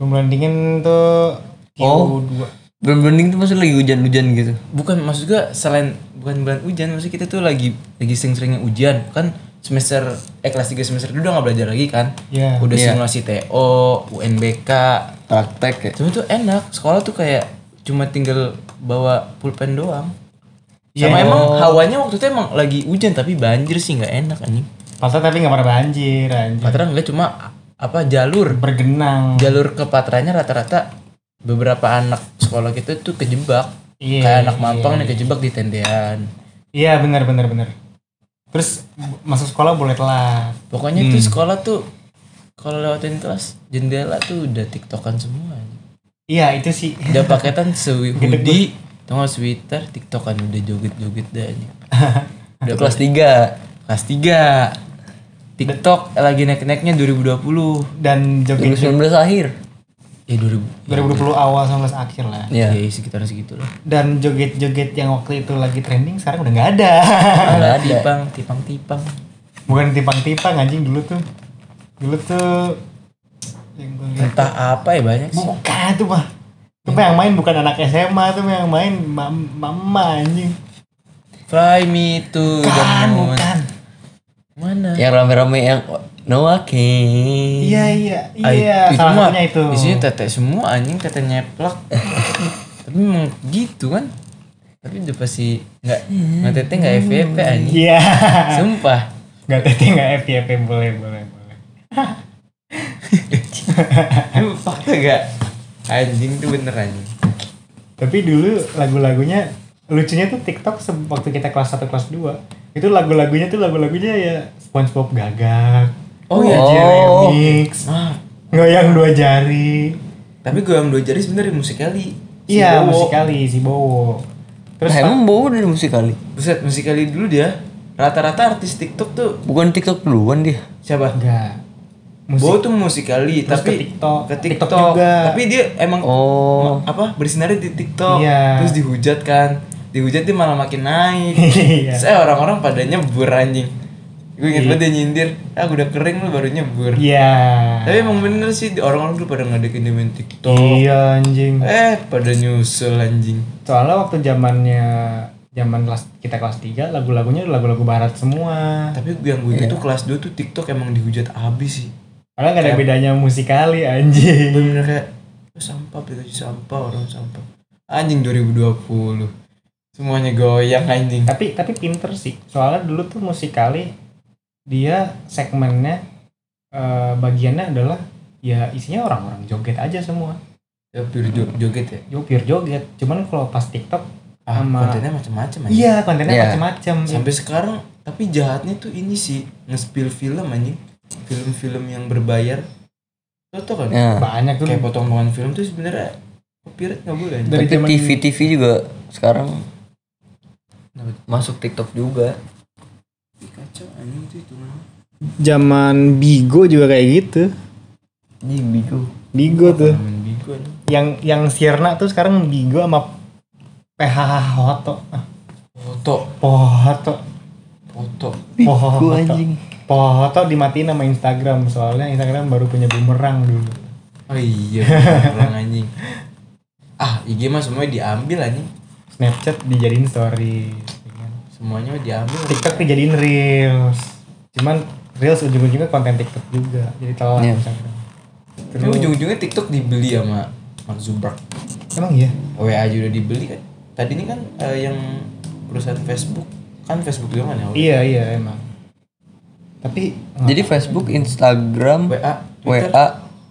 A: bulan dingin tuh
D: Oh.
A: Q2
D: Bener-bener tuh maksudnya lagi hujan-hujan gitu.
B: Bukan maksud gue selain bukan bulan hujan, maksud kita tuh lagi lagi sering-seringnya ujian. Kan semester eh kelas 3 semester dulu udah nggak belajar lagi kan?
A: Iya.
B: Udah
D: Iya.
B: simulasi TO, UNBK.
D: Praktek ya.
B: Cuma tuh enak, sekolah tuh kayak cuma tinggal bawa pulpen doang. Sama
A: Iya.
D: Oh.
B: emang hawanya waktu itu emang lagi hujan tapi banjir sih nggak enak anjing.
A: Patra tapi nggak pernah banjir anjing
B: Patra enggak cuma apa jalur
A: bergenang
B: jalur ke patranya rata-rata beberapa anak sekolah gitu tuh kejebak
A: Iya,
B: kayak anak mampang nih kejebak di tendean
A: iya benar benar benar terus bu- masuk sekolah boleh telat
B: pokoknya
A: Hmm.
B: tuh sekolah tuh kalau lewatin kelas jendela tuh udah tiktokan semua
A: iya itu sih
B: udah paketan sewi hoodie tengok sweater tiktokan udah joget-joget dah anjing.
D: Udah kelas 3.
B: kelas 3 tiktok lagi naik-naiknya 2020
A: dan jogging
D: 2019 akhir.
B: ya 2000
A: 2020 awal 19 akhir lah
D: Iya.
B: ya, sekitar segitulah
A: dan joget-joget yang waktu itu lagi trending sekarang udah nggak ada
B: Alah, tipang tipang tipang
A: bukan tipang-tipang anjing dulu tuh dulu tuh yang gue lihat
B: entah apa ya banyak sih
A: bukan tuh mah tuh mah yang main bukan anak SMA tuh mah yang main mam- mama anjing
B: fly me to the
A: bukan Kan,
B: moon
A: bukan Ya.
B: mana
D: Yang rame-rame yang Noah King.
A: iya iya
B: Ah,
A: iya
B: itu
A: salah
B: mah
A: satunya itu
B: Isinya tetek semua anjing tetek nyeplak. Tapi emang gitu kan. Tapi udah pasti nggak nggak tetek nggak FVP anjing.
A: iya
B: Sumpah.
A: nggak tete nggak FYP boleh boleh boleh
B: Lu fakta gak? Anjing tuh bener anjing.
A: tapi dulu lagu-lagunya lucunya tuh TikTok se- waktu kita kelas 1 kelas 2 itu lagu-lagunya tuh lagu-lagunya ya SpongeBob gagak
B: Oh, iya.
A: Jeremy Mix
B: Ah,
A: Goyang dua jari.
B: tapi gue yang dua jari sebenarnya musikali. Si
A: Iya,
B: Bowo.
A: musikali si Bowo. Terus
D: Nah, emang bawa dari musik kali.
B: Buset musikali dulu dia. Rata-rata artis TikTok tuh
D: Bukan TikTok duluan dia.
B: siapa?
A: enggak. musik
B: Bowo tuh musikali
A: Terus
B: tapi
A: ke TikTok.
B: ke
A: TikTok
B: TikTok,
A: juga.
B: tapi dia emang
D: Oh.
B: ma- apa bersinar di TikTok
A: Iya.
B: terus dihujat kan dihujat dia malah makin naik
A: Iya.
B: saya orang-orang pada nyebur anjing gue inget banget dia nyindir ah udah kering lu baru nyebur
A: iya
B: tapi emang bener sih orang-orang dulu pada ngadekin dia main TikTok
A: iya anjing
B: eh pada nyusul anjing
A: soalnya waktu zamannya zaman kelas kita kelas 3 lagu-lagunya lagu-lagu barat semua
B: tapi yang
A: Iya.
B: gue itu kelas 2 tuh TikTok emang dihujat abis sih
A: padahal nggak ada bedanya musikali anjing
B: bener kayak "Lu sampah aplikasi sampah orang sampah anjing 2020 semuanya goyang anjing
A: tapi tapi pinter sih soalnya dulu tuh musikali dia segmennya eh, bagiannya adalah ya isinya orang-orang joget aja semua
B: ya pure jo- joget ya
A: yo pure joget cuman kalau pas tiktok
B: ah,
A: Sama-
B: kontennya macam-macam anjing
A: iya kontennya
D: Iya.
A: macem-macem
B: sampai sekarang tapi jahatnya tuh ini sih nge-spill film anjing film-film yang berbayar lo tau kan
D: Ya.
A: banyak tuh
B: kayak potongan film tuh sebenarnya copyright nggak boleh anjing.
A: Dari
D: Tapi
A: zaman-
D: TV TV juga sekarang
B: Kenapa?
D: masuk TikTok juga.
B: kacau anjing tuh itu
A: zaman bigo juga kayak gitu
D: Ini bigo.
A: bigo tuh
B: main bigo anjing
A: yang yang Sierna tuh sekarang Bigo sama PHH Hoto Ah,
B: foto
A: Pohoto
B: foto
A: Pohoto
D: Gua anjing.
A: Pohoto dimatiin sama Instagram soalnya Instagram baru punya bumerang dulu
B: oh iya orang anjing ah IG mah semuanya diambil anjing
A: Snapchat dijadiin story ya kan?
B: semuanya diambil
A: TikTok dijadiin Reels cuman Reels ujung-ujungnya konten TikTok juga jadi telat
D: Iya.
A: Instagram
B: Tapi ujung-ujungnya TikTok dibeli sama Mark Zuckerberg.
A: emang iya
B: WA aja udah dibeli kan. Tadi ini kan eh, yang perusahaan Facebook kan Facebook juga kan ya.
A: iya iya emang tapi
D: Jadi Facebook, Instagram,
B: WA, Twitter.
D: WA,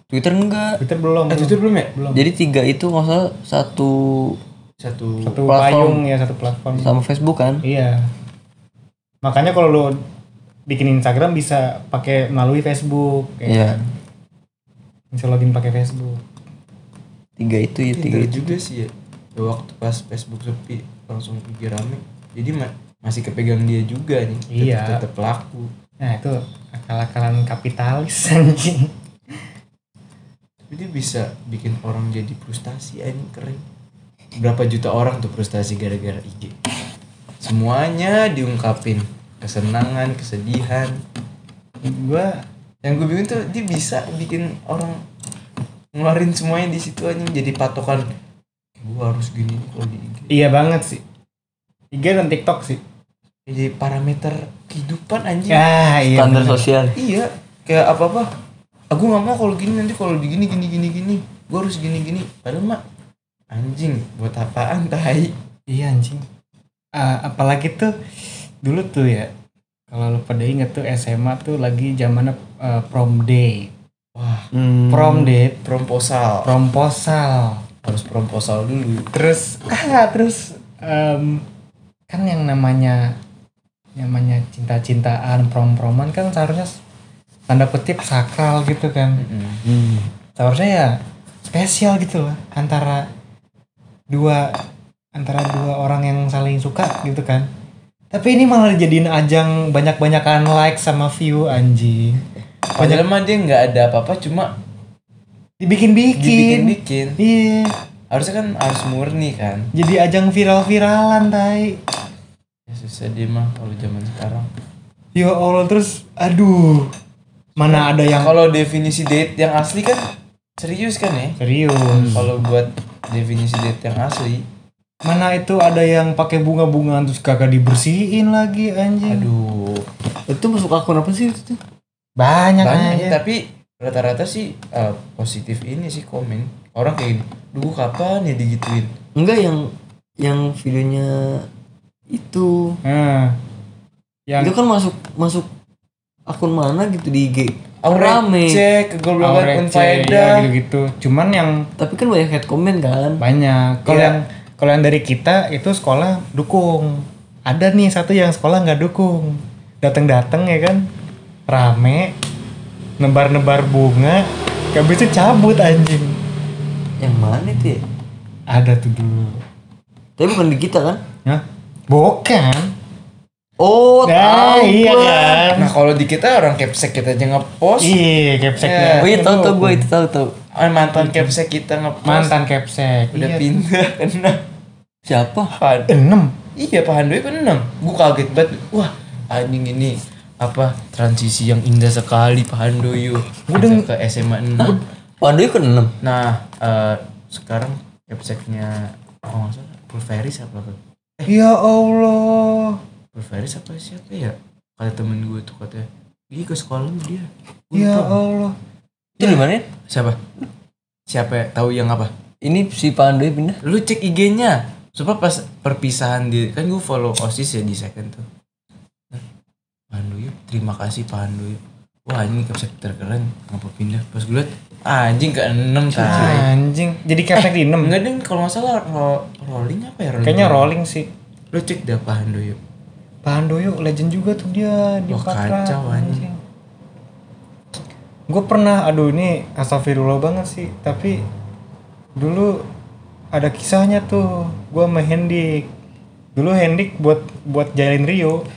D: Twitter enggak.
A: Twitter belum
B: Eh,
A: belum.
B: Twitter belum ya?
A: belum
D: Jadi tiga itu nggak salah satu
B: Satu
A: satu
D: platform.
A: payung ya satu platform
D: sama Facebook kan?
A: Iya. Makanya kalau lo bikin Instagram bisa pakai melalui Facebook. kan?
D: Iya.
A: Bisa login pakai Facebook.
D: Tiga itu
A: Iya,
D: ya tiga
B: Twitter
D: itu.
B: juga sih ya. Ya, Waktu pas Facebook sepi langsung pergi rame. Jadi ma- masih kepegang dia juga nih. Tetep-
A: Iya.
B: Tetep laku.
A: Nah itu akal-akalan kapitalis anjing.
B: Tapi dia bisa bikin orang jadi frustasi anjing keren. Berapa juta orang tuh frustasi gara-gara IG. Semuanya diungkapin. Kesenangan, kesedihan,
A: Gua
B: yang gue bingung tuh dia bisa bikin orang ngeluarin semuanya di situ aja jadi patokan gue harus gini nih kalau di IG
A: iya banget sih. IG dan TikTok sih.
B: jadi parameter kehidupan anjing
A: Ya, iya.
D: Standar
A: bener.
D: sosial.
B: iya kayak apa apa aku nggak mau kalau gini nanti kalau di gini gini gini gini gue harus gini gini padahal mak anjing buat apaan tai
A: Iya anjing. Ah, apalagi tuh dulu tuh ya kalau lo pada inget tuh SMA tuh lagi zamannya eh, prom day.
D: Hmm.
A: Prom day,
B: promposal
A: promposal.
B: harus promposal dulu
A: terus ah terus em, kan yang namanya namanya cinta-cintaan prom-proman kan seharusnya s- tanda kutip sakral gitu kan seharusnya ya spesial gitu lah antara dua antara dua orang yang saling suka gitu kan tapi ini malah dijadiin ajang banyak-banyakan like sama view anjing
B: padahal mah dia nggak ada apa-apa cuma dibikin
A: dibikin-bikin
B: bikin
A: iya
B: harusnya kan harus murni kan
A: jadi ajang viral-viralan tai
B: ya, susah dia mah kalau zaman sekarang
A: Ya Allah terus aduh mana Nah, ada yang
B: kalau definisi date yang asli kan serius kan ya
A: serius
B: kalau buat definisi date yang asli
A: mana itu ada yang pakai bunga-bungaan terus kagak dibersihin lagi anjing
B: aduh
D: Itu masuk akun apa sih itu?
A: banyak,
B: banyak
A: aja
B: tapi rata-rata sih eh, positif ini sih komen orang kayak gini duh kapan ya digituin
D: Enggak yang yang videonya itu.
A: Nah, yang
D: Itu kan masuk masuk akun mana gitu di IG. Rame.
B: cek kegoblokan
A: aurece, ya,
B: unfaedah
A: gitu-gitu cuman yang
D: Tapi kan banyak head comment kan?
A: banyak kalau
B: Iya.
A: yang kalau yang dari kita itu sekolah dukung ada nih satu yang sekolah nggak dukung datang-datang ya kan rame nebar-nebar bunga gak bisa cabut anjing
D: Yang mana itu ya?
A: ada tuh dulu
D: Tapi bukan di kita kan?
A: Hah? Bukan.
B: Oh,
A: Nah,
B: tahu
A: iya
B: gua.
A: kan.
B: Nah, kalau di kita orang capsek kita aja ngepost.
A: Iya, capseknya.
D: Oh iya tau tau gue itu tau tau
B: Eh, mantan capsek kita ngepost.
A: Mantan capsek.
B: Udah
A: Iya.
B: pindah kena.
D: Siapa?
B: Pan.
A: Enam.
B: Iya, Pak Handoy kan enam. Gue kaget banget. Wah, anjing ini apa transisi yang indah sekali Pak Handoyo. Udah ke SMA 6.
D: Waduh ke enam
B: Nah, eh, sekarang capseknya oh nggak salah, Pulveris apa tuh?
A: Ya Allah.
B: Pulveris apa siapa ya? Kata temen gue tuh katanya, "Ih, ke sekolah lu dia." Gua
A: Ya
B: lupa.
A: Allah.
D: Itu di mana? ya?
B: Siapa? Siapa ya? tahu yang apa?
D: Ini si Pandoy pindah
B: Lu cek IG-nya. Supaya pas perpisahan di kan gue follow OSIS ya di second tuh. Nah, Pandu yuk, terima kasih Pandu yuk. Wah ini capsek terkeren, ngapa pindah? Pas gue liat, ah, anjing ke enam tadi.
A: Anjing. Jadi capsek di enam.
B: Enggak deh, kalau nggak salah ro- rolling apa ya? Rolling?
A: Kayaknya rolling sih.
B: Lu cek dah Pandu yuk.
A: Pandoyo legend juga tuh dia di
B: Wah,
A: Patra.
B: kacau, anjing.
A: Gue pernah, aduh ini astagfirullah banget sih, tapi dulu ada kisahnya tuh, gue sama Hendik. Dulu Hendik buat buat jailin Rio,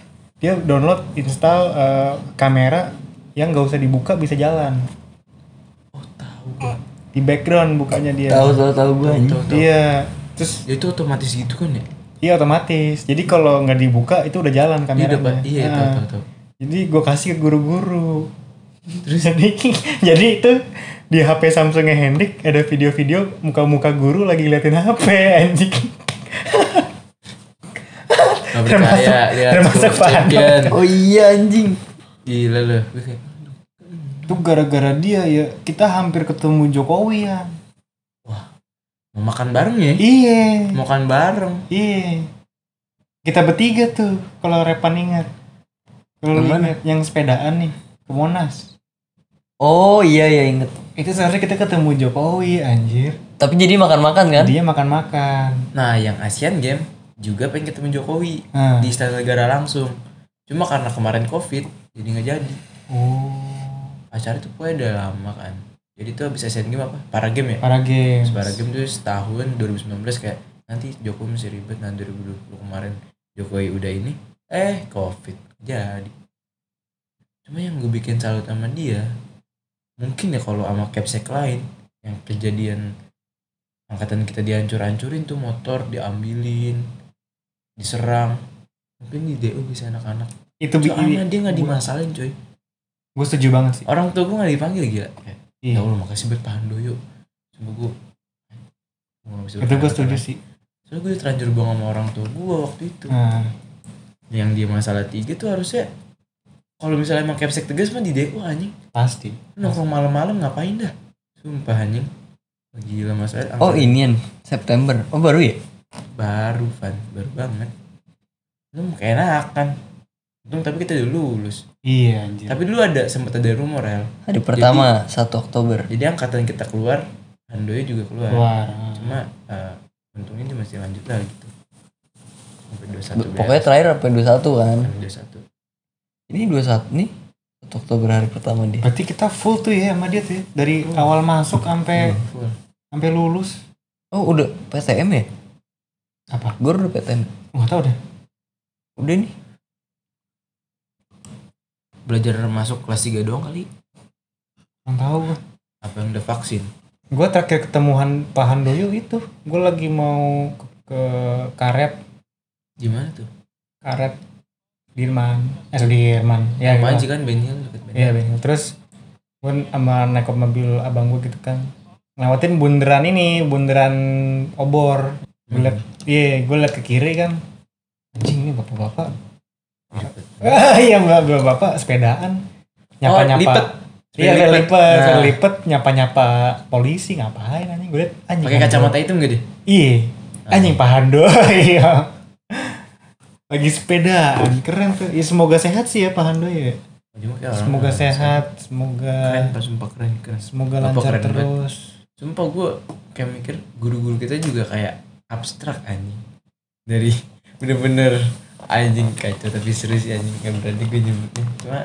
A: dia download install eh, kamera yang gak usah dibuka bisa jalan. Di background bukanya dia.
D: Oh, Tahu tahu tahu gue anjing
A: Iya. Terus
B: Ya itu otomatis gitu kan ya?
A: iya otomatis. Jadi kalau nggak dibuka itu udah jalan
B: Iya,
A: kameranya.
B: udah, Pak. iya,
A: Nah.
B: tahu tahu tahu.
A: Jadi gue kasih ke guru-guru. Terus jadi, jadi itu di HP Samsungnya Hendrik ada video-video muka-muka guru lagi ngeliatin HP anjing.
B: Gak percaya,
A: Termasuk-
B: lihat
A: termasuk
B: World
A: Pak
B: champion.
D: Oh iya anjing
B: Gila lu, gue kayak,
A: Itu gara-gara dia ya kita hampir ketemu Jokowi ya.
B: mau makan bareng ya?
A: Iya.
B: Mau makan bareng.
A: Iya. Kita bertiga tuh kalau Repan ingat. Kalau lu
D: Yang mana?
A: ingat yang sepedaan nih ke Monas.
D: Oh iya iya inget
A: Itu seharusnya kita ketemu Jokowi anjir.
D: Tapi jadi makan-makan kan?
A: Dia makan-makan.
B: Nah, yang Asian Game juga pengen ketemu Jokowi
A: Nah.
B: di Istana Negara langsung. Cuma karena kemarin COVID, jadi nggak jadi.
A: Oh.
B: Acara itu pokoknya udah lama kan. Jadi tuh habis Asian Game apa? Para Game ya?
A: Para games.
B: Habis Para Game tuh setahun 2019 kayak nanti Jokowi masih ribet nah 2020 kemarin Jokowi udah ini eh COVID jadi. Cuma yang gue bikin salut sama dia mungkin ya kalau sama capsek lain yang kejadian angkatan kita dihancur-hancurin tuh motor diambilin diserang mungkin di DU bisa anak-anak
A: Itu bi-
B: soalnya dia nggak dimasalahin coy
A: gue setuju banget sih.
B: orang tua gue nggak dipanggil gila Kayak, ya
A: Iya.
B: Allah makasih buat Pak Handoyo cuma gue eh, gua nggak bisa
A: Itu gue
B: berkata-kata.
A: setuju sih.
B: soalnya gue terlanjur bohong sama orang tua gue waktu itu
A: Nah,
B: yang dia masalah tiga tuh harusnya kalau misalnya emang capsek tegas mah di DU anjing
A: pasti.
B: nongkrong malam-malam ngapain dah sumpah anjing gila mas Eh, Ed
D: Oh
B: angkatan
D: ini September Oh baru ya?
B: baru Van baru banget lu mau keenakan untung tapi kita udah lulus
A: Iya anjir.
B: tapi dulu ada sempat ada rumor ya
D: Hari pertama 1 Oktober
B: jadi angkatan kita keluar Handoyo juga keluar
A: Keluar.
B: cuma eh, untungnya dia masih lanjut lah gitu sampai dua satu
D: Be- Pokoknya terakhir apa 21 kan
B: dua satu
D: Ini 21 nih 1 Oktober hari pertama dia
A: Berarti kita full tuh ya sama dia tuh ya. Dari awal masuk sampai
B: Eh, full
A: sampai lulus.
D: Oh udah PTM ya?
A: Apa?
D: Gue udah PTM
A: Gak tau deh.
D: Udah nih
B: belajar masuk kelas 3 doang kali
A: Gak tau gue.
B: apa yang udah vaksin
A: Gue terakhir ketemu Han, Pak Handoyo itu. Gue lagi mau ke, ke karet.
B: gimana tuh
A: Karet. Dirman. Eh Dirman. Ya,
B: Sama
A: gua-
B: aja kan Benny kan deket Benny
A: Iya bener. Terus gue sama naik ke mobil abang gue gitu kan ngelewatin bundaran ini, bundaran obor. Gue liat, iya gue liat ke kiri kan. Anjing ini bapak-bapak. Ah, iya mbak bapak, bapak sepedaan. Nyapa-nyapa.
B: Oh, lipet.
A: Iya
B: Sepeda
A: sepeda
B: lipet.
A: lipet, sepeda
B: Nah.
A: lipet, nyapa-nyapa polisi ngapain anjing gue liat anjing.
B: pakai
A: Pak Hando.
B: kacamata ya? Ah. hitam gak deh
A: Iya. Anjing Pak Hando. Iya. Lagi sepedaan, keren tuh. Ya, semoga sehat sih ya Pak Hando ya.
B: Cuma kayak orang-
A: Semoga
B: orang-
A: sehat, semoga
B: keren pas sumpah keren keren
A: semoga
B: Bapak
A: lancar
B: keren banget.
A: terus.
B: sumpah gue kayak mikir guru-guru kita juga kayak abstrak anjing dari bener-bener anjing kacau tapi seru sih anjing gak berani gue nyebutnya cuma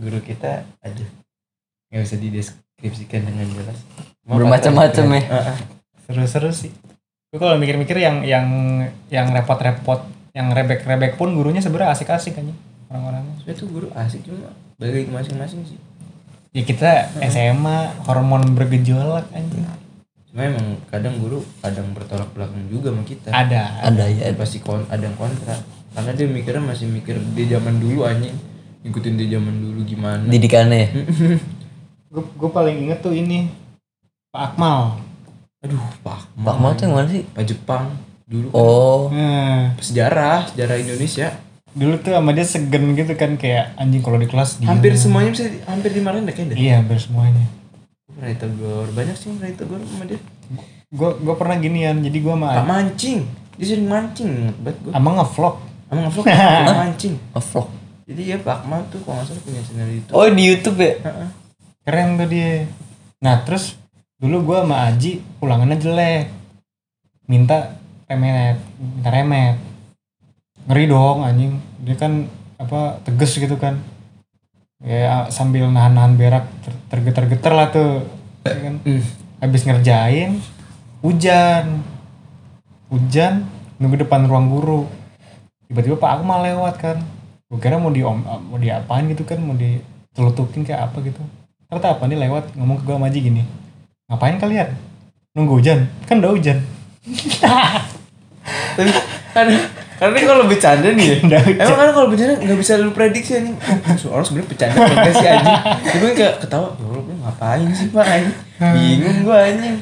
B: guru kita aja nggak bisa dideskripsikan dengan jelas Cuma
D: Bermacam-macam
B: fakta-
D: ya
B: Ah, ah.
A: Seru-seru sih. Gue kalau mikir-mikir yang yang yang repot-repot yang rebek-rebek pun gurunya sebenarnya asik-asik aja orang-orangnya
B: Sebenernya tuh guru asik cuma balik lagi ke masing-masing sih.
A: ya kita
B: Hmm.
A: SMA hormon bergejolak anjing
B: Cuma emang kadang guru kadang bertolak belakang juga sama kita.
A: ada iya.
D: ada ya
B: Ya, pasti kon ada yang kontra. Karena dia mikirnya masih mikir dia zaman dulu anjing. Ngikutin dia zaman dulu gimana.
D: didikannya
A: Hmm.
D: ya?
A: gue paling inget tuh ini Pak Akmal
B: Aduh, Pak.
D: Pak Mal tuh yang mana sih
B: Pak Jepang dulu kan
D: oh
A: nah,
B: sejarah, sejarah Indonesia.
A: dulu tuh sama dia segen gitu kan kayak anjing kalau di kelas dia
B: Hampir semuanya bisa di- hampir dimarahin deh kayaknya.
A: iya hampir semuanya
B: Gue pernah ditegur, banyak sih yang pernah ditegur sama dia.
A: gue gue pernah ginian jadi gue sama
B: Tak mancing. Dia sering mancing banget gue.
A: sama ngevlog
B: Sama ngevlog dia mancing.
D: vlog
B: Jadi ya Pak Akmal tuh kalau nggak salah punya channel itu.
D: oh di YouTube ya
A: keren tuh dia nah terus dulu gue sama Aji ulangannya jelek minta remet minta remet ngeri dong anjing dia kan apa tegas gitu kan ya sambil nahan-nahan berak ter- tergeter-geter lah tuh Ya kan? habis ngerjain hujan hujan nunggu depan ruang guru tiba-tiba Pak Akmal lewat kan gue kira mau di mau diapain gitu kan mau ditelutukin kayak apa gitu ternyata apa nih lewat ngomong ke gue maji gini ngapain kalian nunggu hujan kan udah hujan
B: Tapi karena karena ini kalau bercanda nih ya.
A: Udah hujan.
B: Emang karena kalau bercanda nggak bisa lu prediksi anjing. Oh, so- orang sebenarnya bercanda enggak sih anjing. Tapi gue kayak ketawa, ya Allah gue ngapain sih Pak anjing. Bingung gue anjing.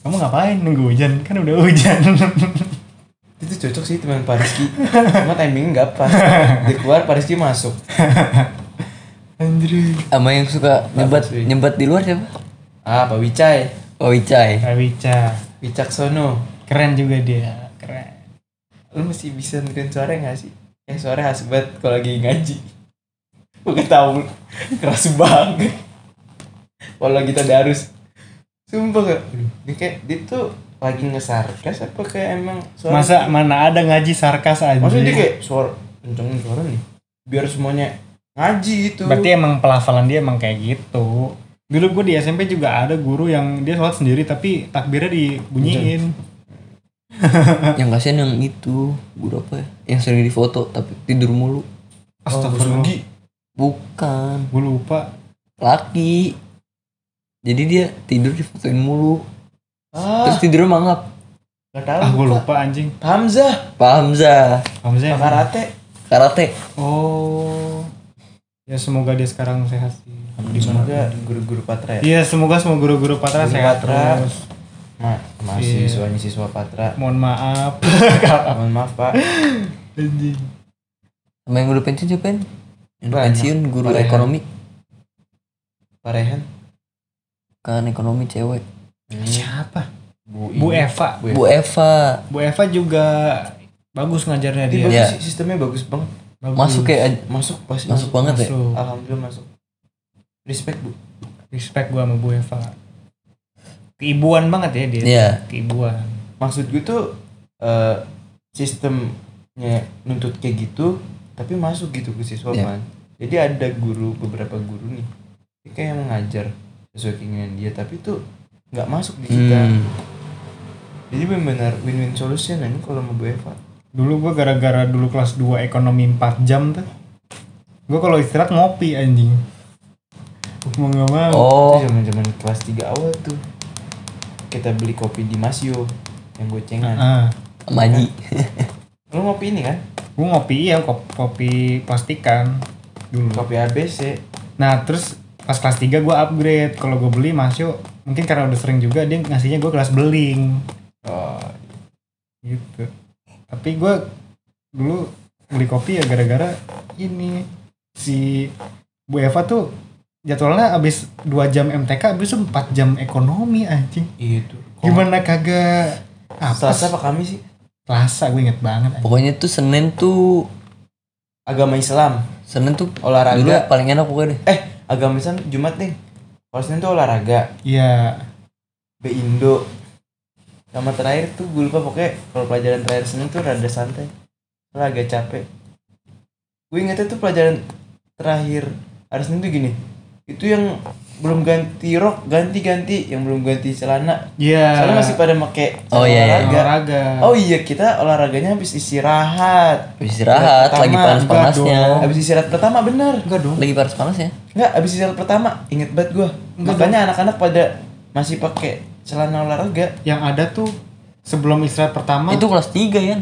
A: kamu ngapain nunggu hujan kan udah hujan
B: Itu cocok sih teman Pariski. Cuma timingnya nggak pas. Dia keluar Pariski masuk.
A: Andri
D: sama yang suka nyebat
B: sih?
D: nyebat di luar siapa
B: Ah, Pak Wicay.
D: oh Icai
A: Rawica
B: Wicaksono.
A: keren juga dia keren
B: lu mesti bisa nurunin suara gak sih? Eh suara khas banget kalau lagi ngaji Gue ketawa keras banget Kalau lagi tadarus Sumpah gak? Dia kayak, dia tuh lagi ngesarkas apa kayak emang suara
A: masa mana ada ngaji sarkas aja
B: Maksudnya dia kayak suara kencengin suara nih Biar semuanya ngaji gitu
A: berarti emang pelafalan dia emang kayak gitu dulu gue di SMP juga ada guru yang dia sholat sendiri tapi takbirnya dibunyiin
D: yang kasihan yang itu guru apa ya yang sering difoto tapi tidur mulu
A: Oh,
B: Oh,
A: astagfirullah
D: bukan
A: gue lupa
D: laki jadi dia tidur difotoin mulu
B: Ah,
D: terus tidurnya mangap
B: Gak tau
A: ah gue lupa anjing
B: Hamzah
D: Pak Hamzah
A: kamu
B: Eh.
A: sih
B: Karate
D: karate
A: Oh. Ya semoga dia sekarang sehat sih.
B: Semoga guru-guru patra ya
A: Iya, semoga semua guru-guru Patra
B: Guru
A: sehat
B: Patra.
A: terus.
B: Ma, masih siswanya siswa patra
A: Mohon maaf.
B: Mohon maaf pak
A: Anjing.
D: sama yang udah pensiun siapa Pen? yang udah
B: Banyak.
D: pensiun guru
B: Banyak.
D: ekonomi
B: Pak Rehan
D: kan ekonomi cewek
A: Siapa?
B: Bu,
A: Bu
B: ini.
A: Eva.
D: Bu Eva
A: Bu Eva juga bagus ngajarnya
B: Tapi
A: dia.
B: bagus
D: Iya.
B: sih, sistemnya bagus banget.
A: Bagus.
D: masuk ya
B: Masuk pasti
D: masuk banget ya
A: Masuk.
B: Alhamdulillah masuk. Respect bu.
A: Respect gua sama Bu Eva. Keibuan banget ya dia.
D: Iya.
A: Keibuan.
B: Maksud gue tuh eh, sistemnya nuntut kayak gitu, tapi masuk gitu ke siswa
D: Iya.
B: Pan. Jadi ada guru beberapa guru nih, dia kayak mengajar sesuai keinginan dia, tapi tuh nggak masuk di kita.
D: hmm.
B: Jadi benar-benar win-win solution ini kalau mau Bu Eva.
A: Dulu gua gara-gara dulu kelas 2 ekonomi 4 jam tuh. Gua kalau istirahat ngopi anjing. Mau gak
B: Iya.
A: mau.
D: oh
B: Itu zaman-zaman kelas 3 awal tuh. Kita beli kopi di Masio yang gocengan.
A: Ah.
D: Maji
B: Lu ngopi ini kan?
A: gue ngopi ya kopi, kopi plastikan dulu
B: Kopi ABC.
A: nah terus pas kelas 3 gue upgrade kalau gue beli masuk mungkin karena udah sering juga dia ngasihnya gue kelas beling
B: Oh,
A: gitu tapi gue dulu beli kopi ya gara-gara ini si Bu Eva tuh jadwalnya abis 2 jam MTK abis 4 jam ekonomi anjing
B: Iya tuh.
A: gimana kagak apa
B: Selasa
A: sih?
B: apa kami sih?
A: Selasa gue inget banget anjing.
D: pokoknya tuh Senin tuh
B: Agama Islam,
D: Senin tuh
B: olahraga.
D: dulu paling enak pokoknya deh
B: Eh, agama Islam Jumat nih. Kalau Senin tuh olahraga,
A: iya
B: B Indo. Sama terakhir tuh gue lupa pokoknya kalau pelajaran terakhir Senin tuh rada santai. Soalnya agak capek. Gue ingetnya tuh pelajaran terakhir hari Senin tuh gini. Itu yang belum ganti rok ganti-ganti yang belum ganti celana
A: Iya.
B: soalnya masih pada make
D: Oh, iya, iya.
B: olahraga.
A: Olahraga.
B: oh iya kita olahraganya habis istirahat
D: Habis istirahat,
B: Pertama,
D: lagi panas-panasnya.
A: enggak
B: habis istirahat pertama benar
A: Enggak dong.
D: Lagi panas-panasnya.
B: Enggak, abis istirahat pertama, inget banget gua Makanya anak-anak pada masih pakai celana olahraga.
A: Yang ada tuh sebelum istirahat pertama
D: Itu kelas 3, Yan.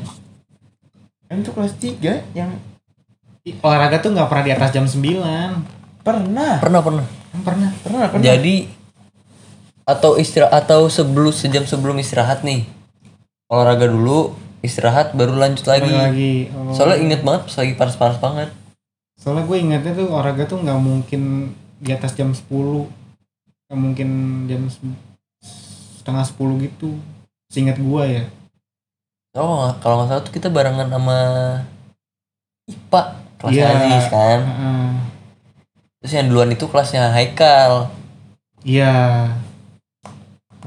B: Em tuh Kan kelas 3 yang
A: i- olahraga tuh nggak pernah di atas jam 9.
B: pernah.
D: Pernah, pernah.
A: Emang Pernah.
B: Pernah, pernah.
D: Jadi atau istirahat atau sebelum sejam sebelum istirahat nih. Olahraga dulu, istirahat baru lanjut lagi.
A: Lagi. lagi. Oh.
D: Soalnya inget banget pas lagi panas-panas banget.
A: Soalnya gue ingatnya tuh olahraga tuh nggak mungkin di atas jam 10. Nggak mungkin jam se- setengah 10 gitu. Seingat gue ya.
D: Oh, kalau nggak salah tuh kita barengan sama IPA kelas
A: Iya.
D: Aziz kan.
A: Heeh.
D: Terus yang duluan itu kelasnya Haikal.
A: Iya.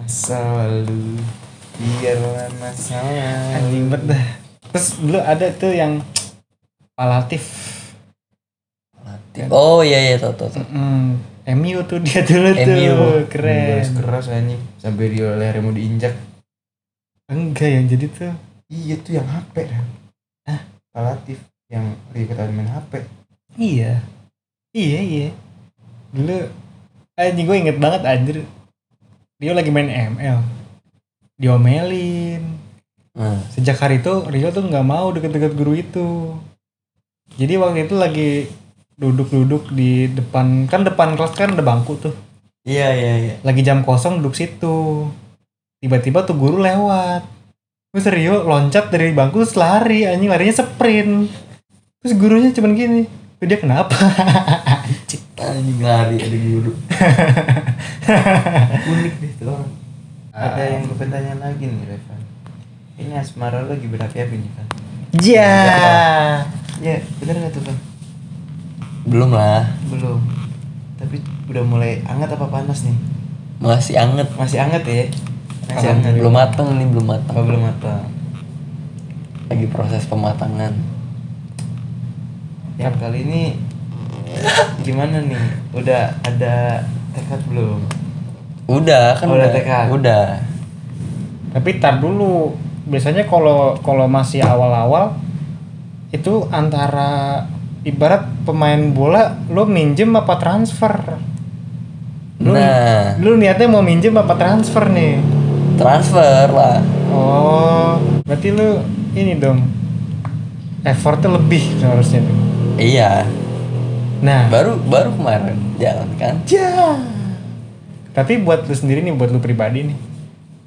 B: masa lalu biarlah masa lalu.
A: Anjing banget dah. Terus dulu ada tuh yang palatif.
D: Oh iya iya tau tau. tau.
A: Mm, MU tuh dia dulu
D: MU.
A: tuh.
B: Terus
A: Keren.
B: keras anjing sampai di lehernya mau diinjak.
A: Enggak yang jadi tuh.
B: Iya tuh yang HP kan. Ah, relatif yang ikutan main HP.
A: Iya. Iya, iya. Dulu eh, anjing gue inget banget anjir. Rio lagi main ML. Diomelin.
D: Hmm.
A: Sejak hari itu Rio tuh nggak mau deket-deket guru itu. Jadi waktu itu lagi duduk-duduk di depan kan depan kelas kan ada bangku tuh.
D: Iya iya iya.
A: Lagi jam kosong duduk situ. Tiba-tiba tuh guru lewat. Terus Rio loncat dari bangku terus lari anjing larinya sprint. Terus gurunya cuman gini. Tuh dia kenapa?
D: Anjing lari ada guru.
B: Unik deh tuh orang. Ada yang gue pertanyaan lagi nih, Revan. Ini asmara lo lagi berapi-api nih, kan?
A: Ya.
B: Ya, bener nggak tuh, Bang?
D: Belum lah.
B: Belum. Tapi udah mulai hangat apa panas nih?
D: Masih anget.
B: Masih hangat ya? Masih
D: Belum-
B: hangat.
D: belum matang nih belum matang.
B: Oh, belum matang.
D: Lagi proses pematangan.
B: Yang Ya,
A: Kan.
B: kali ini gimana nih? Udah ada tekad belum?
D: Udah kan
B: Oh, udah tekad.
D: Udah.
A: Tapi tar dulu. Biasanya kalau kalau masih awal-awal itu antara ibarat pemain bola lo minjem apa transfer. Lu,
D: Nah,
A: lu niatnya mau minjem apa transfer nih?
D: transfer lah.
A: Oh, berarti lu ini dong. Effortnya lebih seharusnya tuh.
D: Iya.
A: Nah,
D: Baru baru kemarin jalan kan.
A: ya. Tapi buat lu sendiri nih, buat lu pribadi nih,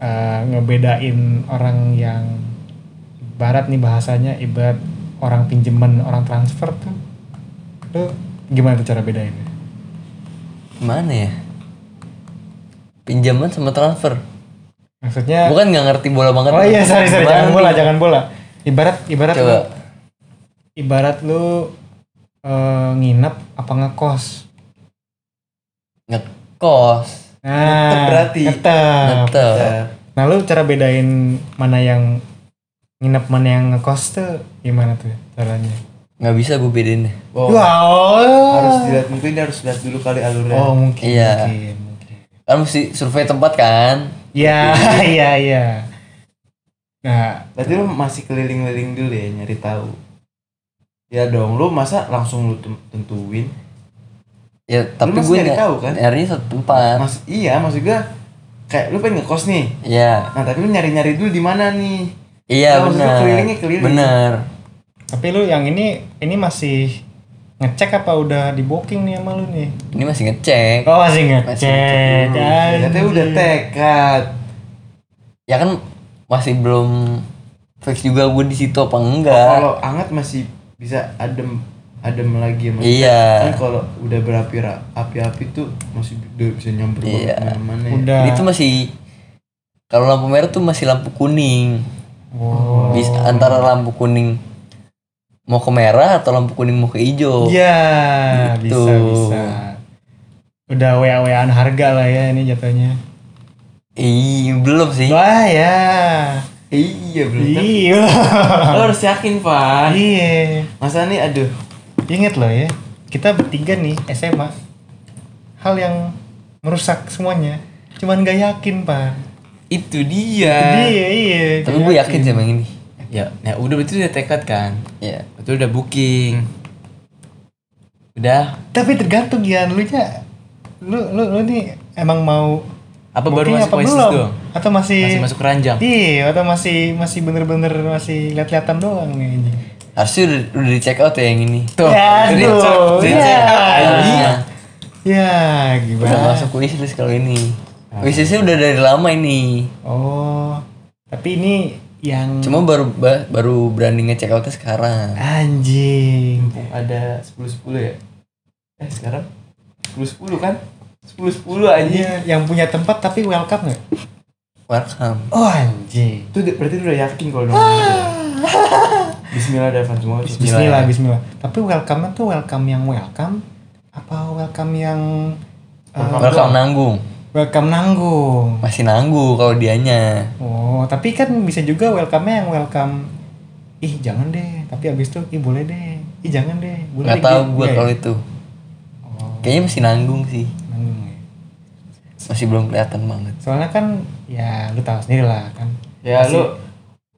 A: eh, ngebedain orang yang barat nih bahasanya, ibarat orang pinjeman, orang transfer tuh, lu gimana tuh cara bedain?
D: Gimana ya? Pinjaman sama transfer.
A: Maksudnya,
D: Bukan nggak ngerti bola
A: Ya.
D: banget.
A: oh iya, sorry sorry,
D: Gimana
A: jangan bola,
D: nih?
A: jangan bola. Ibarat, ibarat
D: Coba.
A: lu, ibarat lu eh, nginep apa ngekos?
D: Ngekos.
A: Nah,
B: Ngetep berarti.
A: ngetep.
D: Tetep.
A: Nah, lu cara bedain mana yang nginep mana yang ngekos tuh gimana tuh caranya?
D: Nggak bisa gue bedain deh.
B: Wow.
A: Ya Wow.
B: Oh. Harus dilihat mungkin dia harus lihat dulu kali alurnya.
A: Oh, mungkin.
D: Iya.
A: Mungkin, mungkin.
D: Kan mesti survei tempat kan.
A: Iya, iya, iya. Nah,
B: Berarti lu masih keliling-keliling dulu ya nyari tahu. Ya dong, lu masa langsung lu tem- tentuin?
D: Ya tapi
B: masih
D: gue
B: nyari
D: nggak
B: tahu kan?
D: Nyarinya satu
A: Ah.
D: tempat.
B: Mas, iya, maksud gua kayak lu pengen ngekos nih.
D: Iya.
B: Nah, tapi lu nyari-nyari dulu di mana nih?
D: Iya
B: Nah, maksudnya
D: benar.
B: kelilingnya keliling.
D: Benar.
A: tapi lu yang ini ini masih ngecek apa udah di booking nih sama lu nih?
D: Ini masih ngecek.
A: Oh, masih
D: Masih
A: ngecek.
B: Ya, Katanya
A: Hmm. anjing.
B: udah tekad.
D: Ya kan masih belum fix juga gue di situ apa
A: Ah.
D: enggak.
B: Oh, Kalau anget masih bisa adem adem lagi sama
D: Iya.
E: Ah.
B: Kan kalau udah berapi ra- api-api tuh masih udah bisa nyamper
D: Iya.
B: banget mana-mana. ya.
A: Udah.
D: Jadi itu masih kalau lampu merah tuh masih lampu kuning.
A: Wow.
D: Bis- antara lampu kuning mau ke merah atau lampu kuning mau ke hijau.
A: Iya,
D: Gitu.
A: bisa bisa. Udah wa-waan harga lah ya ini jatuhnya.
D: Ih, belum sih.
A: Wah ya.
B: Iya, belum tentu.
A: Iya.
B: Lo harus yakin, Pak.
A: Iya.
B: Masa nih aduh.
A: Ingat loh ya, kita bertiga nih SMA. Hal yang merusak semuanya cuman gak yakin pak
E: itu dia
A: iya iya
D: Tapi gue yakin sih emang ini.
E: ya ya udah berarti udah tekad kan
D: Iya.
E: betul udah booking udah
A: tapi tergantung Gian lu nya lu lu lu nih emang mau
E: Apa baru
A: booking
E: masuk
A: apa
E: Oasis
A: belum?
E: doang?
A: atau masih
E: Masih masuk keranjang?
A: iya atau masih masih bener-bener masih lihat-lihatan doang nih ini
D: Harusnya udah, udah di check out ya yang ini.
E: tuh
A: ya
E: jadi
A: aduh,
E: Oh, cek, Ah, jadi
A: ya.
E: cek.
A: Iya. ya
D: Udah
A: gimana
D: masuk wishlist kalau ini. Wishlistnya udah dari lama ini.
A: oh tapi ini yang
D: Cuma baru ba- baru berani ngecek outnya sekarang.
A: anjing
B: Mumpung ada 10-10 ya Eh sekarang 10-10 kan 10-10 aja
A: Iya, yang punya tempat tapi welcome nggak
D: Welcome.
A: oh anjing
B: Itu de- berarti lu udah yakin kalau
E: Ah.
B: udah ngomong gitu ya? Bismillah udah Evan semua tuh.
A: Bismillah,
D: ya.
A: Bismillah. Tapi welcome-nya tuh welcome yang welcome apa welcome yang uh,
D: Welcome nanggung.
A: welcome nanggung?
D: Masih nanggung kalau dianya.
A: Oh, tapi kan bisa juga welcome-nya yang welcome ih jangan deh, tapi abis itu ih boleh deh. Ih jangan deh, boleh
D: Nggak
A: deh.
D: tahu
A: Gitu,
D: gue
A: nggak
D: kalau
A: ya?
D: itu.
A: Oh,
D: Kayaknya masih nanggung sih.
A: nanggung ya.
D: Masih belum kelihatan banget.
A: Soalnya kan ya lu tahu sendiri lah kan.
B: Ya lu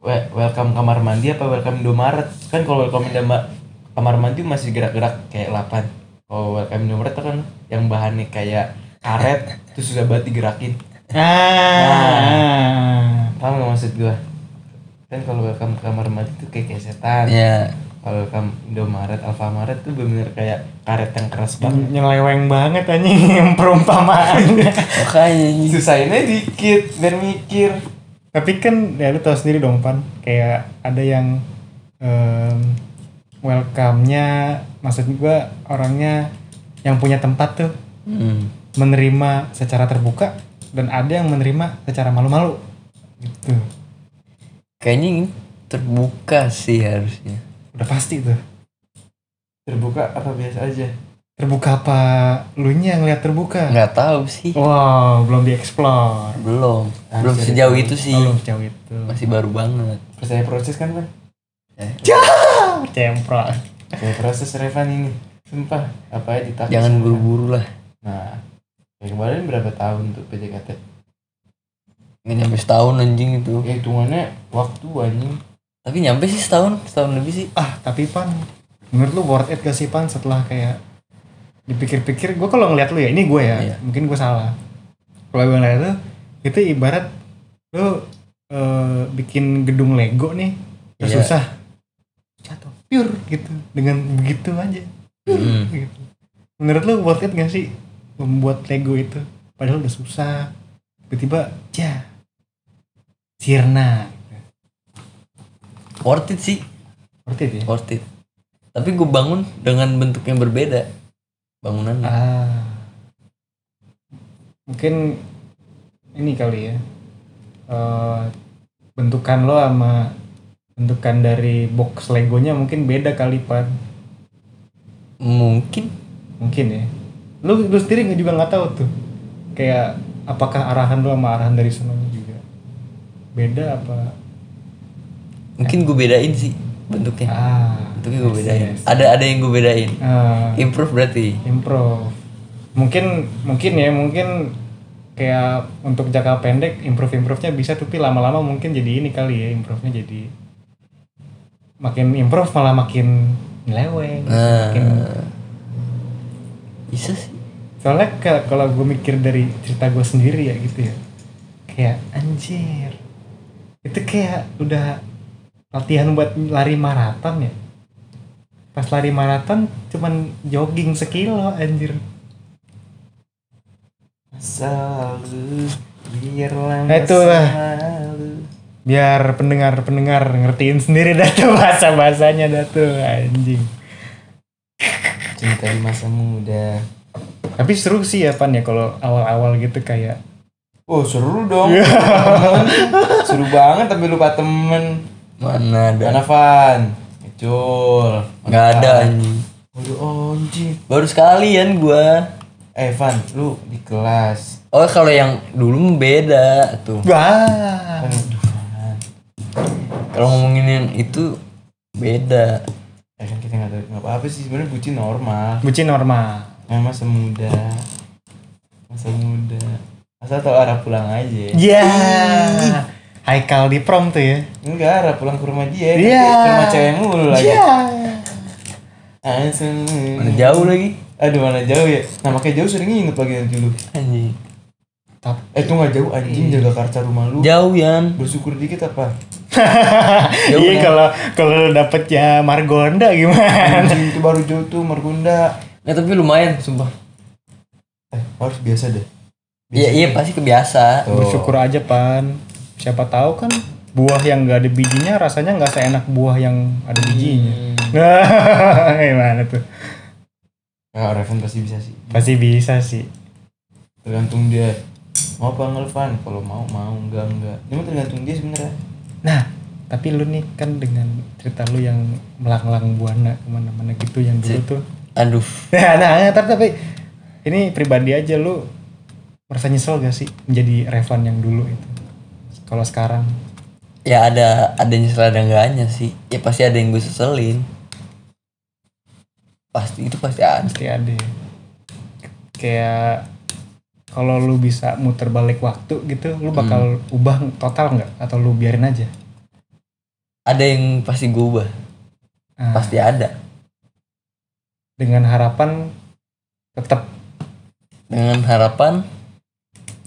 B: we- welcome kamar mandi apa welcome Indomaret Kan kalau welcome Indoma- kamar mandi masih gerak-gerak kayak lapan Kalau welcome Indomaret tuh kan yang bahannya kayak karet Terus susah banget digerakin
A: Ah.
B: Paham gak maksud gua? Kan kalau welcome kamar mandi tuh kayak kayak setan
D: Ya.
B: Kalau welcome Indomaret, Alfamaret tuh bener-bener kayak karet yang keras banget
A: Yang Ah. nyeleweng banget anjing perumpamaannya.
D: Makanya ini.
B: Susahinnya dikit biar mikir
A: Tapi kan ya lu tahu sendiri dong Pan, kayak ada yang em, welcome-nya maksud gua orangnya yang punya tempat tuh
D: Hmm.
A: menerima secara terbuka dan ada yang menerima secara malu-malu. Gitu.
D: Kayaknya ini terbuka sih harusnya.
A: Udah pasti tuh.
B: Terbuka apa biasa aja?
A: Terbuka apa lu nya ngeliat terbuka?
D: Nggak tahu sih.
A: Wow, belum dieksplor. Oh,
D: Belum.
B: Harus
D: belum
B: ada
D: sejauh
B: tahu.
D: itu sih.
A: Belum jauh itu.
D: Masih baru banget.
B: Percaya proses kan kan?
A: Cemprot.
B: Percaya proses Revan ini Sumpah, apa aja ditakut
D: Jangan
B: sama Revan.
D: buru-buru lah.
B: Nah, kayak kemarin berapa tahun tuh PDKT?
D: Nggak nyampe setahun anjing itu.
B: Ya hitungannya waktu anjing
D: Tapi nyampe sih setahun, setahun lebih sih.
A: ah tapi pan menurut lu worth it gak sih pan setelah kayak dipikir-pikir gue kalau ngeliat lu ya ini gue ya
D: Iya.
A: mungkin gue salah kalau gue ngeliat lu itu ibarat lu eh, bikin gedung Lego nih terus
D: Iya.
A: susah jatuh pure gitu dengan begitu aja
D: Hmm.
A: gitu. menurut lu worth it gak sih membuat Lego itu padahal udah susah tiba-tiba ya sirna
D: Worth it sih,
A: worth it ya
D: worth it. Tapi gue bangun dengan bentuk yang berbeda bangunannya.
A: Ah. Mungkin ini kali ya. Eh, bentukan lo sama bentukan dari box legonya mungkin beda kali pan
D: Mungkin
A: mungkin ya lu lu sendiri nggak- juga nggak tahu tuh kayak apakah arahan lo sama arahan dari sononya juga beda apa
D: mungkin gue bedain sih bentuknya.
A: ah
D: Bentuknya ya. gue
A: I see,
D: bedain.
A: I see.
D: Ada ada yang gue bedain.
A: Ah.
D: Improve berarti.
A: improve mungkin mungkin ya mungkin kayak untuk jangka pendek improve improve nya bisa tapi lama-lama mungkin jadi ini kali ya improve nya jadi makin improve malah makin ngeleweng
D: Nah.
A: makin
D: Bisa sih.
A: soalnya ke- kalau gue mikir dari cerita gue sendiri ya gitu ya kayak anjir itu kayak udah latihan buat lari maraton ya pas lari maraton cuman jogging sekilo anjir
B: Selalu biarlah
A: Nah, itulah. biar pendengar-pendengar ngertiin sendiri dah tuh bahasa-bahasanya dah tuh anjing.
B: Cinta di masa muda
A: Tapi seru sih ya Pan ya kalau awal-awal gitu kayak
B: Oh seru dong
D: Iya.
B: Temen. Seru banget tapi lupa temen
D: Mana ada?
B: Mana Van? Ecul
D: Nggak ada anjing.
B: Waduh anjing
D: Baru sekalian gue.
B: Eh Van, lu di kelas
D: Oh kalau yang dulu beda tuh.
A: wah.
B: Aduh Van
D: Kalau ngomongin yang itu beda.
B: Ya kan kita nggak tahu nggak apa-apa sih sebenarnya bucin normal
A: Bucin normal.
B: Memang semuda Nah, masa muda masa tau arah pulang aja
A: Ya. Haikal di prom tuh ya.
B: enggak arah pulang ke rumah dia nanti
A: Iya.
B: ke rumah cewek mulu lagi
A: Ya.
B: Langsung.
D: Mana jauh lagi
B: aduh mana jauh ya nah makanya jauh sering nginep lagi nanti lu
D: anjing
B: eh itu nggak jauh anjing jaga karca rumah lu
D: jauh Yan
B: bersyukur dikit apa
A: Iya kalau kalau lu dapet ya Margonda gimana?
B: anjing itu baru jauh tuh Margonda
D: ya tapi lumayan sumpah
B: eh harus biasa deh
D: iya iya pasti kebiasa
B: Oh.
A: Bersyukur aja pan. Siapa tahu kan buah yang gak ada bijinya rasanya nggak seenak buah yang ada bijinya.
B: Hmm.
A: Nah, gimana tuh?
B: ya Raven pasti bisa sih
A: Pasti bisa sih.
B: tergantung dia mau apa ngelfan kalau mau mau enggak enggak cuma tergantung dia sebenarnya
A: Nah, tapi lu nih kan dengan cerita lu yang melanglang buana kemana-mana gitu yang dulu tuh.
D: aduh
A: Nah, nah, nah, tapi, tapi ini pribadi aja lu merasa nyesel gak sih menjadi Revan yang dulu itu? Kalau sekarang
D: ya ada ada nyesel ada enggaknya sih ya pasti ada yang gue seselin pasti itu pasti ada
A: pasti ada ya. kayak kalau lu bisa muter balik waktu gitu, lu bakal ubah total nggak atau lu biarin aja?
D: ada yang pasti gue ubah
A: Ah.
D: pasti ada
A: Dengan harapan tetap
D: dengan harapan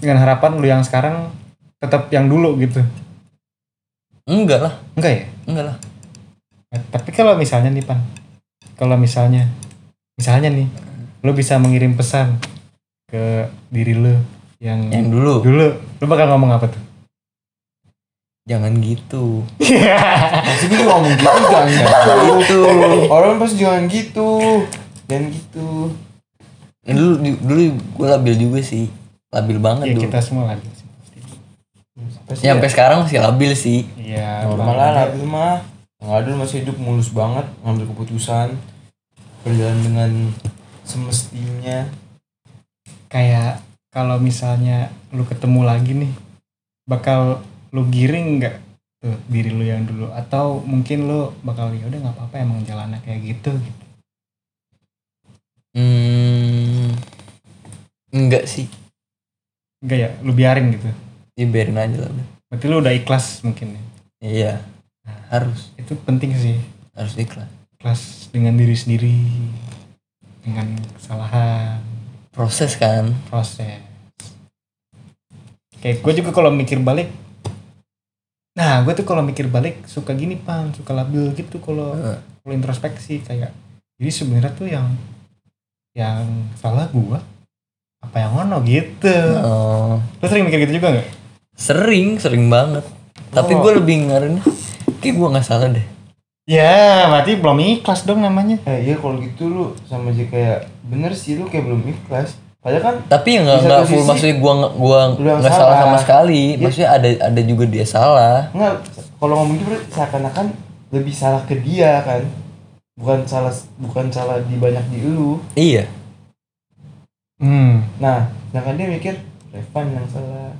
A: dengan harapan lu yang sekarang tetap yang dulu gitu.
D: enggak lah
A: Enggak ya?
D: enggak lah
A: Nah, Tapi kalau misalnya nih Pan, kalau misalnya, misalnya nih, lo bisa mengirim pesan ke diri lo yang,
D: yang dulu
A: dulu, lo bakal ngomong apa tuh?
D: jangan gitu
B: pasti gue juga ngomong gitu jangan gitu orang pasti jangan gitu jangan gitu
D: Yang dulu dulu gue labil juga sih labil banget
A: ya
D: dulu
A: kita semua lagi.
B: pasti
D: Ya, sampai sekarang masih labil sih
A: Iya.
B: normal lah lah itu mah nggak ada masih hidup mulus banget ngambil keputusan berjalan dengan semestinya
A: Kayak kalau misalnya lo ketemu lagi nih, bakal lo giring nggak tuh diri lo yang dulu? Atau mungkin lo bakal ya udah nggak apa-apa emang jalannya kayak gitu. gitu.
D: hmm, enggak sih
A: Enggak ya, lo biarin gitu.
D: ya biarin aja lah udah.
A: Berarti lo udah ikhlas mungkin ya.
D: iya harus
A: Itu penting sih.
D: harus ikhlas
A: kelas dengan diri sendiri dengan kesalahan
D: proses kan
A: proses kayak gue juga kalau mikir balik nah gue tuh kalau mikir balik suka gini pan suka labil gitu kalau
D: Heeh.
A: kalau introspeksi kayak jadi sebenarnya tuh yang yang salah gue apa yang ono gitu
D: Oh,
A: lo sering mikir gitu juga nggak
D: sering sering banget tapi
B: Oh.
D: gue lebih ngarin kayak gue nggak salah deh
A: ya berarti belum ikhlas dong namanya
B: eh iya kalau gitu lu sama aja kayak bener sih lu kayak belum ikhlas padahal kan
D: tapi ya nggak
B: Di satu
D: nggak full
B: sisi,
D: maksudnya gue gua
B: lu yang
D: nggak salah
B: salah. Iya.
D: sama sekali maksudnya ada ada juga dia salah
B: Enggak, kalau ngomong gitu berarti seakan-akan lebih salah ke dia kan. Bukan salah bukan salah di banyak di lu.
D: iya
A: hmm
B: Nah, sedangkan dia mikir Revan yang salah.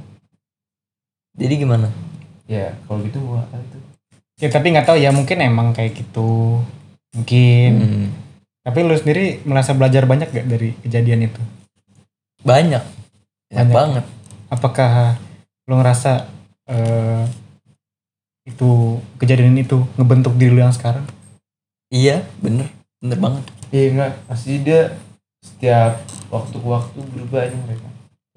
D: jadi gimana
B: Ya, kalau gitu gua akan tuh.
A: ya tapi nggak tahu ya mungkin emang kayak gitu mungkin
D: Hmm,
A: Tapi lu sendiri merasa belajar banyak gak dari kejadian itu?
D: banyak banyak
A: Banyak.
D: banget
A: Apakah lu ngerasa eh, itu kejadian itu ngebentuk diri lu yang sekarang?
D: iya bener bener banget
B: Iya enggak, pasti dia setiap waktu ke waktu berubah aja mereka.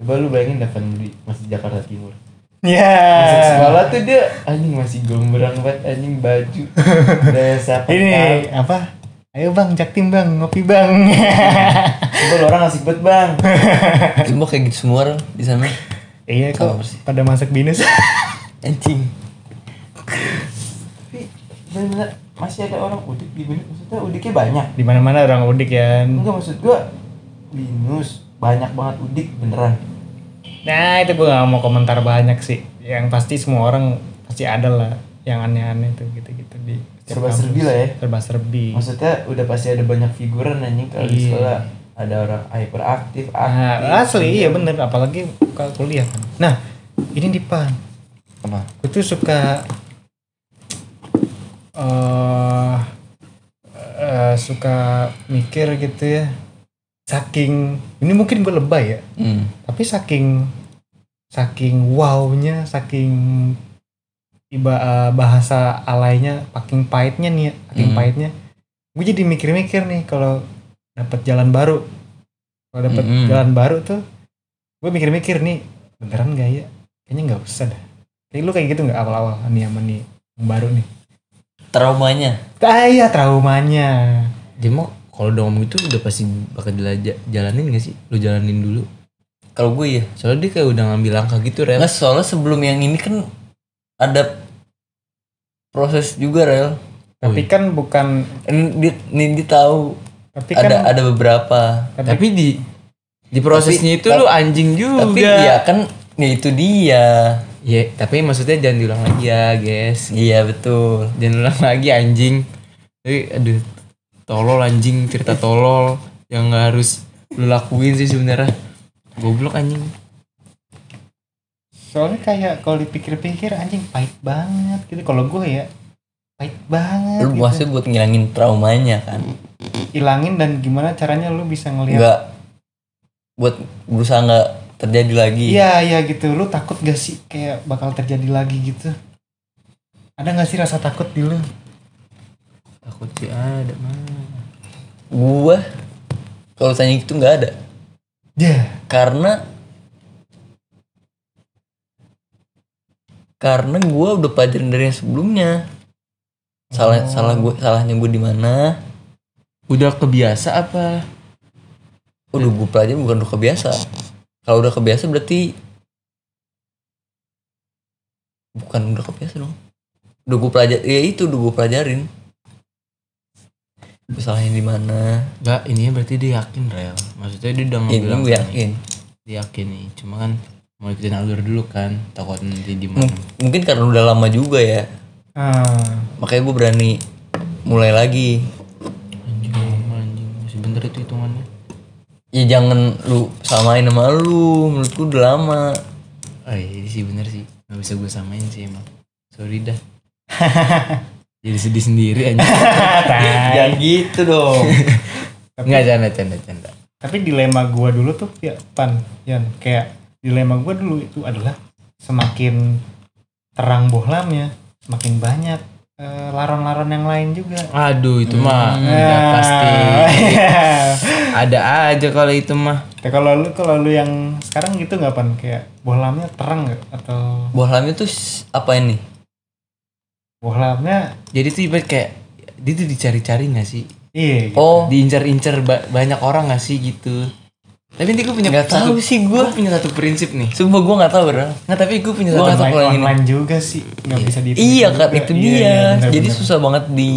B: Coba lu bayangin Devan di masih Jakarta Timur. Masuk
A: Ya.
B: sekolah tuh dia anjing masih gombrang banget anjing baju. Udah siapa tahu.
A: Ini apa? Ayo bang, jaktim bang, ngopi bang.
B: Coba lu orang asik banget, Bang.
D: semua kayak gitu semua orang di sana
A: iya
D: Sama
A: kok
D: persis.
A: pada masuk binus.
D: anjing
B: Tapi bener-bener masih ada orang udik di Bali. maksudnya udiknya banyak.
A: Di mana mana orang udik kan.
B: Enggak maksud gua Linus banyak banget udik beneran.
A: Nah itu gue gak mau komentar banyak sih. Yang pasti semua orang pasti ada lah yang aneh-aneh tuh gitu-gitu di setiap
B: Serba-serbi
A: kampus.
B: lah ya.
A: Serba-serbi.
B: Maksudnya udah pasti ada banyak figuran anjing kalau di
A: Iya.
B: sekolah ada orang hyperaktif, aktif.
A: Nah, asli iya bener apalagi kalau kuliah kan. Nah, ini di pan.
B: Apa?
A: Gue tuh suka eh eh, suka mikir gitu ya. saking ini mungkin gue lebay ya
B: Hmm.
A: tapi saking saking wownya saking iba eh, bahasa alainya paking pahitnya nih ya, paking
B: Hmm.
A: pahitnya gue jadi mikir-mikir nih kalau dapat jalan baru kalau dapat
B: Mm-mm.
A: jalan baru tuh gue mikir-mikir nih beneran gak ya kayaknya nggak usah dah kayak lu kayak gitu nggak awal-awal nih sama nih yang baru nih
D: traumanya
A: ah iya traumanya
B: Dia mau kalau udah ngomong itu udah pasti bakal dilaja- jalanin gak sih? Lu jalanin dulu.
D: kalau gue ya
B: Soalnya dia kayak udah ngambil langkah gitu, Rel.
D: nggak soalnya sebelum yang ini kan ada proses juga rel
A: tapi kan bukan
D: ini dia, ini dia tahu
A: tapi kan
D: ada ada beberapa
B: Tapi di di prosesnya itu lu anjing juga.
D: tapi ya kan ya itu dia
B: Ya, tapi maksudnya jangan diulang lagi ya, guys.
D: iya betul
B: Jangan ulang lagi anjing. Tapi aduh tolol anjing cerita tolol yang nggak harus lu lakuin sih sebenarnya. Goblok anjing.
A: soalnya kayak kalau dipikir-pikir anjing pahit banget gitu kalau gue ya pahit banget
D: lu
A: gitu.
D: maksudnya buat ngilangin traumanya kan
A: hilangin dan gimana caranya lu bisa ngelihat
D: nggak buat berusaha nggak terjadi lagi
A: iya iya gitu lu takut gak sih kayak bakal terjadi lagi gitu ada gak sih rasa takut di lu
B: Takut sih ada mah.
D: gua kalau tanya gitu nggak ada
A: ya
D: karena karena gua udah pelajaran dari yang sebelumnya salah salah gua salahnya gua di mana
B: Oh. Udah kebiasa apa?
D: udah gua pelajarin bukan udah kebiasa kalau udah kebiasa berarti bukan udah kebiasa dong udah gua pelajar ya itu udah gua pelajarin Gua salahnya di mana
B: Enggak, ini berarti dia yakin Rel. Maksudnya dia udah
D: ini
B: ngambil
D: gua yakin
B: Dia yakin nih. Cuma kan mau ikutin alur dulu kan. Takut nanti di mana.
D: Mung- mungkin karena udah lama juga ya
A: Ah.
D: makanya gua berani mulai lagi
B: Anjing, lama, anjing. Sebentar itu hitungannya.
D: ya jangan lu samain sama lu menurutku udah lama
B: Oh iya ini sih bener sih Gak bisa gue samain sih emang Sorry dah Jadi sedih sendiri aja
D: jangan gitu dong
B: Enggak canda canda canda
A: tapi dilema gua dulu tuh ya pan Yan, kayak dilema gua dulu itu adalah semakin terang bohlamnya semakin banyak eh, laron-laron yang lain juga
B: Aduh itu mah
D: Hmm, ya
B: Udah
A: Nah,
B: pasti
A: iya.
B: Ada aja kalau itu mah
A: Ya, kalau lu kalau lu yang sekarang gitu nggak pan kayak bohlamnya terang nggak atau
D: bohlamnya tuh s- apa ini
A: bohlamnya
B: Jadi tuh ibarat kayak Dia tuh dicari-cari gak sih
A: iya gitu.
D: oh
B: Diincar-incar ba- banyak orang gak sih gitu Tapi nanti gue punya
D: nggak tahu sih
B: Gue
D: gua
B: punya satu prinsip nih
D: sumpah gua nggak tahu bro
B: Nggak tapi gue punya satu
D: Gua nggak tahu
A: online,
D: kalau yang ini
A: online juga sih nggak bisa di
D: iya kan itu dia jadi
A: susah
D: susah banget di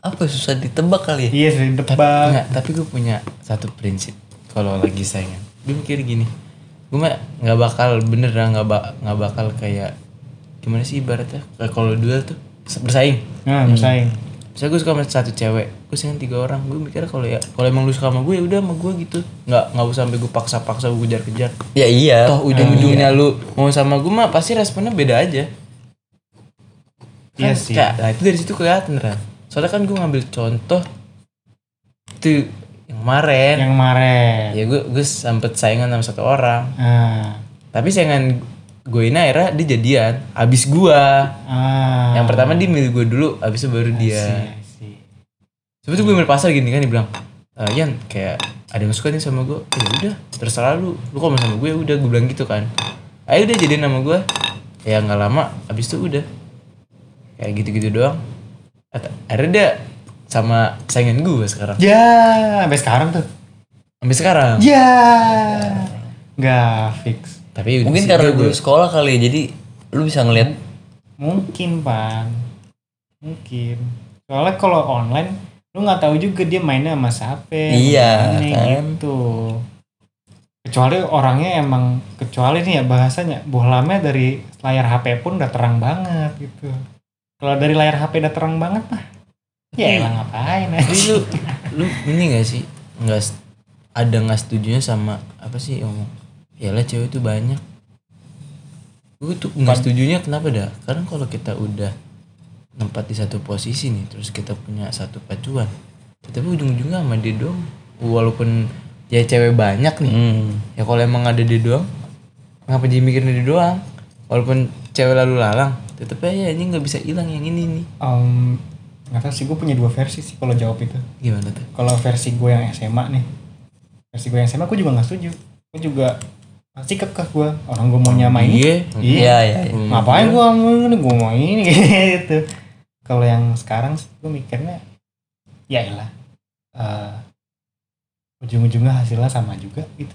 D: apa ya, susah ditebak kali ya
A: iya sering ditebak
B: Nggak, tapi gue punya satu prinsip kalau lagi saingan. Gue mikir gini, gue mah nggak bakal bener lah, nggak ba- nggak bakal kayak gimana sih ibaratnya Kayak kalau duel tuh bersaing.
A: nah
D: Hmm.
A: bersaing
D: Iya.
B: Misalnya gue suka sama satu cewek, gue sayang tiga orang. Gue mikir kalau ya kalau emang lu suka sama gue ya udah sama gue gitu. Nggak nggak usah sampai gue paksa-paksa gue kejar-kejar.
D: ya iya
B: Toh ujung-ujungnya lu mau sama gue mah pasti responnya beda aja.
A: iya
D: Iya
B: Kan,
A: sih
B: Kak, nah itu dari situ kelihatan kan. Soalnya kan gue ngambil contoh tuh yang kemarin.
A: yang kemarin
D: Iya.
B: ya gue gue sempet saingan sama satu orang
A: ah
B: tapi saingan gue ini akhirnya dia jadian abis gue
A: ah
D: Iya.
B: yang pertama dia milih gue dulu abis itu baru dia
A: Iya, I see.
B: sebetulnya gue milih pasar gini kan dia bilang "Eh, Yan kayak ada yang suka nih sama gue ya udah terserah lu lu kalau mau sama gue ya udah gue bilang gitu kan ayo udah jadian sama gue ya nggak lama abis itu udah kayak gitu-gitu doang At- akhirnya dia sama saingan gue sekarang
A: ya sampai sekarang tuh
B: sampai sekarang
A: ya nggak fix
B: tapi udah
D: mungkin
B: sih,
D: karena
B: dia
D: dulu
B: gue-
D: sekolah kali ya jadi lu bisa ngeliat
A: mungkin pan mungkin soalnya kalau online lu nggak tahu juga dia mainnya sama siapa kemana
D: Iya, kan.
A: gitu kecuali orangnya emang kecuali nih ya bahasanya bohlamnya dari layar HP pun udah terang banget gitu kalau dari layar HP udah terang banget mah
D: Iya.
A: ya elah ngapain
B: Jadi
A: aja
B: lu lu ini gak sih nggak s- ada nggak setujunya sama apa sih yang ngomong ya lah cewek itu banyak gue tuh nggak setujunya kenapa dah karena kalau kita udah nempat di satu posisi nih terus kita punya satu pacuan tapi ujung-ujungnya sama dia dong walaupun ya cewek banyak nih ya kalau emang ada dia doang ngapa jadi mikirin dia doang walaupun cewek lalu lalang tetep aja ini nggak bisa hilang yang ini nih
A: Em, nggak tahu sih gue punya dua versi sih kalau jawab itu
B: gimana tuh
A: kalau versi gue yang SMA nih versi gue yang SMA gue juga nggak setuju gue juga pasti kekeh gue orang gue mau nyamain
B: Iya.
A: iya
D: iya iya
A: ngapain gue mau ini gue mau ini gitu kalau yang sekarang sih gue mikirnya ya elah eh, ujung-ujungnya hasilnya sama juga gitu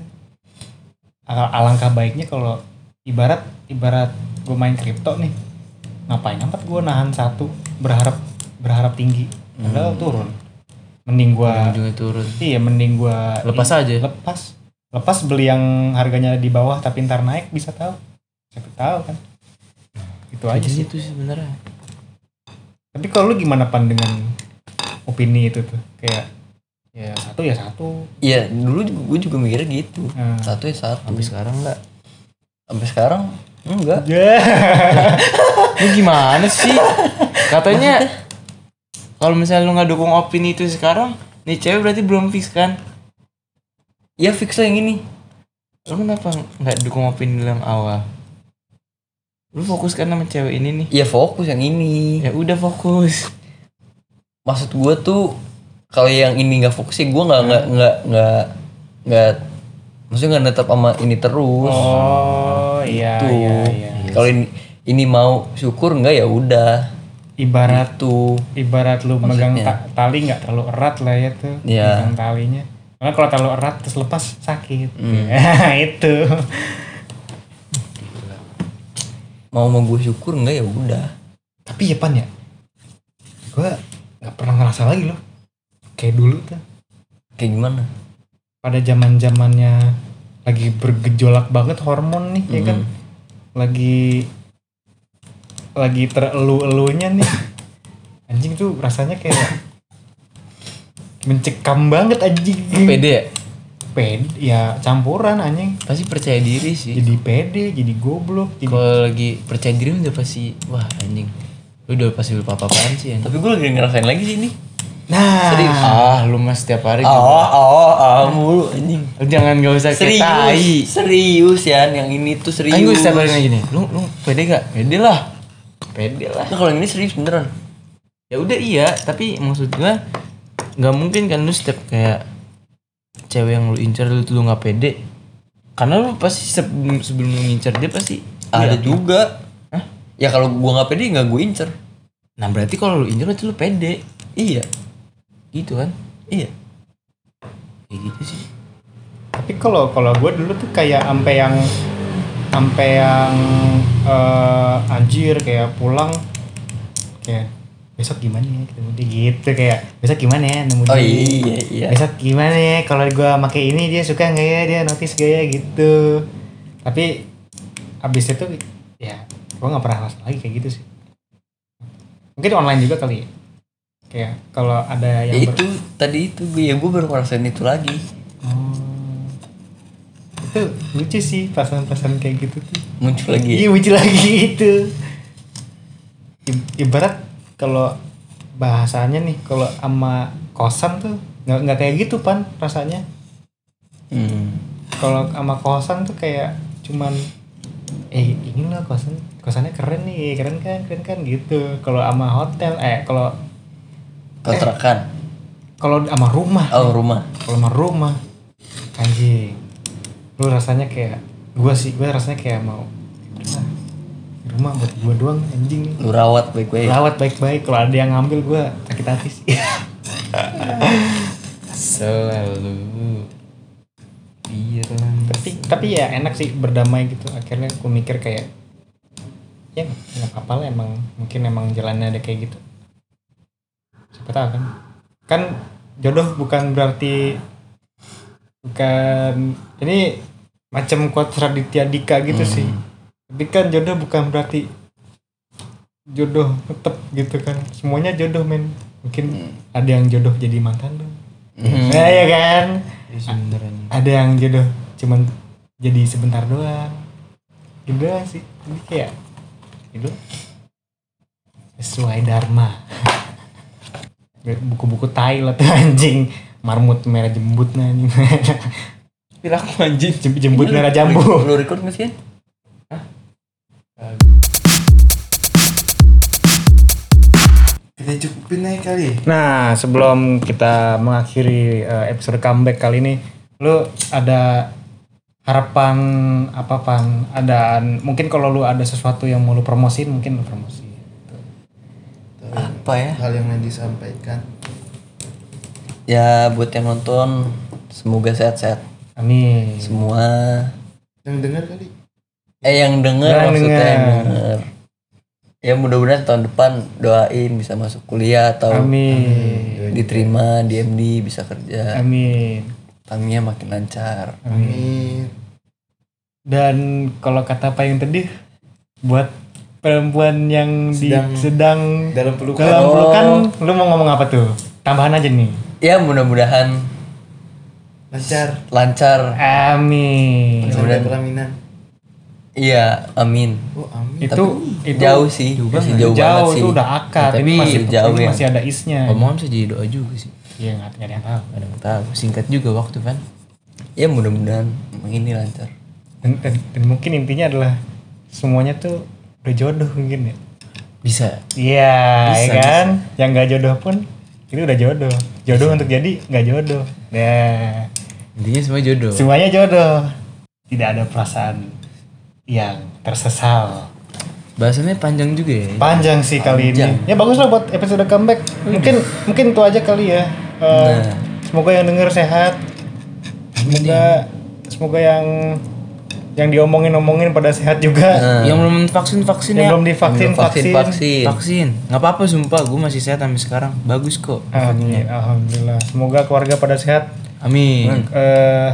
A: Al- alangkah baiknya kalau ibarat ibarat gue main kripto nih ngapain amat gue nahan satu berharap berharap tinggi padahal turun mending gue
B: ujungnya turun
A: iya mending gue
B: lepas aja
A: lepas lepas beli yang harganya di bawah tapi ntar naik bisa tahu siapa tahu kan itu aja sih
D: Gitu
B: itu sih sebenarnya
A: tapi kalau lu gimana pan dengan opini itu tuh kayak ya satu ya satu
D: iya dulu gue juga mikirnya gitu
A: nah.
D: satu ya satu
B: tapi sekarang nggak
D: sampai sekarang enggak
B: lu gimana sih katanya kalau misalnya lu nggak dukung opini itu sekarang nih cewek berarti belum fix kan
D: ya fix lah yang ini
B: lu kenapa nggak dukung opini lu yang awal lu fokus kan sama cewek ini nih
D: ya fokus yang ini
B: ya udah fokus
D: maksud gue tuh kalau yang ini nggak fokus sih gue nggak nggak nggak nggak nggak maksudnya nggak netap sama ini terus
A: oh iya
D: tuh
A: iya iya
D: kalau ini ini mau syukur nggak ya udah
A: ibarat
D: tuh
A: ibarat lu megang ta- tali nggak terlalu erat lah ya tuh
D: Iya.
A: megang talinya karena kalau terlalu erat terus lepas sakit
B: Hmm.
D: Iya.
A: itu
D: mau mau gue syukur nggak ya udah
A: tapi ya pan ya gue nggak pernah ngerasa lagi loh kayak dulu tuh
D: kayak gimana
A: pada zaman zamannya lagi bergejolak banget hormon nih ya kan lagi lagi terelu-elunya nih anjing tuh rasanya kayak mencekam banget anjing
B: pede ya
A: Ped- ya campuran anjing
B: pasti percaya diri sih
A: jadi pede jadi goblok jadi
B: kalau lagi percaya diri udah pasti wah anjing lu udah pasti lupa apa apaan sih anjing
D: tapi gue lagi ngerasain lagi sih ini
A: nah
B: ah lu mas setiap hari
D: oh oh oh mulu anjing
B: gitu. lu jangan gak usah kayak tai
D: serius serius ya yang ini tuh serius
B: kan gue setiap hari kayak gini lu lu pede gak pede lah pede lah
D: Nah, kalau yang ini serius beneran
B: ya udah iya tapi maksud gua nggak mungkin kan lu setiap kayak cewek yang lu incer lu tuh lu nggak pede karena lu pasti sebelum sebelum lu ngincer dia pasti
D: ada
B: Iya.
D: juga ya kalau gue nggak pede nggak gue incer
B: nah berarti kalau lu incer itu lu pede
D: iya
B: gitu kan
D: iya
B: ya gitu sih
A: tapi kalau kalau gue dulu tuh kayak sampai yang sampai yang eh, anjir kayak pulang kayak besok gimana ya ketemu dia gitu kayak besok gimana ya nemu dia
D: oh iya iya
A: besok gimana ya kalau gue pakai ini dia suka nggak ya dia notice gak ya gitu tapi abis itu ya gue nggak pernah ngerasa lagi kayak gitu sih mungkin online juga kali ya kayak kalau ada
D: Ya,
A: yang ber-
D: itu tadi itu gue ya gue baru ngerasain itu lagi
A: Hmm. itu lucu sih pasangan-pasangan kayak gitu tuh
D: muncul lagi ya?
A: iya lucu lagi itu I- ibarat kalau bahasanya nih kalau sama kosan tuh nggak nggak kayak gitu pan rasanya
D: hmm.
A: kalau sama kosan tuh kayak cuman eh ini lah kosan kosannya keren nih keren kan keren kan gitu kalau sama hotel eh kalau
D: kontrakan
A: kalau sama rumah
D: oh rumah
A: kalau sama rumah anjing lu rasanya kayak gua sih gua rasanya kayak mau "Ah, ini rumah buat gua doang anjing
D: lu rawat baik-baik ya?
A: rawat baik-baik kalau ada yang ngambil gua sakit hati sih
B: selalu Iya biarlah
A: tapi tapi ya enak sih berdamai gitu akhirnya aku mikir kayak ya nggak apa-apa lah emang mungkin emang jalannya ada kayak gitu siapa tahu kan kan jodoh bukan berarti bukan ini macam quotes Raditya Dika gitu sih tapi kan jodoh bukan berarti jodoh tetep gitu kan semuanya jodoh men mungkin ada yang jodoh jadi mantan dong nah, ya kan
B: sebenarnya
A: ada yang jodoh cuman jadi sebentar doang gitu doang sih jadi kayak gitu sesuai dharma buku-buku tai lah tuh anjing marmut merah jembut nah anjing
F: Bilang aku anjing.
A: Jem- jembut merah jambu
D: Lu record nggak sih?
F: Kita cukupin aja kali.
A: nah sebelum kita mengakhiri eh, episode comeback kali ini lu ada harapan apa pan ada mungkin kalau lu ada sesuatu yang mau lu promosin mungkin lu promosi
D: Apa ya?
F: Hal yang mau disampaikan.
D: Ya buat yang nonton semoga sehat-sehat
A: amin
D: semua.
F: Yang dengar kali.
D: Eh yang denger
A: Yang
D: maksudnya yang
A: denger.
D: denger. Ya mudah-mudahan tahun depan doain bisa masuk kuliah atau
A: amin
D: diterima di MD bisa kerja.
A: amin
D: Tamiya makin lancar.
A: amin
B: Hmm.
F: Amin.
A: dan kalau kata apa yang tadi buat perempuan yang sedang, di, sedang
F: dalam pelukan.
A: dalam pelukan,
D: Oh.
A: lu mau ngomong apa tuh tambahan aja nih
D: Ya mudah-mudahan
F: Lancar.
D: lancar.
A: amin
F: Sampai pelaminan.
D: Iya, amin.
F: Oh amin.
A: itu itu
D: jauh sih, masih jauh, banget
A: jauh
D: sih.
A: itu udah akad ini
D: Ya, tapi
A: masih
D: jauh
A: ini
D: ya.
A: masih ada isnya
B: Omongan bisa jadi doa juga sih.
A: iya nggak nggak ada yang tahu
B: Kadang tahu singkat juga waktu kan.
D: Ya mudah-mudahan ini lancar.
A: dan, dan, dan mungkin intinya adalah semuanya tuh udah jodoh mungkin ya
B: Bisa.
A: iya ya kan yang nggak jodoh pun itu udah jodoh jodoh untuk jadi nggak jodoh nah
B: Intinya semua jodoh.
A: Semuanya jodoh. Tidak ada perasaan yang tersesal.
B: Bahasannya panjang juga ya.
A: Panjang sih kali ini. Ya bagus lah buat episode comeback. Mungkin mungkin itu aja kali ya. Eh, Semoga yang denger sehat. Semoga semoga yang yang diomongin-omongin pada sehat juga.
B: Yang belum vaksin vaksin
A: Yang
B: ya.
A: Nah. belum divaksin vaksin.
D: vaksin.
B: Vaksin. Nggak apa-apa sumpah, gue masih sehat sampai sekarang. Bagus kok.
A: Amin. Alhamdulillah. Semoga keluarga pada sehat.
B: Amin.
A: Eh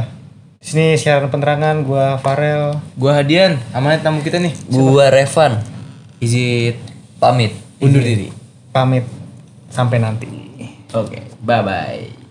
A: di sini siaran penerangan gua Farel.
B: Gua hadian sama tamu kita nih.
D: Gua Revan
B: Izin
D: pamit.
B: undur diri.
A: Pamit. Sampai nanti.
B: Oke, bye bye.